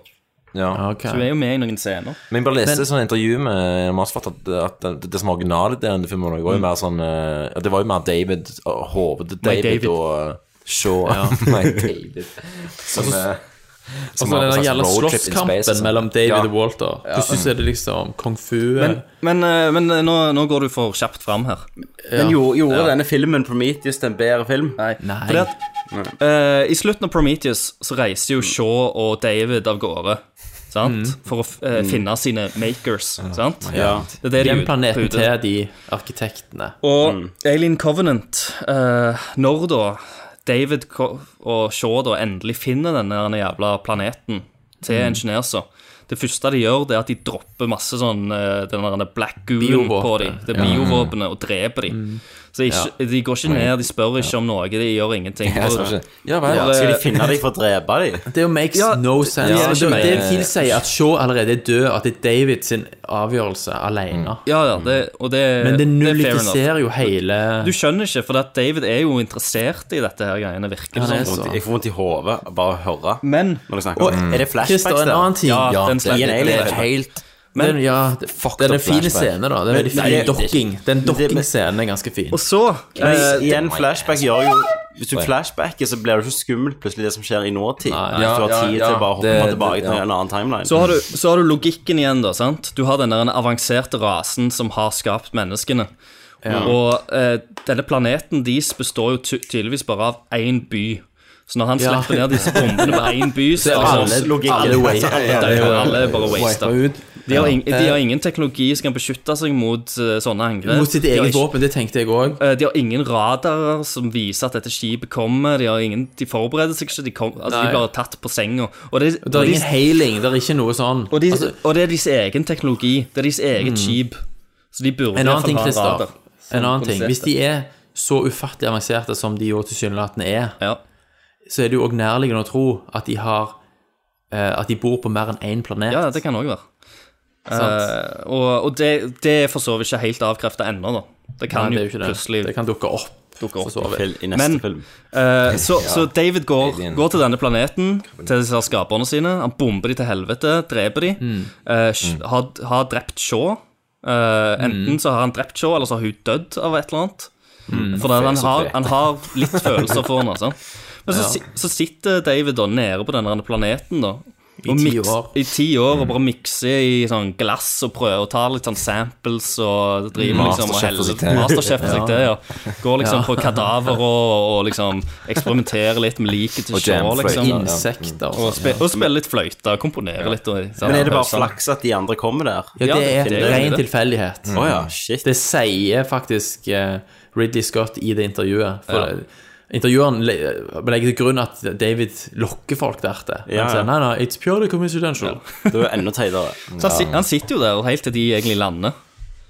Speaker 2: Ja.
Speaker 7: Så hun er jo med i noen scener.
Speaker 2: Men jeg bare leste
Speaker 7: Men-
Speaker 2: et sånt intervju med Masfat at, at det, det som var originalet der i filmen, var jo
Speaker 7: Mm.
Speaker 2: mer sånn eh, ja, Det var jo mer David, og hovedet
Speaker 8: My
Speaker 2: David,
Speaker 8: David.
Speaker 2: og eh, Shaw.
Speaker 8: Ja.
Speaker 2: My David. Som,
Speaker 8: Altså,
Speaker 2: eh,
Speaker 8: Altså
Speaker 2: som var
Speaker 8: den
Speaker 2: en
Speaker 8: der
Speaker 2: slags
Speaker 8: gjelder
Speaker 2: roadtrip in space,
Speaker 8: slåsskampen
Speaker 2: altså.
Speaker 8: mellom David
Speaker 2: Ja.
Speaker 8: og Walter.
Speaker 2: Ja.
Speaker 8: Plutselig så er det liksom kung fu
Speaker 7: Men, men, eh, men eh, nå, nå går du for kjapt fram her.
Speaker 1: Men gjorde, gjorde denne filmen Prometheus til en bedre film?
Speaker 7: Nei. Fordi at, eh, I slutten av Prometheus så reiser jo Shaw og David av gårde. Sant? For å f- eh,
Speaker 8: Mm. Mm.
Speaker 7: finne sine makers. sant?
Speaker 8: Ja.
Speaker 7: Det er det de
Speaker 8: Den planeten
Speaker 7: utbryter.
Speaker 8: til Mm. de arkitektene.
Speaker 7: Og Alien Covenant eh, Når da David Ko- og Shaw da endelig finner denne her jævla planeten til
Speaker 8: Mm.
Speaker 7: ingeniørser Det første de gjør, det er at de dropper masse sånn eh, den der black goo
Speaker 8: Biovåpen.
Speaker 7: på dem. Det er
Speaker 8: Ja.
Speaker 7: biovåpenet, og dreper dem.
Speaker 8: Mm.
Speaker 7: Så ikke, de går ikke ned, de spør ikke om noe, de gjør ingenting.
Speaker 8: Ja,
Speaker 7: Bare-
Speaker 8: jeg skal ikke- Ja, vel.
Speaker 7: bare-
Speaker 1: Skal de finne dem for å drepe dem?
Speaker 8: Det jo makes no sense.
Speaker 7: det
Speaker 8: det,
Speaker 7: gir ikke
Speaker 8: det,
Speaker 7: mening.
Speaker 8: tilsier at Shaw allerede er død, at det er David sin avgjørelse alene.
Speaker 7: Ja, ja, det, og Mm. det
Speaker 8: Men det
Speaker 7: er fair
Speaker 8: nullifiserer
Speaker 7: enough.
Speaker 8: jo hele
Speaker 7: Du skjønner ikke, for at David er jo interessert i dette her greiene, virker det som.
Speaker 1: Jeg får vondt i hodet bare å høre
Speaker 7: Men
Speaker 1: når de snakker
Speaker 8: Og-
Speaker 1: om det. Er det flashbacks
Speaker 8: Christer, en
Speaker 1: der?
Speaker 8: annen ting.
Speaker 1: Ja,
Speaker 8: Ja,
Speaker 1: den
Speaker 8: det er en alien.
Speaker 1: helt
Speaker 8: Men, ja, det, det er en
Speaker 1: up
Speaker 8: fin
Speaker 1: flashback.
Speaker 8: scene, da. Det er
Speaker 1: Men-
Speaker 8: veldig
Speaker 1: Nei,
Speaker 8: fin
Speaker 1: det-
Speaker 8: dokking. Den
Speaker 1: det- men-
Speaker 8: dokkingscenen er ganske fin.
Speaker 7: Og så
Speaker 1: Men
Speaker 7: eh,
Speaker 1: igjen, flashback gjør jo Hvis du
Speaker 8: Sorry.
Speaker 1: flashbacker, så blir det ikke skummelt plutselig det som skjer i nåtid. Hvis
Speaker 2: ja,
Speaker 1: du har
Speaker 2: ja,
Speaker 1: tid
Speaker 2: ja.
Speaker 1: til å bare å hoppe
Speaker 2: Det-
Speaker 1: tilbake
Speaker 2: det-
Speaker 1: til
Speaker 2: ja.
Speaker 1: en annen timeline.
Speaker 7: Så har, du, så har du logikken igjen, da. sant? Du har den der avanserte rasen som har skapt menneskene.
Speaker 1: Ja.
Speaker 7: Og eh, denne planeten deres består jo ty tydeligvis bare av én by. Så når han
Speaker 8: Ja.
Speaker 7: slipper ned disse bombene på én by,
Speaker 8: Så
Speaker 7: så er
Speaker 8: alle-
Speaker 7: det sånn-
Speaker 8: logikken.
Speaker 7: alle,
Speaker 8: alle
Speaker 7: alle,
Speaker 8: waste.
Speaker 7: alle, alle er bare wasta.
Speaker 8: Wiper ut.
Speaker 7: De har,
Speaker 8: Ja.
Speaker 7: ing, de har ingen teknologi som kan beskytte seg mot eh, sånne angrep.
Speaker 8: Mot sitt
Speaker 7: De har
Speaker 8: eget
Speaker 7: ikke-
Speaker 8: våpen, det tenkte jeg òg.
Speaker 7: Eh, De har ingen radarer som viser at dette skipet kommer. De, har ingen, de forbereder seg ikke. De, kom, altså,
Speaker 8: Nei.
Speaker 7: de blir tatt på senga. Og det,
Speaker 8: Det er ingen hailing, det er ikke noe sånn.
Speaker 7: og, de,
Speaker 8: Altså,
Speaker 7: og det er deres egen teknologi. Det er deres eget
Speaker 8: Mm.
Speaker 7: skip. Så de burde
Speaker 8: en annen ting,
Speaker 7: iallfall ha en
Speaker 8: Christer.
Speaker 7: radar.
Speaker 8: En
Speaker 7: som
Speaker 8: annen ting.
Speaker 7: produserte.
Speaker 8: Hvis de er så ufattelig avanserte som de jo tilsynelatende er, så er det jo òg nærliggende å tro at de har eh, At de bor på mer enn én planet.
Speaker 7: Ja, det kan òg være.
Speaker 8: Sant.
Speaker 7: Eh, og og det, det er for så vidt ikke helt avkrefta ennå, da. Det kan
Speaker 8: Nei, det er
Speaker 7: jo
Speaker 8: jo ikke det.
Speaker 7: plutselig
Speaker 8: Det kan dukke opp.
Speaker 7: dukke
Speaker 8: for så
Speaker 7: opp.
Speaker 8: vidt.
Speaker 7: Men eh, så, så David går, går til denne planeten, til disse her skaperne sine. Han bomber de til helvete, dreper de.
Speaker 8: Mm.
Speaker 7: eh, sh- har, har drept Shaw. Eh, enten så har han drept Shaw, eller så har hun dødd av et eller annet.
Speaker 8: Mm.
Speaker 7: For han,
Speaker 8: Så
Speaker 7: har,
Speaker 8: fet.
Speaker 7: han har litt følelser for henne. sant? Men så,
Speaker 8: Ja.
Speaker 7: si- så sitter David da nede på denne planeten da
Speaker 8: I
Speaker 7: og
Speaker 8: ti
Speaker 7: miks-
Speaker 8: år.
Speaker 7: I ti år og bare mikser i sånn glass og prøver å ta litt sånn samples og
Speaker 8: Mm.
Speaker 7: driver liksom og
Speaker 2: Masterchef for
Speaker 7: heller
Speaker 2: sitt det.
Speaker 7: Masterchef for seg
Speaker 2: Ja.
Speaker 7: det, ja. Går liksom
Speaker 2: Ja.
Speaker 7: på kadaver og, og liksom eksperimenterer litt med liket til
Speaker 2: Og
Speaker 7: Shaw,
Speaker 2: jamfrø-
Speaker 7: liksom.
Speaker 8: insekter og
Speaker 7: og,
Speaker 8: sånn,
Speaker 7: spi
Speaker 8: ja.
Speaker 7: og spiller litt fløyte, komponerer litt og sant?
Speaker 1: Men er det bare
Speaker 7: Pausene.
Speaker 1: flaks at de andre kommer der?
Speaker 8: Ja, det er
Speaker 1: Finner
Speaker 8: et
Speaker 1: de
Speaker 8: ren
Speaker 1: det?
Speaker 8: tilfeldighet.
Speaker 7: Mm.
Speaker 1: Å ja, shit.
Speaker 8: Det sier faktisk eh, Ridley Scott i det intervjuet. For
Speaker 1: Ja.
Speaker 8: Intervjueren le- eh, legger til grunn at David lokker folk der til.
Speaker 1: Ja,
Speaker 8: Han sier
Speaker 1: ja.
Speaker 8: nei, nei, it's purely coincidental.
Speaker 1: Det var jo enda teitere.
Speaker 7: Så han, si- han sitter jo der helt til de egentlig lander.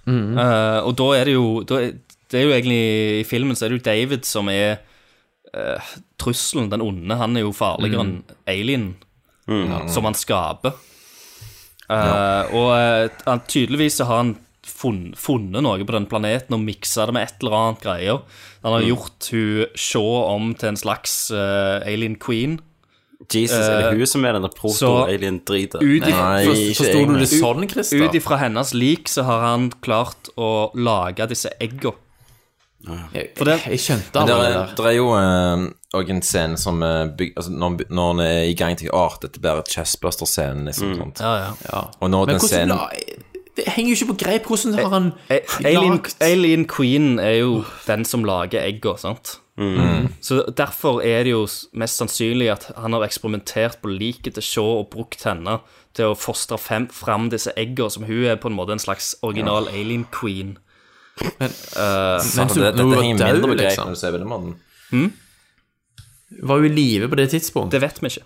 Speaker 8: Mhm.
Speaker 7: Eh, og da er det jo da, er- Det er jo egentlig I filmen så er det jo David som er eh, trusselen, den onde. Han er jo farligere
Speaker 8: Mhm.
Speaker 7: enn alien,
Speaker 8: Mhm.
Speaker 7: som han skaper. Eh, Og eh, han, tydeligvis så har han funnet, funnet noe på den planeten og miksa det med et eller annet greier. Han har gjort hun Shaw om til en slags eh, alien queen.
Speaker 1: Jesus, er det
Speaker 7: Eh,
Speaker 1: hun som er denne proto-alien-driten?
Speaker 7: Ut ifra,
Speaker 1: egentlig.
Speaker 7: Ut- Ut ifra hennes lik så har han klart å lage disse egga. For det- jeg skjønte
Speaker 2: Men
Speaker 7: aldri
Speaker 2: det
Speaker 7: det
Speaker 2: er, det er jo eh, også en scene som eh, byg, altså, når, han by- når han er i gang til Åh, dette blir et chestbuster-scene, liksom.
Speaker 7: Mm.
Speaker 2: Sånt.
Speaker 7: Ja, ja.
Speaker 2: Og når
Speaker 8: Men hvordan
Speaker 2: den scenen
Speaker 8: la, Det henger jo ikke på greip. Hvordan har han
Speaker 7: Eh, E- Alien,
Speaker 8: lagt
Speaker 7: Alien Queen er jo den som lager egga, sant?
Speaker 2: Mm.
Speaker 7: Så derfor er det jo s- mest sannsynlig at han har eksperimentert på liket til Shaw og brukt henne til å fostre fem, fram disse egga, som hun er på en måte en slags original Alien Queen.
Speaker 8: Men,
Speaker 2: Satan, det, Dette henger mindre på greit når du ser Villemann.
Speaker 8: liksom. Var jo i live på det tidspunkt.
Speaker 7: Det vet vi ikke.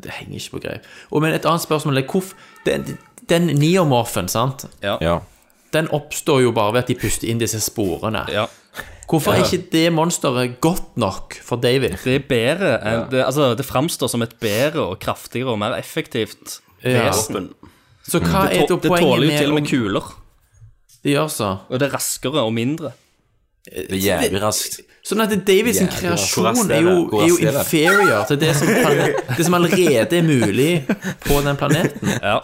Speaker 8: Det henger ikke på greip. Og men et annet spørsmål er hvorf, den, den neomorfen, sant?
Speaker 2: Ja.
Speaker 8: Den oppstår jo bare ved at de puster inn disse sporene. Hvorfor
Speaker 7: Ja.
Speaker 8: er ikke det monsteret godt nok for David?
Speaker 7: Det er bedre enn det, Altså, det framstår som et bedre og kraftigere og mer effektivt
Speaker 8: Ja.
Speaker 7: vesen.
Speaker 8: Så hva
Speaker 7: Det
Speaker 8: er da
Speaker 7: tå- Det
Speaker 8: poenget
Speaker 7: tåler jo
Speaker 8: med
Speaker 7: til og
Speaker 8: om-
Speaker 7: med kuler.
Speaker 8: Det gjør så.
Speaker 7: Og det er raskere og mindre.
Speaker 2: Det er jævlig raskt.
Speaker 8: Sånn at Davids
Speaker 7: Jævlig, hvor raskt
Speaker 8: kreasjon
Speaker 7: er
Speaker 8: er
Speaker 7: det?
Speaker 8: jo,
Speaker 7: Hvor
Speaker 8: er jo
Speaker 7: raskt er det?
Speaker 8: inferior til det som, plan- det som allerede er mulig på den planeten.
Speaker 7: Ja.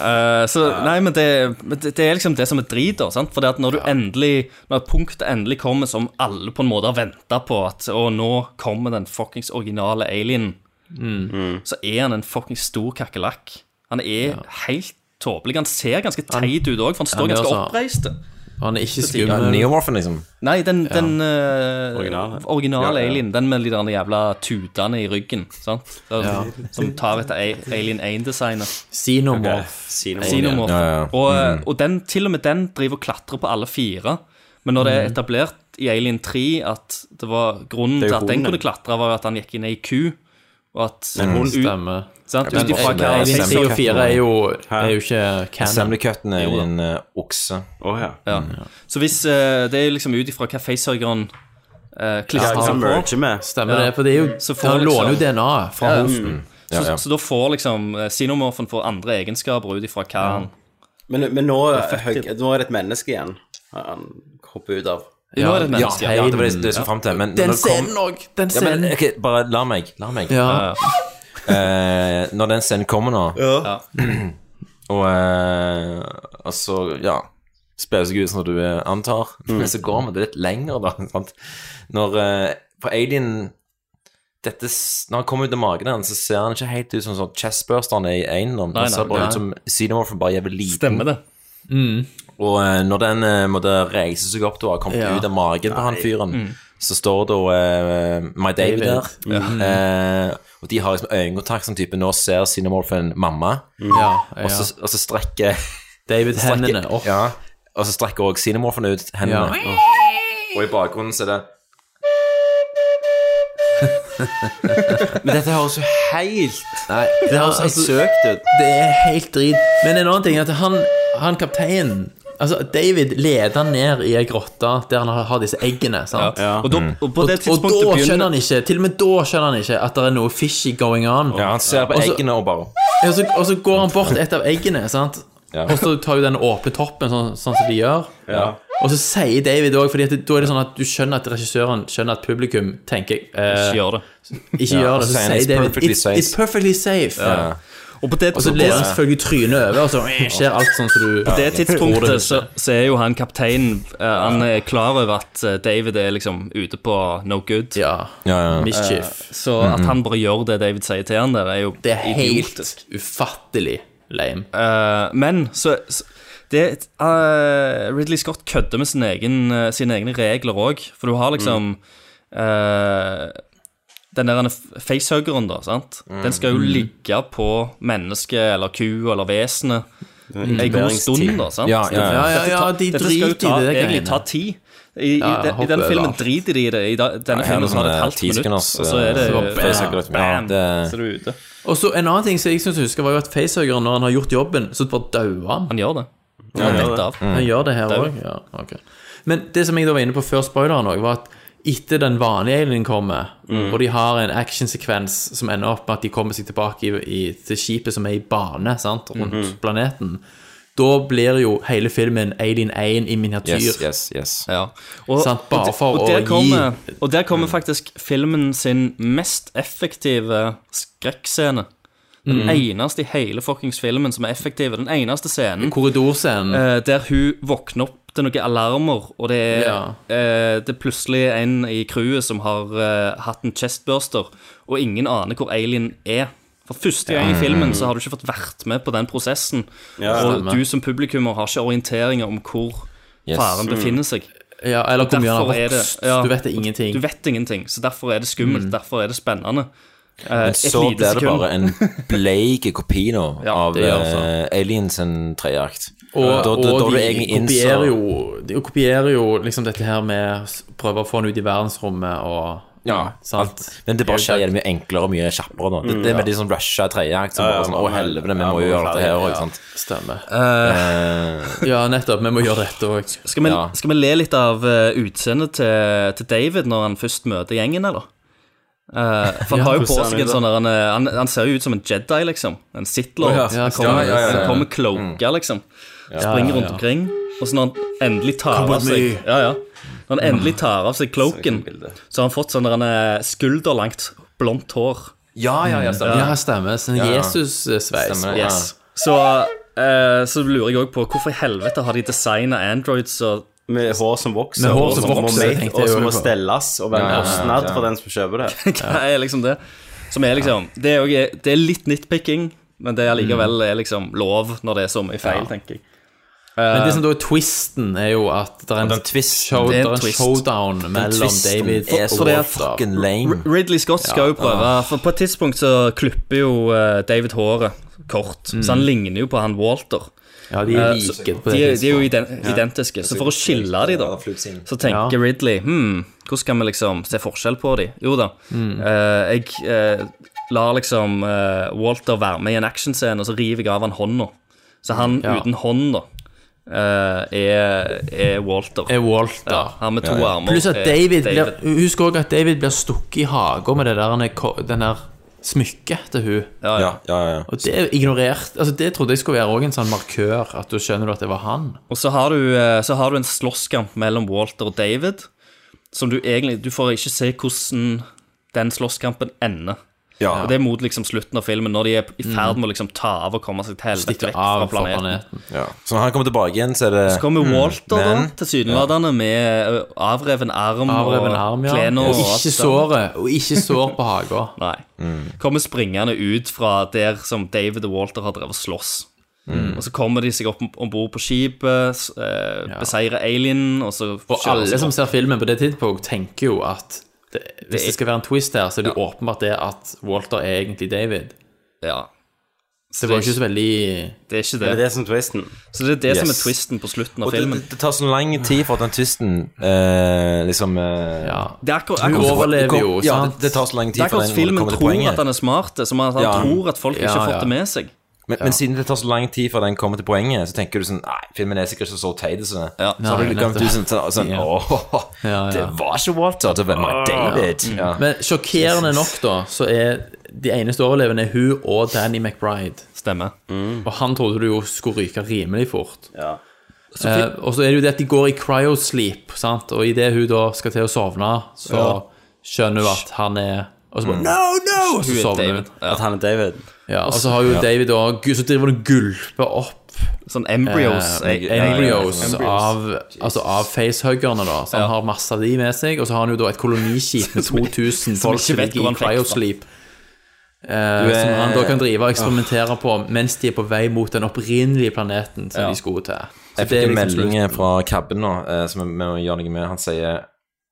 Speaker 7: Eh, så, nei, men det, men det, det er liksom det som er driter, sant? For det at når du endelig Når punktet endelig kommer som alle på en måte har venta på at Å, nå kommer den fuckings originale alienen.
Speaker 8: Mm.
Speaker 7: Så er han en fuckings stor kakerlakk. Han er helt tåpelig. Han ser ganske teit ut òg, for han står
Speaker 8: han gjør
Speaker 7: ganske
Speaker 8: så.
Speaker 7: oppreist.
Speaker 8: Han er ikke
Speaker 7: Det sier-
Speaker 8: skummel.
Speaker 2: Neomorfen, liksom.
Speaker 7: Nei, den,
Speaker 8: Ja.
Speaker 7: den eh,
Speaker 2: Ja,
Speaker 7: originale,
Speaker 2: ja.
Speaker 7: alien, den med de der jævla tutene i ryggen, sant? Der,
Speaker 8: Ja.
Speaker 7: Som tar etter A- Alien 1-designet.
Speaker 8: Xenomorph.
Speaker 1: Xenomorph.
Speaker 7: Xenomorph.
Speaker 2: Ja, Mm. ja.
Speaker 7: Og, eh, og den, til og med den driver og klatrer på alle fire. Men når det
Speaker 2: Mm.
Speaker 7: er etablert i Alien 3 at det var grunnen
Speaker 8: Det er jo
Speaker 7: til at den
Speaker 8: hunden.
Speaker 7: kunne klatre, var at han gikk inn i ei ku, og at
Speaker 8: En hund.
Speaker 7: ut-
Speaker 8: Stemmer.
Speaker 7: Sant?
Speaker 8: Ja,
Speaker 7: Ut
Speaker 8: men
Speaker 7: ifra
Speaker 8: Alien
Speaker 7: hva
Speaker 8: Alien 3 og 4 er jo- er jo ikke canon.
Speaker 2: Assembly cutten er jo
Speaker 7: Jo da.
Speaker 2: en eh, okse.
Speaker 1: Oh, ja.
Speaker 7: Ja. Så hvis eh, det er liksom ut ifra hva facehøgeren uh, klistrer
Speaker 1: Ja,
Speaker 7: seg
Speaker 1: han
Speaker 7: på
Speaker 1: merger med.
Speaker 8: Stemmer det, for det er jo-
Speaker 7: så liksom-
Speaker 8: han låner jo DNA fra
Speaker 7: Ja, ja.
Speaker 8: hosten.
Speaker 7: Mm.
Speaker 1: Ja,
Speaker 7: Så,
Speaker 1: ja.
Speaker 7: så da får liksom eh, xenomorfen får andre egenskaper ut ifra hva han
Speaker 1: Men, men nå, er Hugg- nå er det et menneske igjen. Han hopper ut av
Speaker 7: Ja, Nå er det et menneske.
Speaker 2: Ja, ja, det var det det jeg skulle frem til. Men
Speaker 8: Den
Speaker 2: når det kom-
Speaker 8: scenen òg! Den
Speaker 2: Ja, men
Speaker 8: scenen.
Speaker 2: ok, bare la meg. La meg.
Speaker 8: Ja.
Speaker 2: Eh, når den scenen kommer nå,
Speaker 8: Ja.
Speaker 2: og, eh, og så, ja Spiller seg ut som du eh, antar, men så går vi det litt lenger, da. Sant? Når eh, For Alien dette, s- Når han kommer ut av magen hans, så ser han ikke helt ut som sånn chestbursteren er i Eiendom.
Speaker 7: Nei,
Speaker 2: Han
Speaker 7: nei,
Speaker 2: ser bare
Speaker 7: nei.
Speaker 2: ut som Xenomorphen bare jævlig liten.
Speaker 7: Stemmer det.
Speaker 2: Og eh, når den eh, måtte reise seg opp da, og kom
Speaker 7: Ja.
Speaker 2: ut av magen på han
Speaker 7: Nei.
Speaker 2: fyren,
Speaker 7: Mm.
Speaker 2: så står det eh, My David,
Speaker 7: David.
Speaker 2: der.
Speaker 7: Ja.
Speaker 2: Eh, og de har liksom øyekontakt som type Nå ser Cinemorphen mamma,
Speaker 8: Ja, ja.
Speaker 2: Og, så, og så strekker
Speaker 8: David
Speaker 2: strekker-
Speaker 8: hendene opp.
Speaker 2: Ja, og så strekker også Cinemorphen ut
Speaker 8: Ja.
Speaker 2: hendene. Og i bakgrunnen så er det
Speaker 1: Men dette høres jo helt
Speaker 8: Nei,
Speaker 1: Det høres helt søkt ut.
Speaker 8: altså- Det er helt drit. Men en annen ting er at han, han kapteinen Altså, David leder han ned i ei grotte der han har disse eggene. sant?
Speaker 7: Ja. Og da-
Speaker 8: Mm.
Speaker 7: og på det
Speaker 8: og,
Speaker 7: tidspunktet
Speaker 8: da
Speaker 7: begynner-
Speaker 8: skjønner han ikke Til og med da skjønner han ikke at det er noe fishy going on.
Speaker 2: Ja, han ser på
Speaker 8: Og så-
Speaker 2: eggene og bare
Speaker 8: Ja, Og så, og så går han bort et av eggene, sant?
Speaker 2: Ja.
Speaker 8: Og så tar jo den åpne toppen, sånn, sånn som de gjør.
Speaker 2: Ja.
Speaker 8: Og så sier David òg, for da er det sånn at du skjønner at regissøren skjønner at publikum tenker eh,
Speaker 7: Ikke gjør det.
Speaker 8: Ikke
Speaker 7: Ja,
Speaker 8: gjør
Speaker 7: og
Speaker 8: det,
Speaker 7: så
Speaker 8: så
Speaker 7: sier han,
Speaker 8: sier
Speaker 7: "It's
Speaker 8: David
Speaker 7: perfectly
Speaker 8: It's,
Speaker 7: safe."
Speaker 8: it's perfectly safe.
Speaker 7: Ja. Og, på det
Speaker 8: og så
Speaker 7: tidspunktet-
Speaker 8: ler han selvfølgelig trynet over, og så eh, skjer alt sånn som du
Speaker 7: På det sånn.
Speaker 8: tror
Speaker 7: tidspunktet
Speaker 8: det.
Speaker 7: så, så er jo han kapteinen eh, Han er klar over at eh, David er liksom ute på no good.
Speaker 2: ja, ja.
Speaker 8: Mischief.
Speaker 7: Eh, Så at han bare gjør det David sier til han der, er jo
Speaker 8: Mm-hmm. Det er helt
Speaker 7: ufattelig lame. men så, så det, eh, Ridley Scott kødder med sin egen, eh, sine egne regler òg, for du har liksom
Speaker 8: Mm.
Speaker 7: eh, den der facehuggeren, da, sant?
Speaker 1: Mm.
Speaker 7: Den skal jo
Speaker 1: Mm.
Speaker 8: Mm-hmm.
Speaker 7: ligge på mennesket eller kua eller vesenet
Speaker 1: Mm.
Speaker 7: en god stund, da. sant?
Speaker 1: Ja, ja, ja.
Speaker 8: Ja, ja, ja, de
Speaker 7: Dette skal jo
Speaker 8: driter i
Speaker 7: ta-
Speaker 8: det
Speaker 7: egentlig
Speaker 8: greiene.
Speaker 7: ta tid. I, i,
Speaker 8: Ja,
Speaker 7: den- I
Speaker 8: hopper
Speaker 7: den
Speaker 8: over
Speaker 7: filmen
Speaker 8: alt.
Speaker 7: driter de i det. I da, denne
Speaker 2: her er
Speaker 7: filmen
Speaker 2: det
Speaker 7: så har det
Speaker 2: sånn,
Speaker 7: et halvt
Speaker 2: eh,
Speaker 7: minutt, og
Speaker 2: tisekunders,
Speaker 7: så er det
Speaker 2: eh, facehuggers. Ja,
Speaker 7: bam,
Speaker 2: det-
Speaker 7: så er du ute.
Speaker 8: Og så en annen ting som jeg syns jeg husker, var jo at facehuggeren, når han har gjort jobben, så bare dauer han.
Speaker 7: Han gjør det.
Speaker 8: Ja,
Speaker 7: Han
Speaker 8: han,
Speaker 7: detter
Speaker 8: gjør
Speaker 7: av.
Speaker 8: det.
Speaker 2: Mm.
Speaker 8: han gjør det her
Speaker 7: Dau.
Speaker 8: òg. Ja, ok. Men det som jeg da var inne på før spoileren òg, var at etter den vanlige alienen kommer,
Speaker 7: Mm.
Speaker 8: og de har en actionsekvens som ender opp med at de kommer seg tilbake i, i, til skipet som er i bane sant, rundt
Speaker 7: Mhm.
Speaker 8: planeten, da blir jo hele filmen Alien 1 i miniatyr.
Speaker 2: Yes, yes, yes.
Speaker 7: Ja.
Speaker 8: Sant? Bare
Speaker 7: og,
Speaker 8: for
Speaker 7: og der
Speaker 8: å
Speaker 7: kommer,
Speaker 8: gi
Speaker 7: Og der kommer faktisk filmen sin mest effektive skrekkscene. Den
Speaker 8: Mm.
Speaker 7: eneste i hele fuckings filmen som er effektiv. Den eneste scenen
Speaker 8: korridorscenen.
Speaker 7: eh, der hun våkner opp til noen alarmer, og det er, eh, det er plutselig en i crewet som har eh, hatt en chestburster, og ingen aner hvor alien er. For første gang i
Speaker 2: Ja.
Speaker 7: filmen
Speaker 2: Mm.
Speaker 7: så har du ikke fått vært med på den prosessen.
Speaker 2: Ja,
Speaker 7: og
Speaker 2: stemmer.
Speaker 7: du som publikummer har ikke orienteringer om hvor
Speaker 2: Yes.
Speaker 7: faren
Speaker 2: Mm.
Speaker 7: befinner seg.
Speaker 8: Ja, eller
Speaker 7: Eh, Og
Speaker 8: hvor mye han har
Speaker 7: derfor er det-
Speaker 8: vokst. Du vet det ingenting.
Speaker 7: Du vet ingenting, så derfor er det skummelt.
Speaker 2: Mm.
Speaker 7: Derfor er det spennende. Eh,
Speaker 2: Men
Speaker 7: et
Speaker 2: så blir
Speaker 7: lite
Speaker 2: det
Speaker 7: sekund.
Speaker 2: bare en bleik kopi nå av
Speaker 7: det gjør det,
Speaker 2: eh, Aliens sin treakt.
Speaker 8: Og,
Speaker 2: Da- da-
Speaker 8: og
Speaker 2: da du
Speaker 8: de,
Speaker 2: egentlig innså-
Speaker 8: kopierer jo, de kopierer jo liksom dette her med s- prøve å få den ut i verdensrommet og
Speaker 2: Ja,
Speaker 8: sant?
Speaker 2: Men det bare skjer jævlig mye enklere og mye kjappere nå. Det, det
Speaker 8: Mm,
Speaker 2: med
Speaker 8: ja.
Speaker 2: de sånn rusha treakt som
Speaker 8: Ja, ja,
Speaker 2: bare sånn Å,
Speaker 8: men-
Speaker 2: helvete, vi
Speaker 8: ja,
Speaker 2: må
Speaker 8: men
Speaker 2: jo gjøre
Speaker 8: ferdig,
Speaker 2: dette her
Speaker 8: ja.
Speaker 2: òg, sant.
Speaker 8: Stemmer.
Speaker 2: Eh,
Speaker 8: Ja, nettopp. Vi må gjøre dette òg.
Speaker 7: Skal vi, skal vi le litt av eh, utseendet til, til David når han først møter gjengen, eller? Eh, for han
Speaker 8: Ja,
Speaker 7: har jo
Speaker 8: hvordan
Speaker 7: på
Speaker 8: ser han
Speaker 7: seg en
Speaker 8: ut da?
Speaker 7: sånn der, han, eh, han, han ser jo ut som en Jedi, liksom. En
Speaker 8: Å,
Speaker 7: Sith-lord.
Speaker 8: ja. Ja,
Speaker 7: han kommer,
Speaker 8: ja, ja, ja, ja.
Speaker 7: han kommer cloaka, liksom.
Speaker 8: Ja. Ja,
Speaker 7: Springer
Speaker 8: ja,
Speaker 7: rundt
Speaker 8: ja.
Speaker 7: omkring. Og så når han endelig tar
Speaker 8: Come
Speaker 7: av
Speaker 8: with
Speaker 7: seg
Speaker 8: me.
Speaker 7: ja, ja. Når han endelig tar av seg cloaken, så har han fått sånn der, eh, skulderlangt blondt hår.
Speaker 2: Ja, ja, ja, stemmer.
Speaker 8: Ja, stemmer. Sånn
Speaker 7: Ja, ja.
Speaker 8: Jesus-sveis.
Speaker 7: Stemmer, ja. Yes. Så, eh, så lurer jeg òg på hvorfor i helvete har de designa Androids og
Speaker 1: Med hår som vokser,
Speaker 7: Med hår
Speaker 1: og
Speaker 7: som
Speaker 1: må
Speaker 7: vokser,
Speaker 1: make-
Speaker 7: tenkte jeg
Speaker 1: og som
Speaker 7: jo
Speaker 1: må
Speaker 7: på.
Speaker 1: stelles og være
Speaker 7: Ja,
Speaker 1: en
Speaker 7: ja, ja,
Speaker 1: kostnad
Speaker 7: ja.
Speaker 1: for den som kjøper det.
Speaker 7: Hva er liksom det? Som er liksom Det er, jo- det er litt nitpicking, men det er allikevel er liksom lov når det er så mye feil,
Speaker 8: Mm. Ja.
Speaker 7: tenker jeg.
Speaker 8: Men det som da er twisten, er jo at det er en,
Speaker 7: Det er en twist.
Speaker 8: show,
Speaker 7: Det er en
Speaker 8: det er en
Speaker 7: twist.
Speaker 8: showdown mellom
Speaker 2: twisten
Speaker 8: David
Speaker 2: er så
Speaker 8: og Walter.
Speaker 2: fucking lame.
Speaker 7: R- Ridley Scott skal
Speaker 2: Ja.
Speaker 7: jo
Speaker 8: Ah.
Speaker 7: prøve For på et tidspunkt så klipper jo eh, David håret kort,
Speaker 8: Mm.
Speaker 7: så han ligner jo på han Walter.
Speaker 8: Ja, de er
Speaker 7: Eh, så-
Speaker 8: like på det
Speaker 7: de, er- de er jo ident
Speaker 8: tidspunktet. Ja.
Speaker 7: identiske, så for å skille de da, så tenker
Speaker 8: Ja.
Speaker 7: Ridley hmm, Hvordan kan vi liksom se forskjell på de? Jo da,
Speaker 8: Mm.
Speaker 7: eh, jeg eh, lar liksom eh, Walter være med i en actionscene, og så river jeg av han hånda. Så han
Speaker 8: Ja.
Speaker 7: uten hånd, da, eh, er, er Walter.
Speaker 8: Er Walter.
Speaker 7: Ja, han med to
Speaker 8: Ja, ja.
Speaker 7: armer. Eh,
Speaker 8: Pluss at
Speaker 7: er
Speaker 8: David, Blir, Husk også at David blir stukket i hagen med det der, han er ko- den der smykket til hun
Speaker 7: Ja,
Speaker 2: ja, ja, ja.
Speaker 8: Og det er ignorert Altså, det trodde jeg skulle være også en sånn markør, at du skjønner du at det var han.
Speaker 7: Og så har du, eh, så har du en slåsskamp mellom Walter og David, som du egentlig Du får ikke se hvordan den slåsskampen ender.
Speaker 2: Ja.
Speaker 7: Og det er mot liksom slutten av filmen, når de er i ferd med å liksom ta av og komme seg til helvete
Speaker 2: Stikke
Speaker 7: vekk fra
Speaker 2: av fra
Speaker 7: planeten.
Speaker 2: Ja. Så når han kommer tilbake igjen, så er det
Speaker 7: Så kommer Walter,
Speaker 2: Mm. Men-
Speaker 7: da, tilsynelatende med ø, avreven arm
Speaker 8: Avreven
Speaker 7: og
Speaker 8: arm, ja.
Speaker 7: klener
Speaker 8: Og
Speaker 7: alt
Speaker 8: ikke
Speaker 7: sammen.
Speaker 8: såret, og ikke sår på hagen.
Speaker 7: Nei.
Speaker 2: Mm.
Speaker 7: Kommer springende ut fra der som David og Walter har drevet og slåss.
Speaker 8: Mm.
Speaker 7: Og så kommer de seg opp om bord på skipet, s- eh, beseirer alienen, og så
Speaker 8: Og alle som ser filmen på det tidspunkt, tenker jo at det,
Speaker 7: Det er-
Speaker 8: hvis det skal være en twist her, så er det jo åpenbart det at Walter er egentlig David.
Speaker 7: Ja.
Speaker 8: Så det var jo ikke så veldig
Speaker 7: Det er ikke
Speaker 1: Det
Speaker 7: det.
Speaker 1: er det som er twisten.
Speaker 7: Så det er det som er
Speaker 2: Yes.
Speaker 7: twisten på slutten av
Speaker 2: Og det,
Speaker 7: filmen.
Speaker 2: det, det tar så lang tid for at den twisten eh, liksom eh,
Speaker 7: Det er akkurat,
Speaker 2: Du
Speaker 7: akkurat-
Speaker 2: overlever jo, Ja, sant? det- det tar så lang tid
Speaker 7: Det er
Speaker 2: for
Speaker 7: akkurat
Speaker 2: den å
Speaker 7: filmen
Speaker 2: komme til
Speaker 7: tror
Speaker 2: poenget.
Speaker 7: at han er smart, som at han
Speaker 2: Ja.
Speaker 7: tror at folk
Speaker 2: Ja,
Speaker 7: ikke har fått
Speaker 2: ja.
Speaker 7: det med seg.
Speaker 2: Men, men siden det tar så lang tid før den kommer til poenget, så tenker du sånn Nei, filmen er sikkert ikke så teit. Så,
Speaker 7: ja.
Speaker 2: så har
Speaker 8: Nei,
Speaker 2: du kommet
Speaker 8: nettopp.
Speaker 2: ut sånn, sånn, sånn
Speaker 8: Ja.
Speaker 2: Åh,
Speaker 8: Ja, ja.
Speaker 2: det var ikke Walter, det var my David. Ja.
Speaker 8: Men sjokkerende nok, da, så er de eneste overlevende er hun og Danny McBride.
Speaker 7: Stemmer.
Speaker 8: Og han trodde du jo skulle ryke rimelig fort.
Speaker 7: Så
Speaker 8: Eh,
Speaker 7: fi-
Speaker 8: og så er det jo det at de går i cryosleep, sant? og idet hun da skal til å sovne, så
Speaker 1: Ja.
Speaker 8: skjønner hun at han er Og så bare
Speaker 1: Mm.
Speaker 8: No, no! Og så
Speaker 1: Hun er
Speaker 8: sovner hun.
Speaker 1: David. At han er David.
Speaker 8: Ja, og så har jo
Speaker 1: Ja.
Speaker 8: David og Gud, så driver han og gulper opp
Speaker 7: Sånn embryos,
Speaker 8: eh,
Speaker 7: jeg-
Speaker 8: embryos
Speaker 7: jeg- jeg-
Speaker 8: av, altså av facehuggerne, da. Så han har masse av de med seg. Og så har han jo da et koloniskip med 2000
Speaker 7: som
Speaker 8: folk
Speaker 7: ikke
Speaker 8: som
Speaker 7: vet hvor
Speaker 8: ligger i
Speaker 7: han fikk fra.
Speaker 8: cryosleep. eh,
Speaker 2: Du er-
Speaker 8: som han da kan drive og eksperimentere på mens de er på vei mot den opprinnelige planeten som
Speaker 2: Ja.
Speaker 8: de skulle til. Så det
Speaker 2: Jeg fikk
Speaker 8: er
Speaker 2: en
Speaker 8: liksom
Speaker 2: melding
Speaker 8: slutten.
Speaker 2: fra Kabben nå, eh, som vi må gjøre noe med. Han sier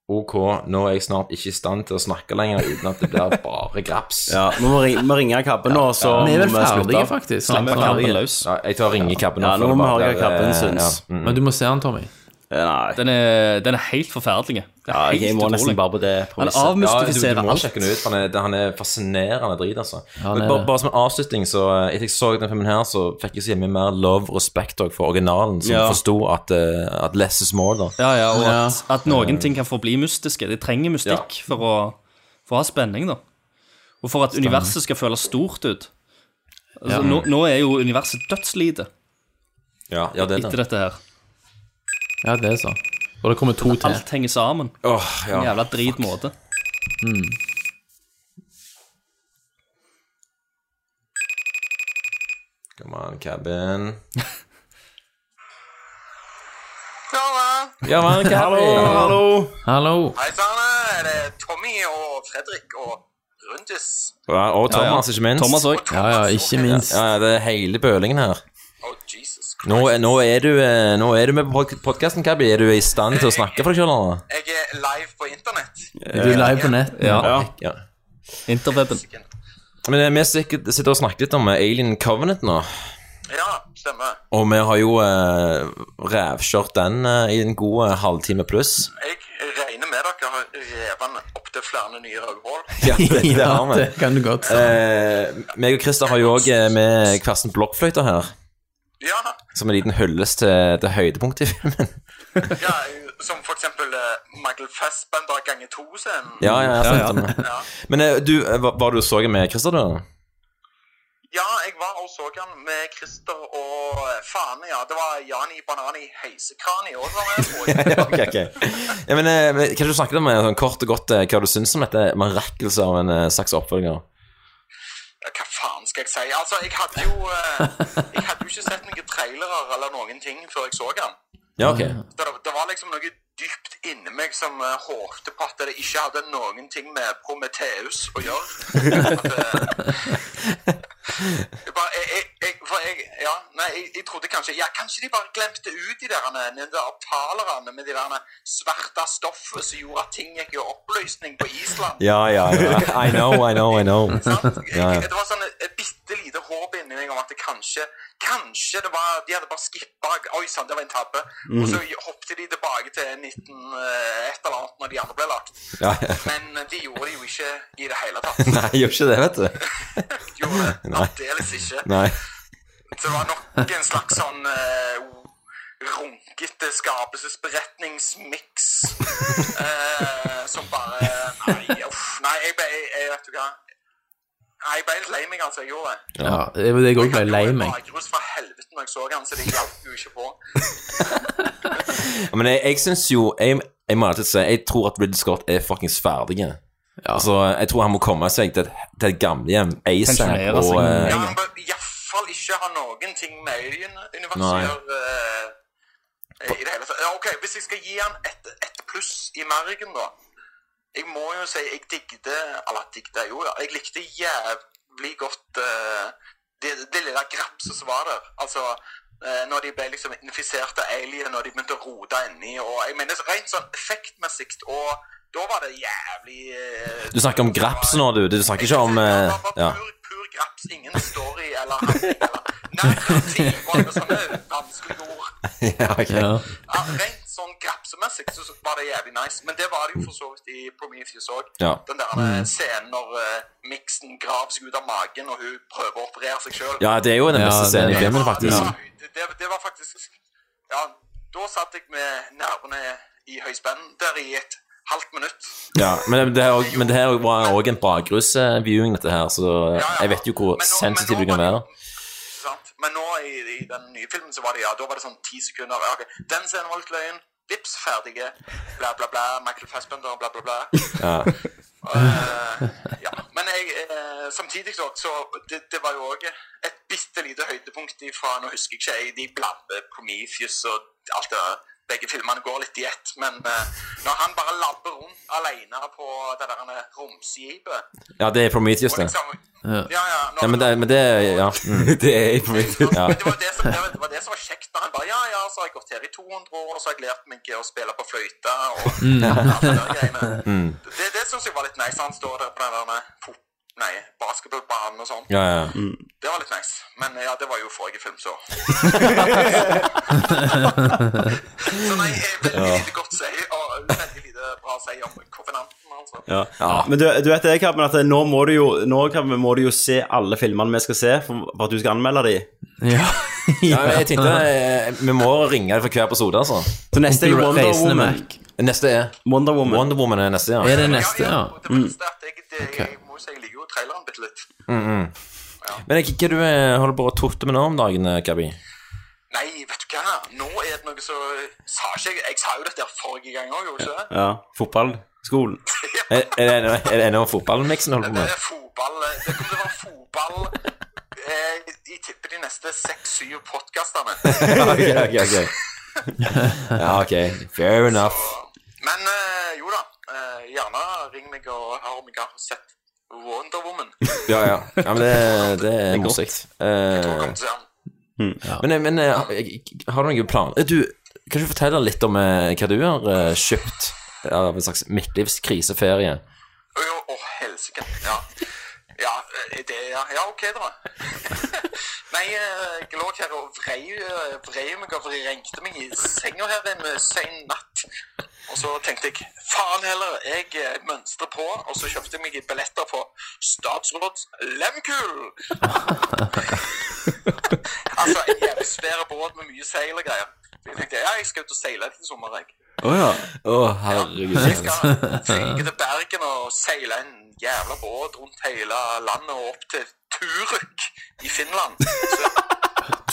Speaker 2: OK, nå er jeg snart ikke i stand til å snakke lenger uten at det blir bare graps.
Speaker 1: Ja, nå må vi ring- må ringe Kabben nå, så
Speaker 8: Vi er vel
Speaker 1: må vi slutte.
Speaker 8: ferdige, faktisk.
Speaker 1: Ja, vi er
Speaker 8: Slapp
Speaker 1: ferdige.
Speaker 7: løs.
Speaker 2: Ja, jeg tar og ringer Kabben
Speaker 1: Ja, nå må vi høre hva Kabben syns.
Speaker 8: Men du må se han, Tommy.
Speaker 1: Nei.
Speaker 7: Den er, den er helt forferdelig. Det er
Speaker 1: Ja, jeg
Speaker 7: helt
Speaker 1: må nesten
Speaker 7: utrolig.
Speaker 1: bare på det
Speaker 7: Han
Speaker 1: premisset.
Speaker 7: avmystifiserer
Speaker 2: Ja, du, du må
Speaker 7: alt.
Speaker 2: sjekke den ut, for han er, han er fascinerende drit, altså.
Speaker 8: han
Speaker 2: Men
Speaker 8: er
Speaker 2: bare,
Speaker 8: det.
Speaker 2: bare som en avslutning, så eh, etter jeg så den filmen her, så fikk jeg så mye mer love og respekt også for originalen, som
Speaker 7: Ja.
Speaker 2: forsto at, eh, at less is more, da.
Speaker 7: Ja, ja, og at,
Speaker 2: Ja.
Speaker 7: at noen ting kan forbli mystiske. De trenger mystikk for, å, for å ha spenning, da. Og for at
Speaker 2: Stemmer.
Speaker 7: universet skal føles stort ut. Altså,
Speaker 2: Ja.
Speaker 7: nå, nå er jo universet dødslite.
Speaker 2: Ja, ja, det er det.
Speaker 7: etter dette her.
Speaker 8: Ja, det er så. Og det kommer to til.
Speaker 7: Alt henger sammen.
Speaker 2: Åh, ja.
Speaker 7: En jævla dritmåte.
Speaker 8: Mm.
Speaker 2: Come on, cabin.
Speaker 16: Hallo.
Speaker 2: Ja, men, cabin.
Speaker 16: Hallo, hallo.
Speaker 8: Hallo.
Speaker 16: Hei sann, er det Tommy og Fredrik og Rundis?
Speaker 2: Ja,
Speaker 16: Ja,
Speaker 2: og
Speaker 16: ja.
Speaker 2: Thomas, ikke minst.
Speaker 16: Thomas også.
Speaker 2: Ja, ja, ikke minst. Ja, ja, det er hele bølingen her.
Speaker 16: Oh, Jesus
Speaker 2: Nå, er- nå, er, du, eh, nå er du med på podkasten, Kabbi. Er du i stand til å snakke for deg sjøl?
Speaker 16: Jeg er live på internett.
Speaker 2: Du er live på nett.
Speaker 7: Ja.
Speaker 2: ja.
Speaker 7: Interweben.
Speaker 2: Men eh, vi sikkert sitter og snakker litt om eh, Alien Covenant nå.
Speaker 16: Ja, stemmer.
Speaker 2: Og vi har jo eh, rævkjørt den eh, i en god eh, halvtime pluss.
Speaker 16: Jeg regner med dere har revene opp til flere nye rødhål.
Speaker 2: Ja, det, det har vi.
Speaker 8: Det kan du godt si.
Speaker 2: Eh, meg og Christer har jo òg med hver sin blokkfløyte her. Som en liten hyllest til, til høydepunktet i filmen.
Speaker 16: Ja, som for eksempel eh, Michael Fassbender ganger to-scenen.
Speaker 2: Ja, ja, jeg har sett den.
Speaker 16: Ja.
Speaker 2: Men eh, du, eh, hva var det du så med Christer, da?
Speaker 16: Ja, jeg var og så han med Christer og eh, Fane, ja. Det var Jani Banani Heisekrani òg var med. på.
Speaker 2: ja, ok, ok. Ja, men, eh, men kan du snakke litt om eh, sånn kort og godt eh, hva du syns om dette mirakelset av en eh, slags oppfølger?
Speaker 16: Ja, Hva faen skal jeg si? Altså, jeg hadde jo eh, Jeg hadde jo ikke sett noen trailere eller noen ting før jeg så han.
Speaker 2: Ja, ok.
Speaker 16: Så Det, det var liksom noe dypt inni meg som eh, håpte på at det ikke hadde noen ting med Prometheus å gjøre. At, eh, jeg bare, jeg, jeg- jeg, for jeg, ja, nei, jeg, jeg trodde kanskje Ja, kanskje de bare glemte ut de der, eh, de der talerne med de der svarte stoffet som gjorde at ting gikk i oppløsning på Island.
Speaker 2: Ja, ja, ja. I know, I know, I know. Ja,
Speaker 16: Jeg-
Speaker 2: ja.
Speaker 16: Det var sånn et- et bitte lite håp inni meg om at det kanskje Kanskje det var De hadde bare skippa Oi sann, det var en tabbe. Og så
Speaker 2: Mhm.
Speaker 16: hoppet de tilbake til 19 eh, et eller annet når de andre ble lagt.
Speaker 2: Ja, ja.
Speaker 16: Men eh, de gjorde det jo ikke i det hele tatt.
Speaker 2: Nei, jeg gjør ikke det, vet du.
Speaker 16: Gjorde det
Speaker 2: Nei.
Speaker 16: aldeles ikke.
Speaker 2: Nei.
Speaker 16: Så det var nok en slags sånn eh, runkete skapelsesberetningsmiks eh, som bare Nei, uff. Nei, jeg ble jeg, jeg, Vet du hva? Nei, jeg ble litt lei meg, altså. Jeg gjorde det.
Speaker 8: Ja, det var det jeg òg ble lei meg.
Speaker 16: Bakrus fra helvete når jeg så han, så det hjalp jo ikke på.
Speaker 2: Ja, Men jeg, jeg syns jo jeg, jeg må alltid si jeg tror at Ridley Scott er fuckings ferdig. Altså, jeg tror han må komme seg til, til et gamlehjem ASAP.
Speaker 7: Pensjonere
Speaker 2: Og,
Speaker 7: seg.
Speaker 2: eh,
Speaker 16: Ja, han bør iallfall ikke ha noen ting med Alien-universet å
Speaker 2: Nei.
Speaker 16: gjøre. eh, I det hele tatt. Ja, ok, Hvis jeg skal gi han et, et pluss i margen, da Jeg må jo si jeg digget Eller digget Jo, ja. Jeg likte jævlig godt eh, det, det lille grapset som var der. Altså eh, når de ble liksom infisert av alien, når de begynte å rote inni og jeg mener, Rent sånn effektmessig og da var det jævlig eh,
Speaker 2: Du snakker om graps nå, du. Du snakker ikke om eh, ja.
Speaker 16: pur graps, ingen story eller handling eller narrativ og alle sånne vanskelige ord.
Speaker 2: ja, ok.
Speaker 16: Ja, rent sånn grapsemessig så så var det jævlig nice, men det var det jo for så vidt i Prometheus òg.
Speaker 2: Ja.
Speaker 16: Den der eh, scenen når eh, Mixen graver seg ut av magen, og hun prøver å operere seg sjøl.
Speaker 2: ja, det er jo den
Speaker 8: Ja,
Speaker 2: beste scenen i
Speaker 8: det-
Speaker 2: filmen,
Speaker 8: Ja.
Speaker 2: faktisk.
Speaker 16: Det, det, det var faktisk Ja, da satt jeg med nervene i høyspenn der i et halvt minutt.
Speaker 2: Ja, men det, her, og- men det her var òg en bakgrunnsviewing, dette her, så jeg vet jo hvor sensitiv du kan være.
Speaker 16: sant? Men nå i, i den nye filmen så var det ja, da var det sånn ti sekunder. Ja, ok, Den scenen var litt løgn. Vips, ferdige. Bla, bla, bla. Michael Fassbender, bla, bla, bla.
Speaker 2: Ja.
Speaker 16: Eh, ja. Men jeg, eh, samtidig så, så det, det var jo òg et bitte lite høydepunkt ifra Nå husker jeg ikke, jeg, de blander Prometheus og alt det der. Begge filmene går litt i ett, men eh, når han bare labber rundt alene på det der romskipet
Speaker 2: Ja, det er Prometheus, det.
Speaker 16: liksom- Ja, ja.
Speaker 2: Ja, men det, men det Ja. Det er Prometheus. Ja.
Speaker 16: Men det var det, som, det, var, det var det som var kjekt når han bare Ja, ja, så har jeg gått her i 200 år, og så har jeg lært meg å spille på fløyte og
Speaker 2: Mm.
Speaker 16: alt det der greiene.
Speaker 2: Mm.
Speaker 16: Det, det syns jeg var litt nice. Han står der på den der med fot... Nei, basketballbanen og sånn.
Speaker 2: Ja, ja.
Speaker 16: Det var litt nice. Men ja, det var jo forrige film, så. så nei, jeg er veldig
Speaker 1: Ja.
Speaker 16: lite godt å si, og veldig lite bra å si om konvenanten, altså.
Speaker 1: Ja. Men du, du vet det, Kabben, at nå må du jo, nå, Kabben, må du jo se alle filmene vi skal se for, for at du skal anmelde de.
Speaker 8: Ja.
Speaker 2: ja men jeg tenkte eh, vi må ringe for hver episode, altså.
Speaker 1: Så neste er jo Wonder
Speaker 2: Reisende
Speaker 1: Woman.
Speaker 2: Mac. Neste er
Speaker 1: Wonder Woman.
Speaker 2: Wonder Woman er neste, ja.
Speaker 8: Er det neste, ja?
Speaker 2: Mm.
Speaker 16: Jeg må jo si jeg liker jo traileren bitte litt.
Speaker 2: Mm, mm. Men hva er det du eh, holder på å tutte med nå om dagen, eh, Gabi?
Speaker 16: Nei, vet du hva, nå er det noe så Sa ikke jeg Jeg sa jo dette her forrige gang òg, gjorde jeg ikke det?
Speaker 2: Ja. Fotballskolen. Er, er det ennå- er det ennå fotballmiksen holder på
Speaker 16: Det
Speaker 2: med?
Speaker 16: er fotball eh, Det kommer til å være fotball eh, Jeg tipper de neste seks-syv podkastene.
Speaker 2: ok, ok, ok. Ja, ok. Fair enough.
Speaker 16: Men eh, jo da, eh, gjerne ring meg og hør om jeg har sett Wonder Woman.
Speaker 2: Ja, ja. ja men det, det er godt. Mm. Men, men eh, har du noen planer Eh, Du, kan du fortelle litt om eh, hva du har eh, kjøpt av en slags midtlivskriseferie?
Speaker 16: Å, jo, Å, helsike. Ja. Ja, eh, det, ja, ja, ok, da. Nei, eh, jeg lå her og vrei, eh, vrei meg og vrengte meg i senga her en eh, sen natt. Og så tenkte jeg faen heller, jeg eh, mønstrer på. Og så kjøpte jeg meg billetter på Statsråds Lemkul. altså, en jævlig svær båt med mye seil og greier. Så jeg tenkte ja, jeg skal ut og seile i sommer, jeg.
Speaker 2: Å ja. Å, herregud.
Speaker 16: Jeg skal flyge til Bergen og seile en jævla båt rundt hele landet og opp til Turuk i Finland. Så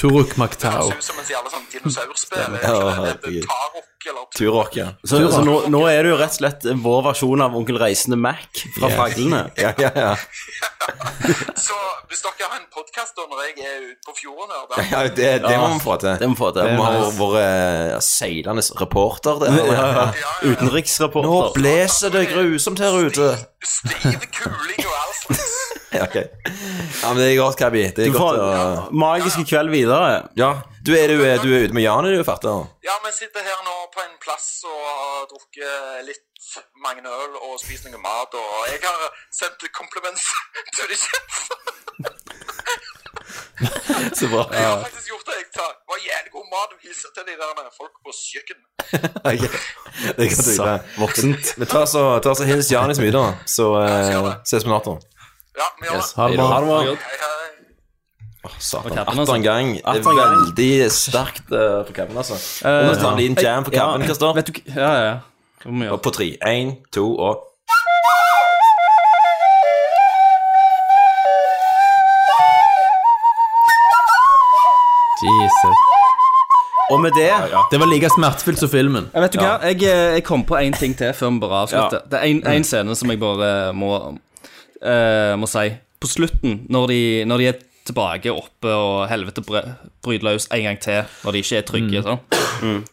Speaker 8: Turuk
Speaker 16: det
Speaker 8: Maktau.
Speaker 16: høres ut som en jævla sånn dinosaurspill.
Speaker 2: Ja,
Speaker 16: Det
Speaker 2: herregud.
Speaker 16: er Tarok eller
Speaker 2: Turok, ja.
Speaker 1: Så, så nå, nå er det jo rett og slett vår versjon av Onkel Reisende Mac fra
Speaker 2: Yes.
Speaker 1: Fraglene.
Speaker 2: Ja, ja, ja.
Speaker 16: Så hvis dere har en podkast da når jeg er ute på fjorden her, da
Speaker 2: Ja, det, det må vi få til.
Speaker 1: Det må eh, vi få til.
Speaker 2: Vi må ha
Speaker 1: Nice.
Speaker 2: vår eh, seilende reporter der.
Speaker 1: Ja, ja. Utenriksreporter.
Speaker 2: Nå blåser det grusomt her ute. Ja, ok. Ja, men det er godt, Kabi. Det er
Speaker 1: Du får-
Speaker 2: godt å
Speaker 1: Magiske kveld videre.
Speaker 2: Ja. Du er, du, er- du er ute med Jan, er du fatter?
Speaker 16: Ja, vi sitter her nå på en plass og har drukket litt mange øl og spist noe mat, og jeg har sendt kompliments til de kjente.
Speaker 2: Så bra.
Speaker 16: Jeg har faktisk gjort det. Jeg tar, var jævlig god mat og hilser til de der folk på kjøkken.
Speaker 2: Ok. Det kan du gjøre.
Speaker 1: Voksent.
Speaker 2: Vi tar så, tar så hils Jan i smide, da. Så eh, ses vi natta.
Speaker 16: Ja, vi gjør
Speaker 2: Yes.
Speaker 16: det.
Speaker 2: Ha det bra. Ha det bra. Åh,
Speaker 1: På
Speaker 2: Satan.
Speaker 1: kappen,
Speaker 2: Atter en
Speaker 1: altså.
Speaker 2: gang. Det er
Speaker 1: Atter en gang.
Speaker 2: veldig sterkt eh, på kappen, altså.
Speaker 7: Eh,
Speaker 2: Og nå tar en liten jam på kappen. Hva står
Speaker 7: Vet du, hva- ja, ja. Hva må vi gjøre?
Speaker 2: Og på tre. Én, to og
Speaker 8: Jesus.
Speaker 1: Og med det
Speaker 8: Det var like smertefullt som filmen.
Speaker 7: Jeg vet du hva, jeg, eh, jeg kom på én ting til før vi bare avslutter.
Speaker 8: Ja.
Speaker 7: Det er
Speaker 2: Mm.
Speaker 7: én scene som jeg bare må, eh, må si. På slutten, når de, når de er tilbake oppe og helvete bre- bryter løs en gang til, når de ikke er trygge, sånn.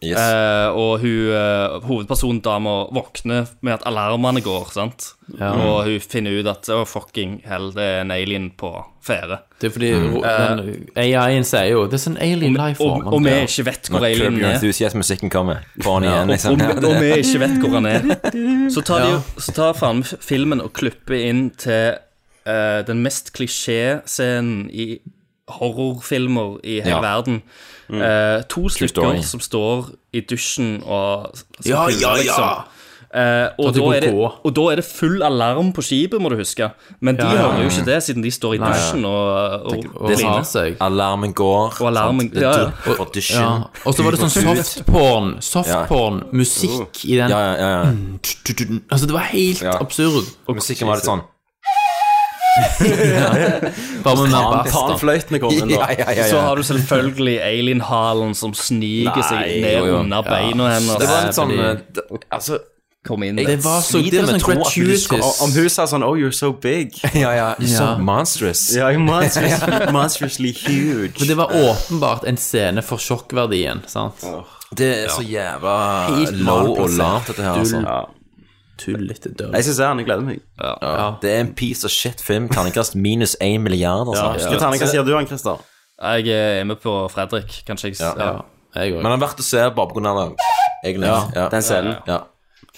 Speaker 2: Yes.
Speaker 7: Eh, og hun, eh, hovedpersondama våkner med at alarmene går, sant?
Speaker 8: Ja.
Speaker 7: Og hun finner ut at å, fucking hell, det er en alien på ferde.
Speaker 8: Det er fordi
Speaker 7: Mm.
Speaker 8: den AI-en sier jo There's an alien life
Speaker 7: og-
Speaker 8: form.
Speaker 7: og vi ikke vet hvor
Speaker 2: Når
Speaker 7: alien
Speaker 2: Curb Your
Speaker 7: er.
Speaker 2: Enthusiast-musikken kommer. Få den
Speaker 7: Ja,
Speaker 2: igjen,
Speaker 7: og,
Speaker 2: liksom.
Speaker 7: og, og vi ikke vet hvor han er. Så tar, de,
Speaker 2: Ja.
Speaker 7: jo- så tar faen meg filmen og klipper inn til eh, den mest klisjé-scenen i horrorfilmer i
Speaker 2: Ja.
Speaker 7: hele verden.
Speaker 2: Mm.
Speaker 7: Eh, to
Speaker 2: True
Speaker 7: stykker
Speaker 2: story.
Speaker 7: som står i dusjen og s- s-
Speaker 8: Ja,
Speaker 7: puler,
Speaker 8: ja, ja.
Speaker 7: liksom. Eh, og,
Speaker 8: At de
Speaker 7: da
Speaker 8: går
Speaker 7: er det,
Speaker 8: på.
Speaker 7: og da er det full alarm på skipet, må du huske. Men de
Speaker 8: Ja, ja.
Speaker 7: hører jo ikke det, siden de står i
Speaker 8: Nei, ja.
Speaker 7: dusjen og, sånn. og,
Speaker 8: og
Speaker 7: kliner.
Speaker 8: har seg.
Speaker 2: Alarmen går.
Speaker 7: Og alarmen-
Speaker 2: sant? Det
Speaker 7: ja, ja.
Speaker 2: drypper fra dusjen.
Speaker 8: Ja. Og så var det sånn
Speaker 2: Ut.
Speaker 8: softporn, softporn, musikk i den.
Speaker 2: Ja, ja, ja,
Speaker 7: Mm.
Speaker 2: ja.
Speaker 8: Altså, det var helt absurd.
Speaker 2: Musikken var litt sånn
Speaker 8: Bare med mer
Speaker 7: Pan-
Speaker 8: bass, da.
Speaker 1: Panfløytene kom inn, da.
Speaker 2: Ja, ja, ja, ja.
Speaker 7: Så har du selvfølgelig alien-halen som sniker seg
Speaker 2: Nei,
Speaker 7: ned
Speaker 2: jo, jo.
Speaker 7: under
Speaker 2: Ja.
Speaker 7: beina hennes.
Speaker 2: Det var en sånn
Speaker 7: Fordi-
Speaker 2: eh, d- Altså
Speaker 7: Kom inn
Speaker 2: Jeg
Speaker 7: der.
Speaker 2: sliter
Speaker 8: sånn
Speaker 2: med å tro at du skal-
Speaker 1: Om- Om hun sa sånn Oh, you're so big.
Speaker 2: Ja, ja. You're so
Speaker 8: Ja.
Speaker 2: monstrous.
Speaker 1: Ja, you're monstrous, monstrously huge.
Speaker 8: For det var åpenbart en scene for sjokkverdien, sant?
Speaker 2: Det er så jævla
Speaker 8: Helt
Speaker 2: low og
Speaker 8: malplassert.
Speaker 2: lavt, dette her, altså.
Speaker 8: Dull. Tullete døll.
Speaker 1: Jeg skal se han, jeg gleder meg.
Speaker 2: Ja. Det er en piece of shit film. Terningkast minus én milliard, altså.
Speaker 1: Ja. Skal ta den, Hva sier du, han, Christer?
Speaker 7: Jeg er med på Fredrik, kanskje jeg
Speaker 2: Ja.
Speaker 7: ja.
Speaker 8: Jeg
Speaker 2: Men
Speaker 8: òg.
Speaker 2: han har vært å se bare pga. den. Egentlig.
Speaker 1: Ja, den scenen.
Speaker 2: Ja.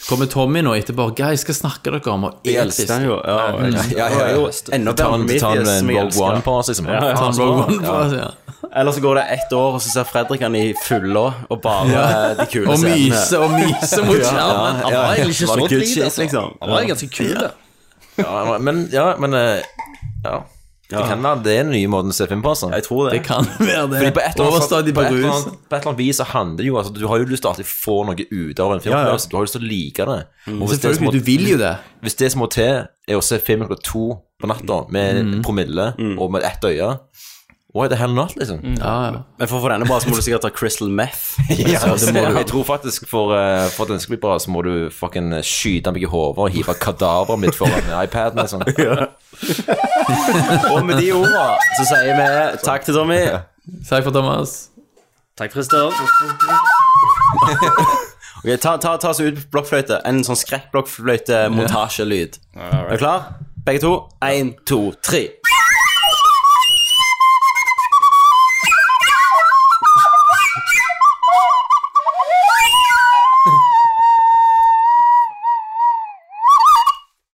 Speaker 8: Kommer Tommy nå etterpå? Guy, jeg skal snakke dere om og
Speaker 1: Jeg elsker han jo. Ja, jeg elsker
Speaker 2: Ja,
Speaker 1: han.
Speaker 2: ja,
Speaker 1: Han er jo
Speaker 2: ja.
Speaker 1: Enda
Speaker 2: Ta
Speaker 1: bedre
Speaker 2: en-
Speaker 1: med
Speaker 2: ta en
Speaker 1: Midgets, som jeg
Speaker 2: Rogue
Speaker 1: elsker.
Speaker 2: One på oss, liksom.
Speaker 1: Ja, ja,
Speaker 2: Ta en
Speaker 1: så
Speaker 2: Rogue
Speaker 1: bra.
Speaker 2: One på
Speaker 1: Ja.
Speaker 2: oss,
Speaker 1: Eller så går det ett år, og så ser Fredrik han i fylla og bare
Speaker 8: Ja.
Speaker 1: de kule
Speaker 8: Og
Speaker 1: scenene.
Speaker 8: myse og myse mot
Speaker 1: Ja, ja,
Speaker 8: skjermen.
Speaker 1: ja,
Speaker 8: Han
Speaker 1: ja.
Speaker 8: var egentlig ikke
Speaker 1: Var det
Speaker 8: så
Speaker 1: good
Speaker 8: drit,
Speaker 1: shit,
Speaker 8: altså.
Speaker 1: liksom?
Speaker 7: Han var ganske kul, da.
Speaker 2: Ja, men Ja, men eh, Ja. Det kan være det er den nye måten å se film på, altså.
Speaker 1: Jeg tror det.
Speaker 8: Det kan være det.
Speaker 2: Fordi på et eller annet,
Speaker 8: Overstadig
Speaker 2: på et eller
Speaker 8: brus.
Speaker 2: annet, på et eller annet vis så handler det jo altså, Du har jo lyst til å alltid få noe ut av en film. altså,
Speaker 8: Ja, ja.
Speaker 2: Du har jo lyst til å like det. Og hvis det som må-
Speaker 8: Selvfølgelig, du vil jo det.
Speaker 2: Hvis det som må
Speaker 8: Mm.
Speaker 2: til, er å se filmen klokka to på natta med promille og med ett øye Why the hell not, liksom?
Speaker 8: Mm.
Speaker 1: Men for å få denne bra, så må du sikkert ta Crystal Meth.
Speaker 2: Ja,
Speaker 1: Så det må du-
Speaker 2: Altså, Jeg tror faktisk for, eh, for at den skal bli bra, så må du fucking skyte meg i hodet og hive kadaveret mitt foran iPaden. Liksom.
Speaker 1: Og med de ordene så sier vi takk til Tommy.
Speaker 8: Takk for Thomas.
Speaker 7: Takk, Christer.
Speaker 1: Ok, ta, ta, ta oss ut på blokkfløyte. En sånn skrekkblokkfløyte-montasjelyd. Er du klar? Begge to. Én, to, tre.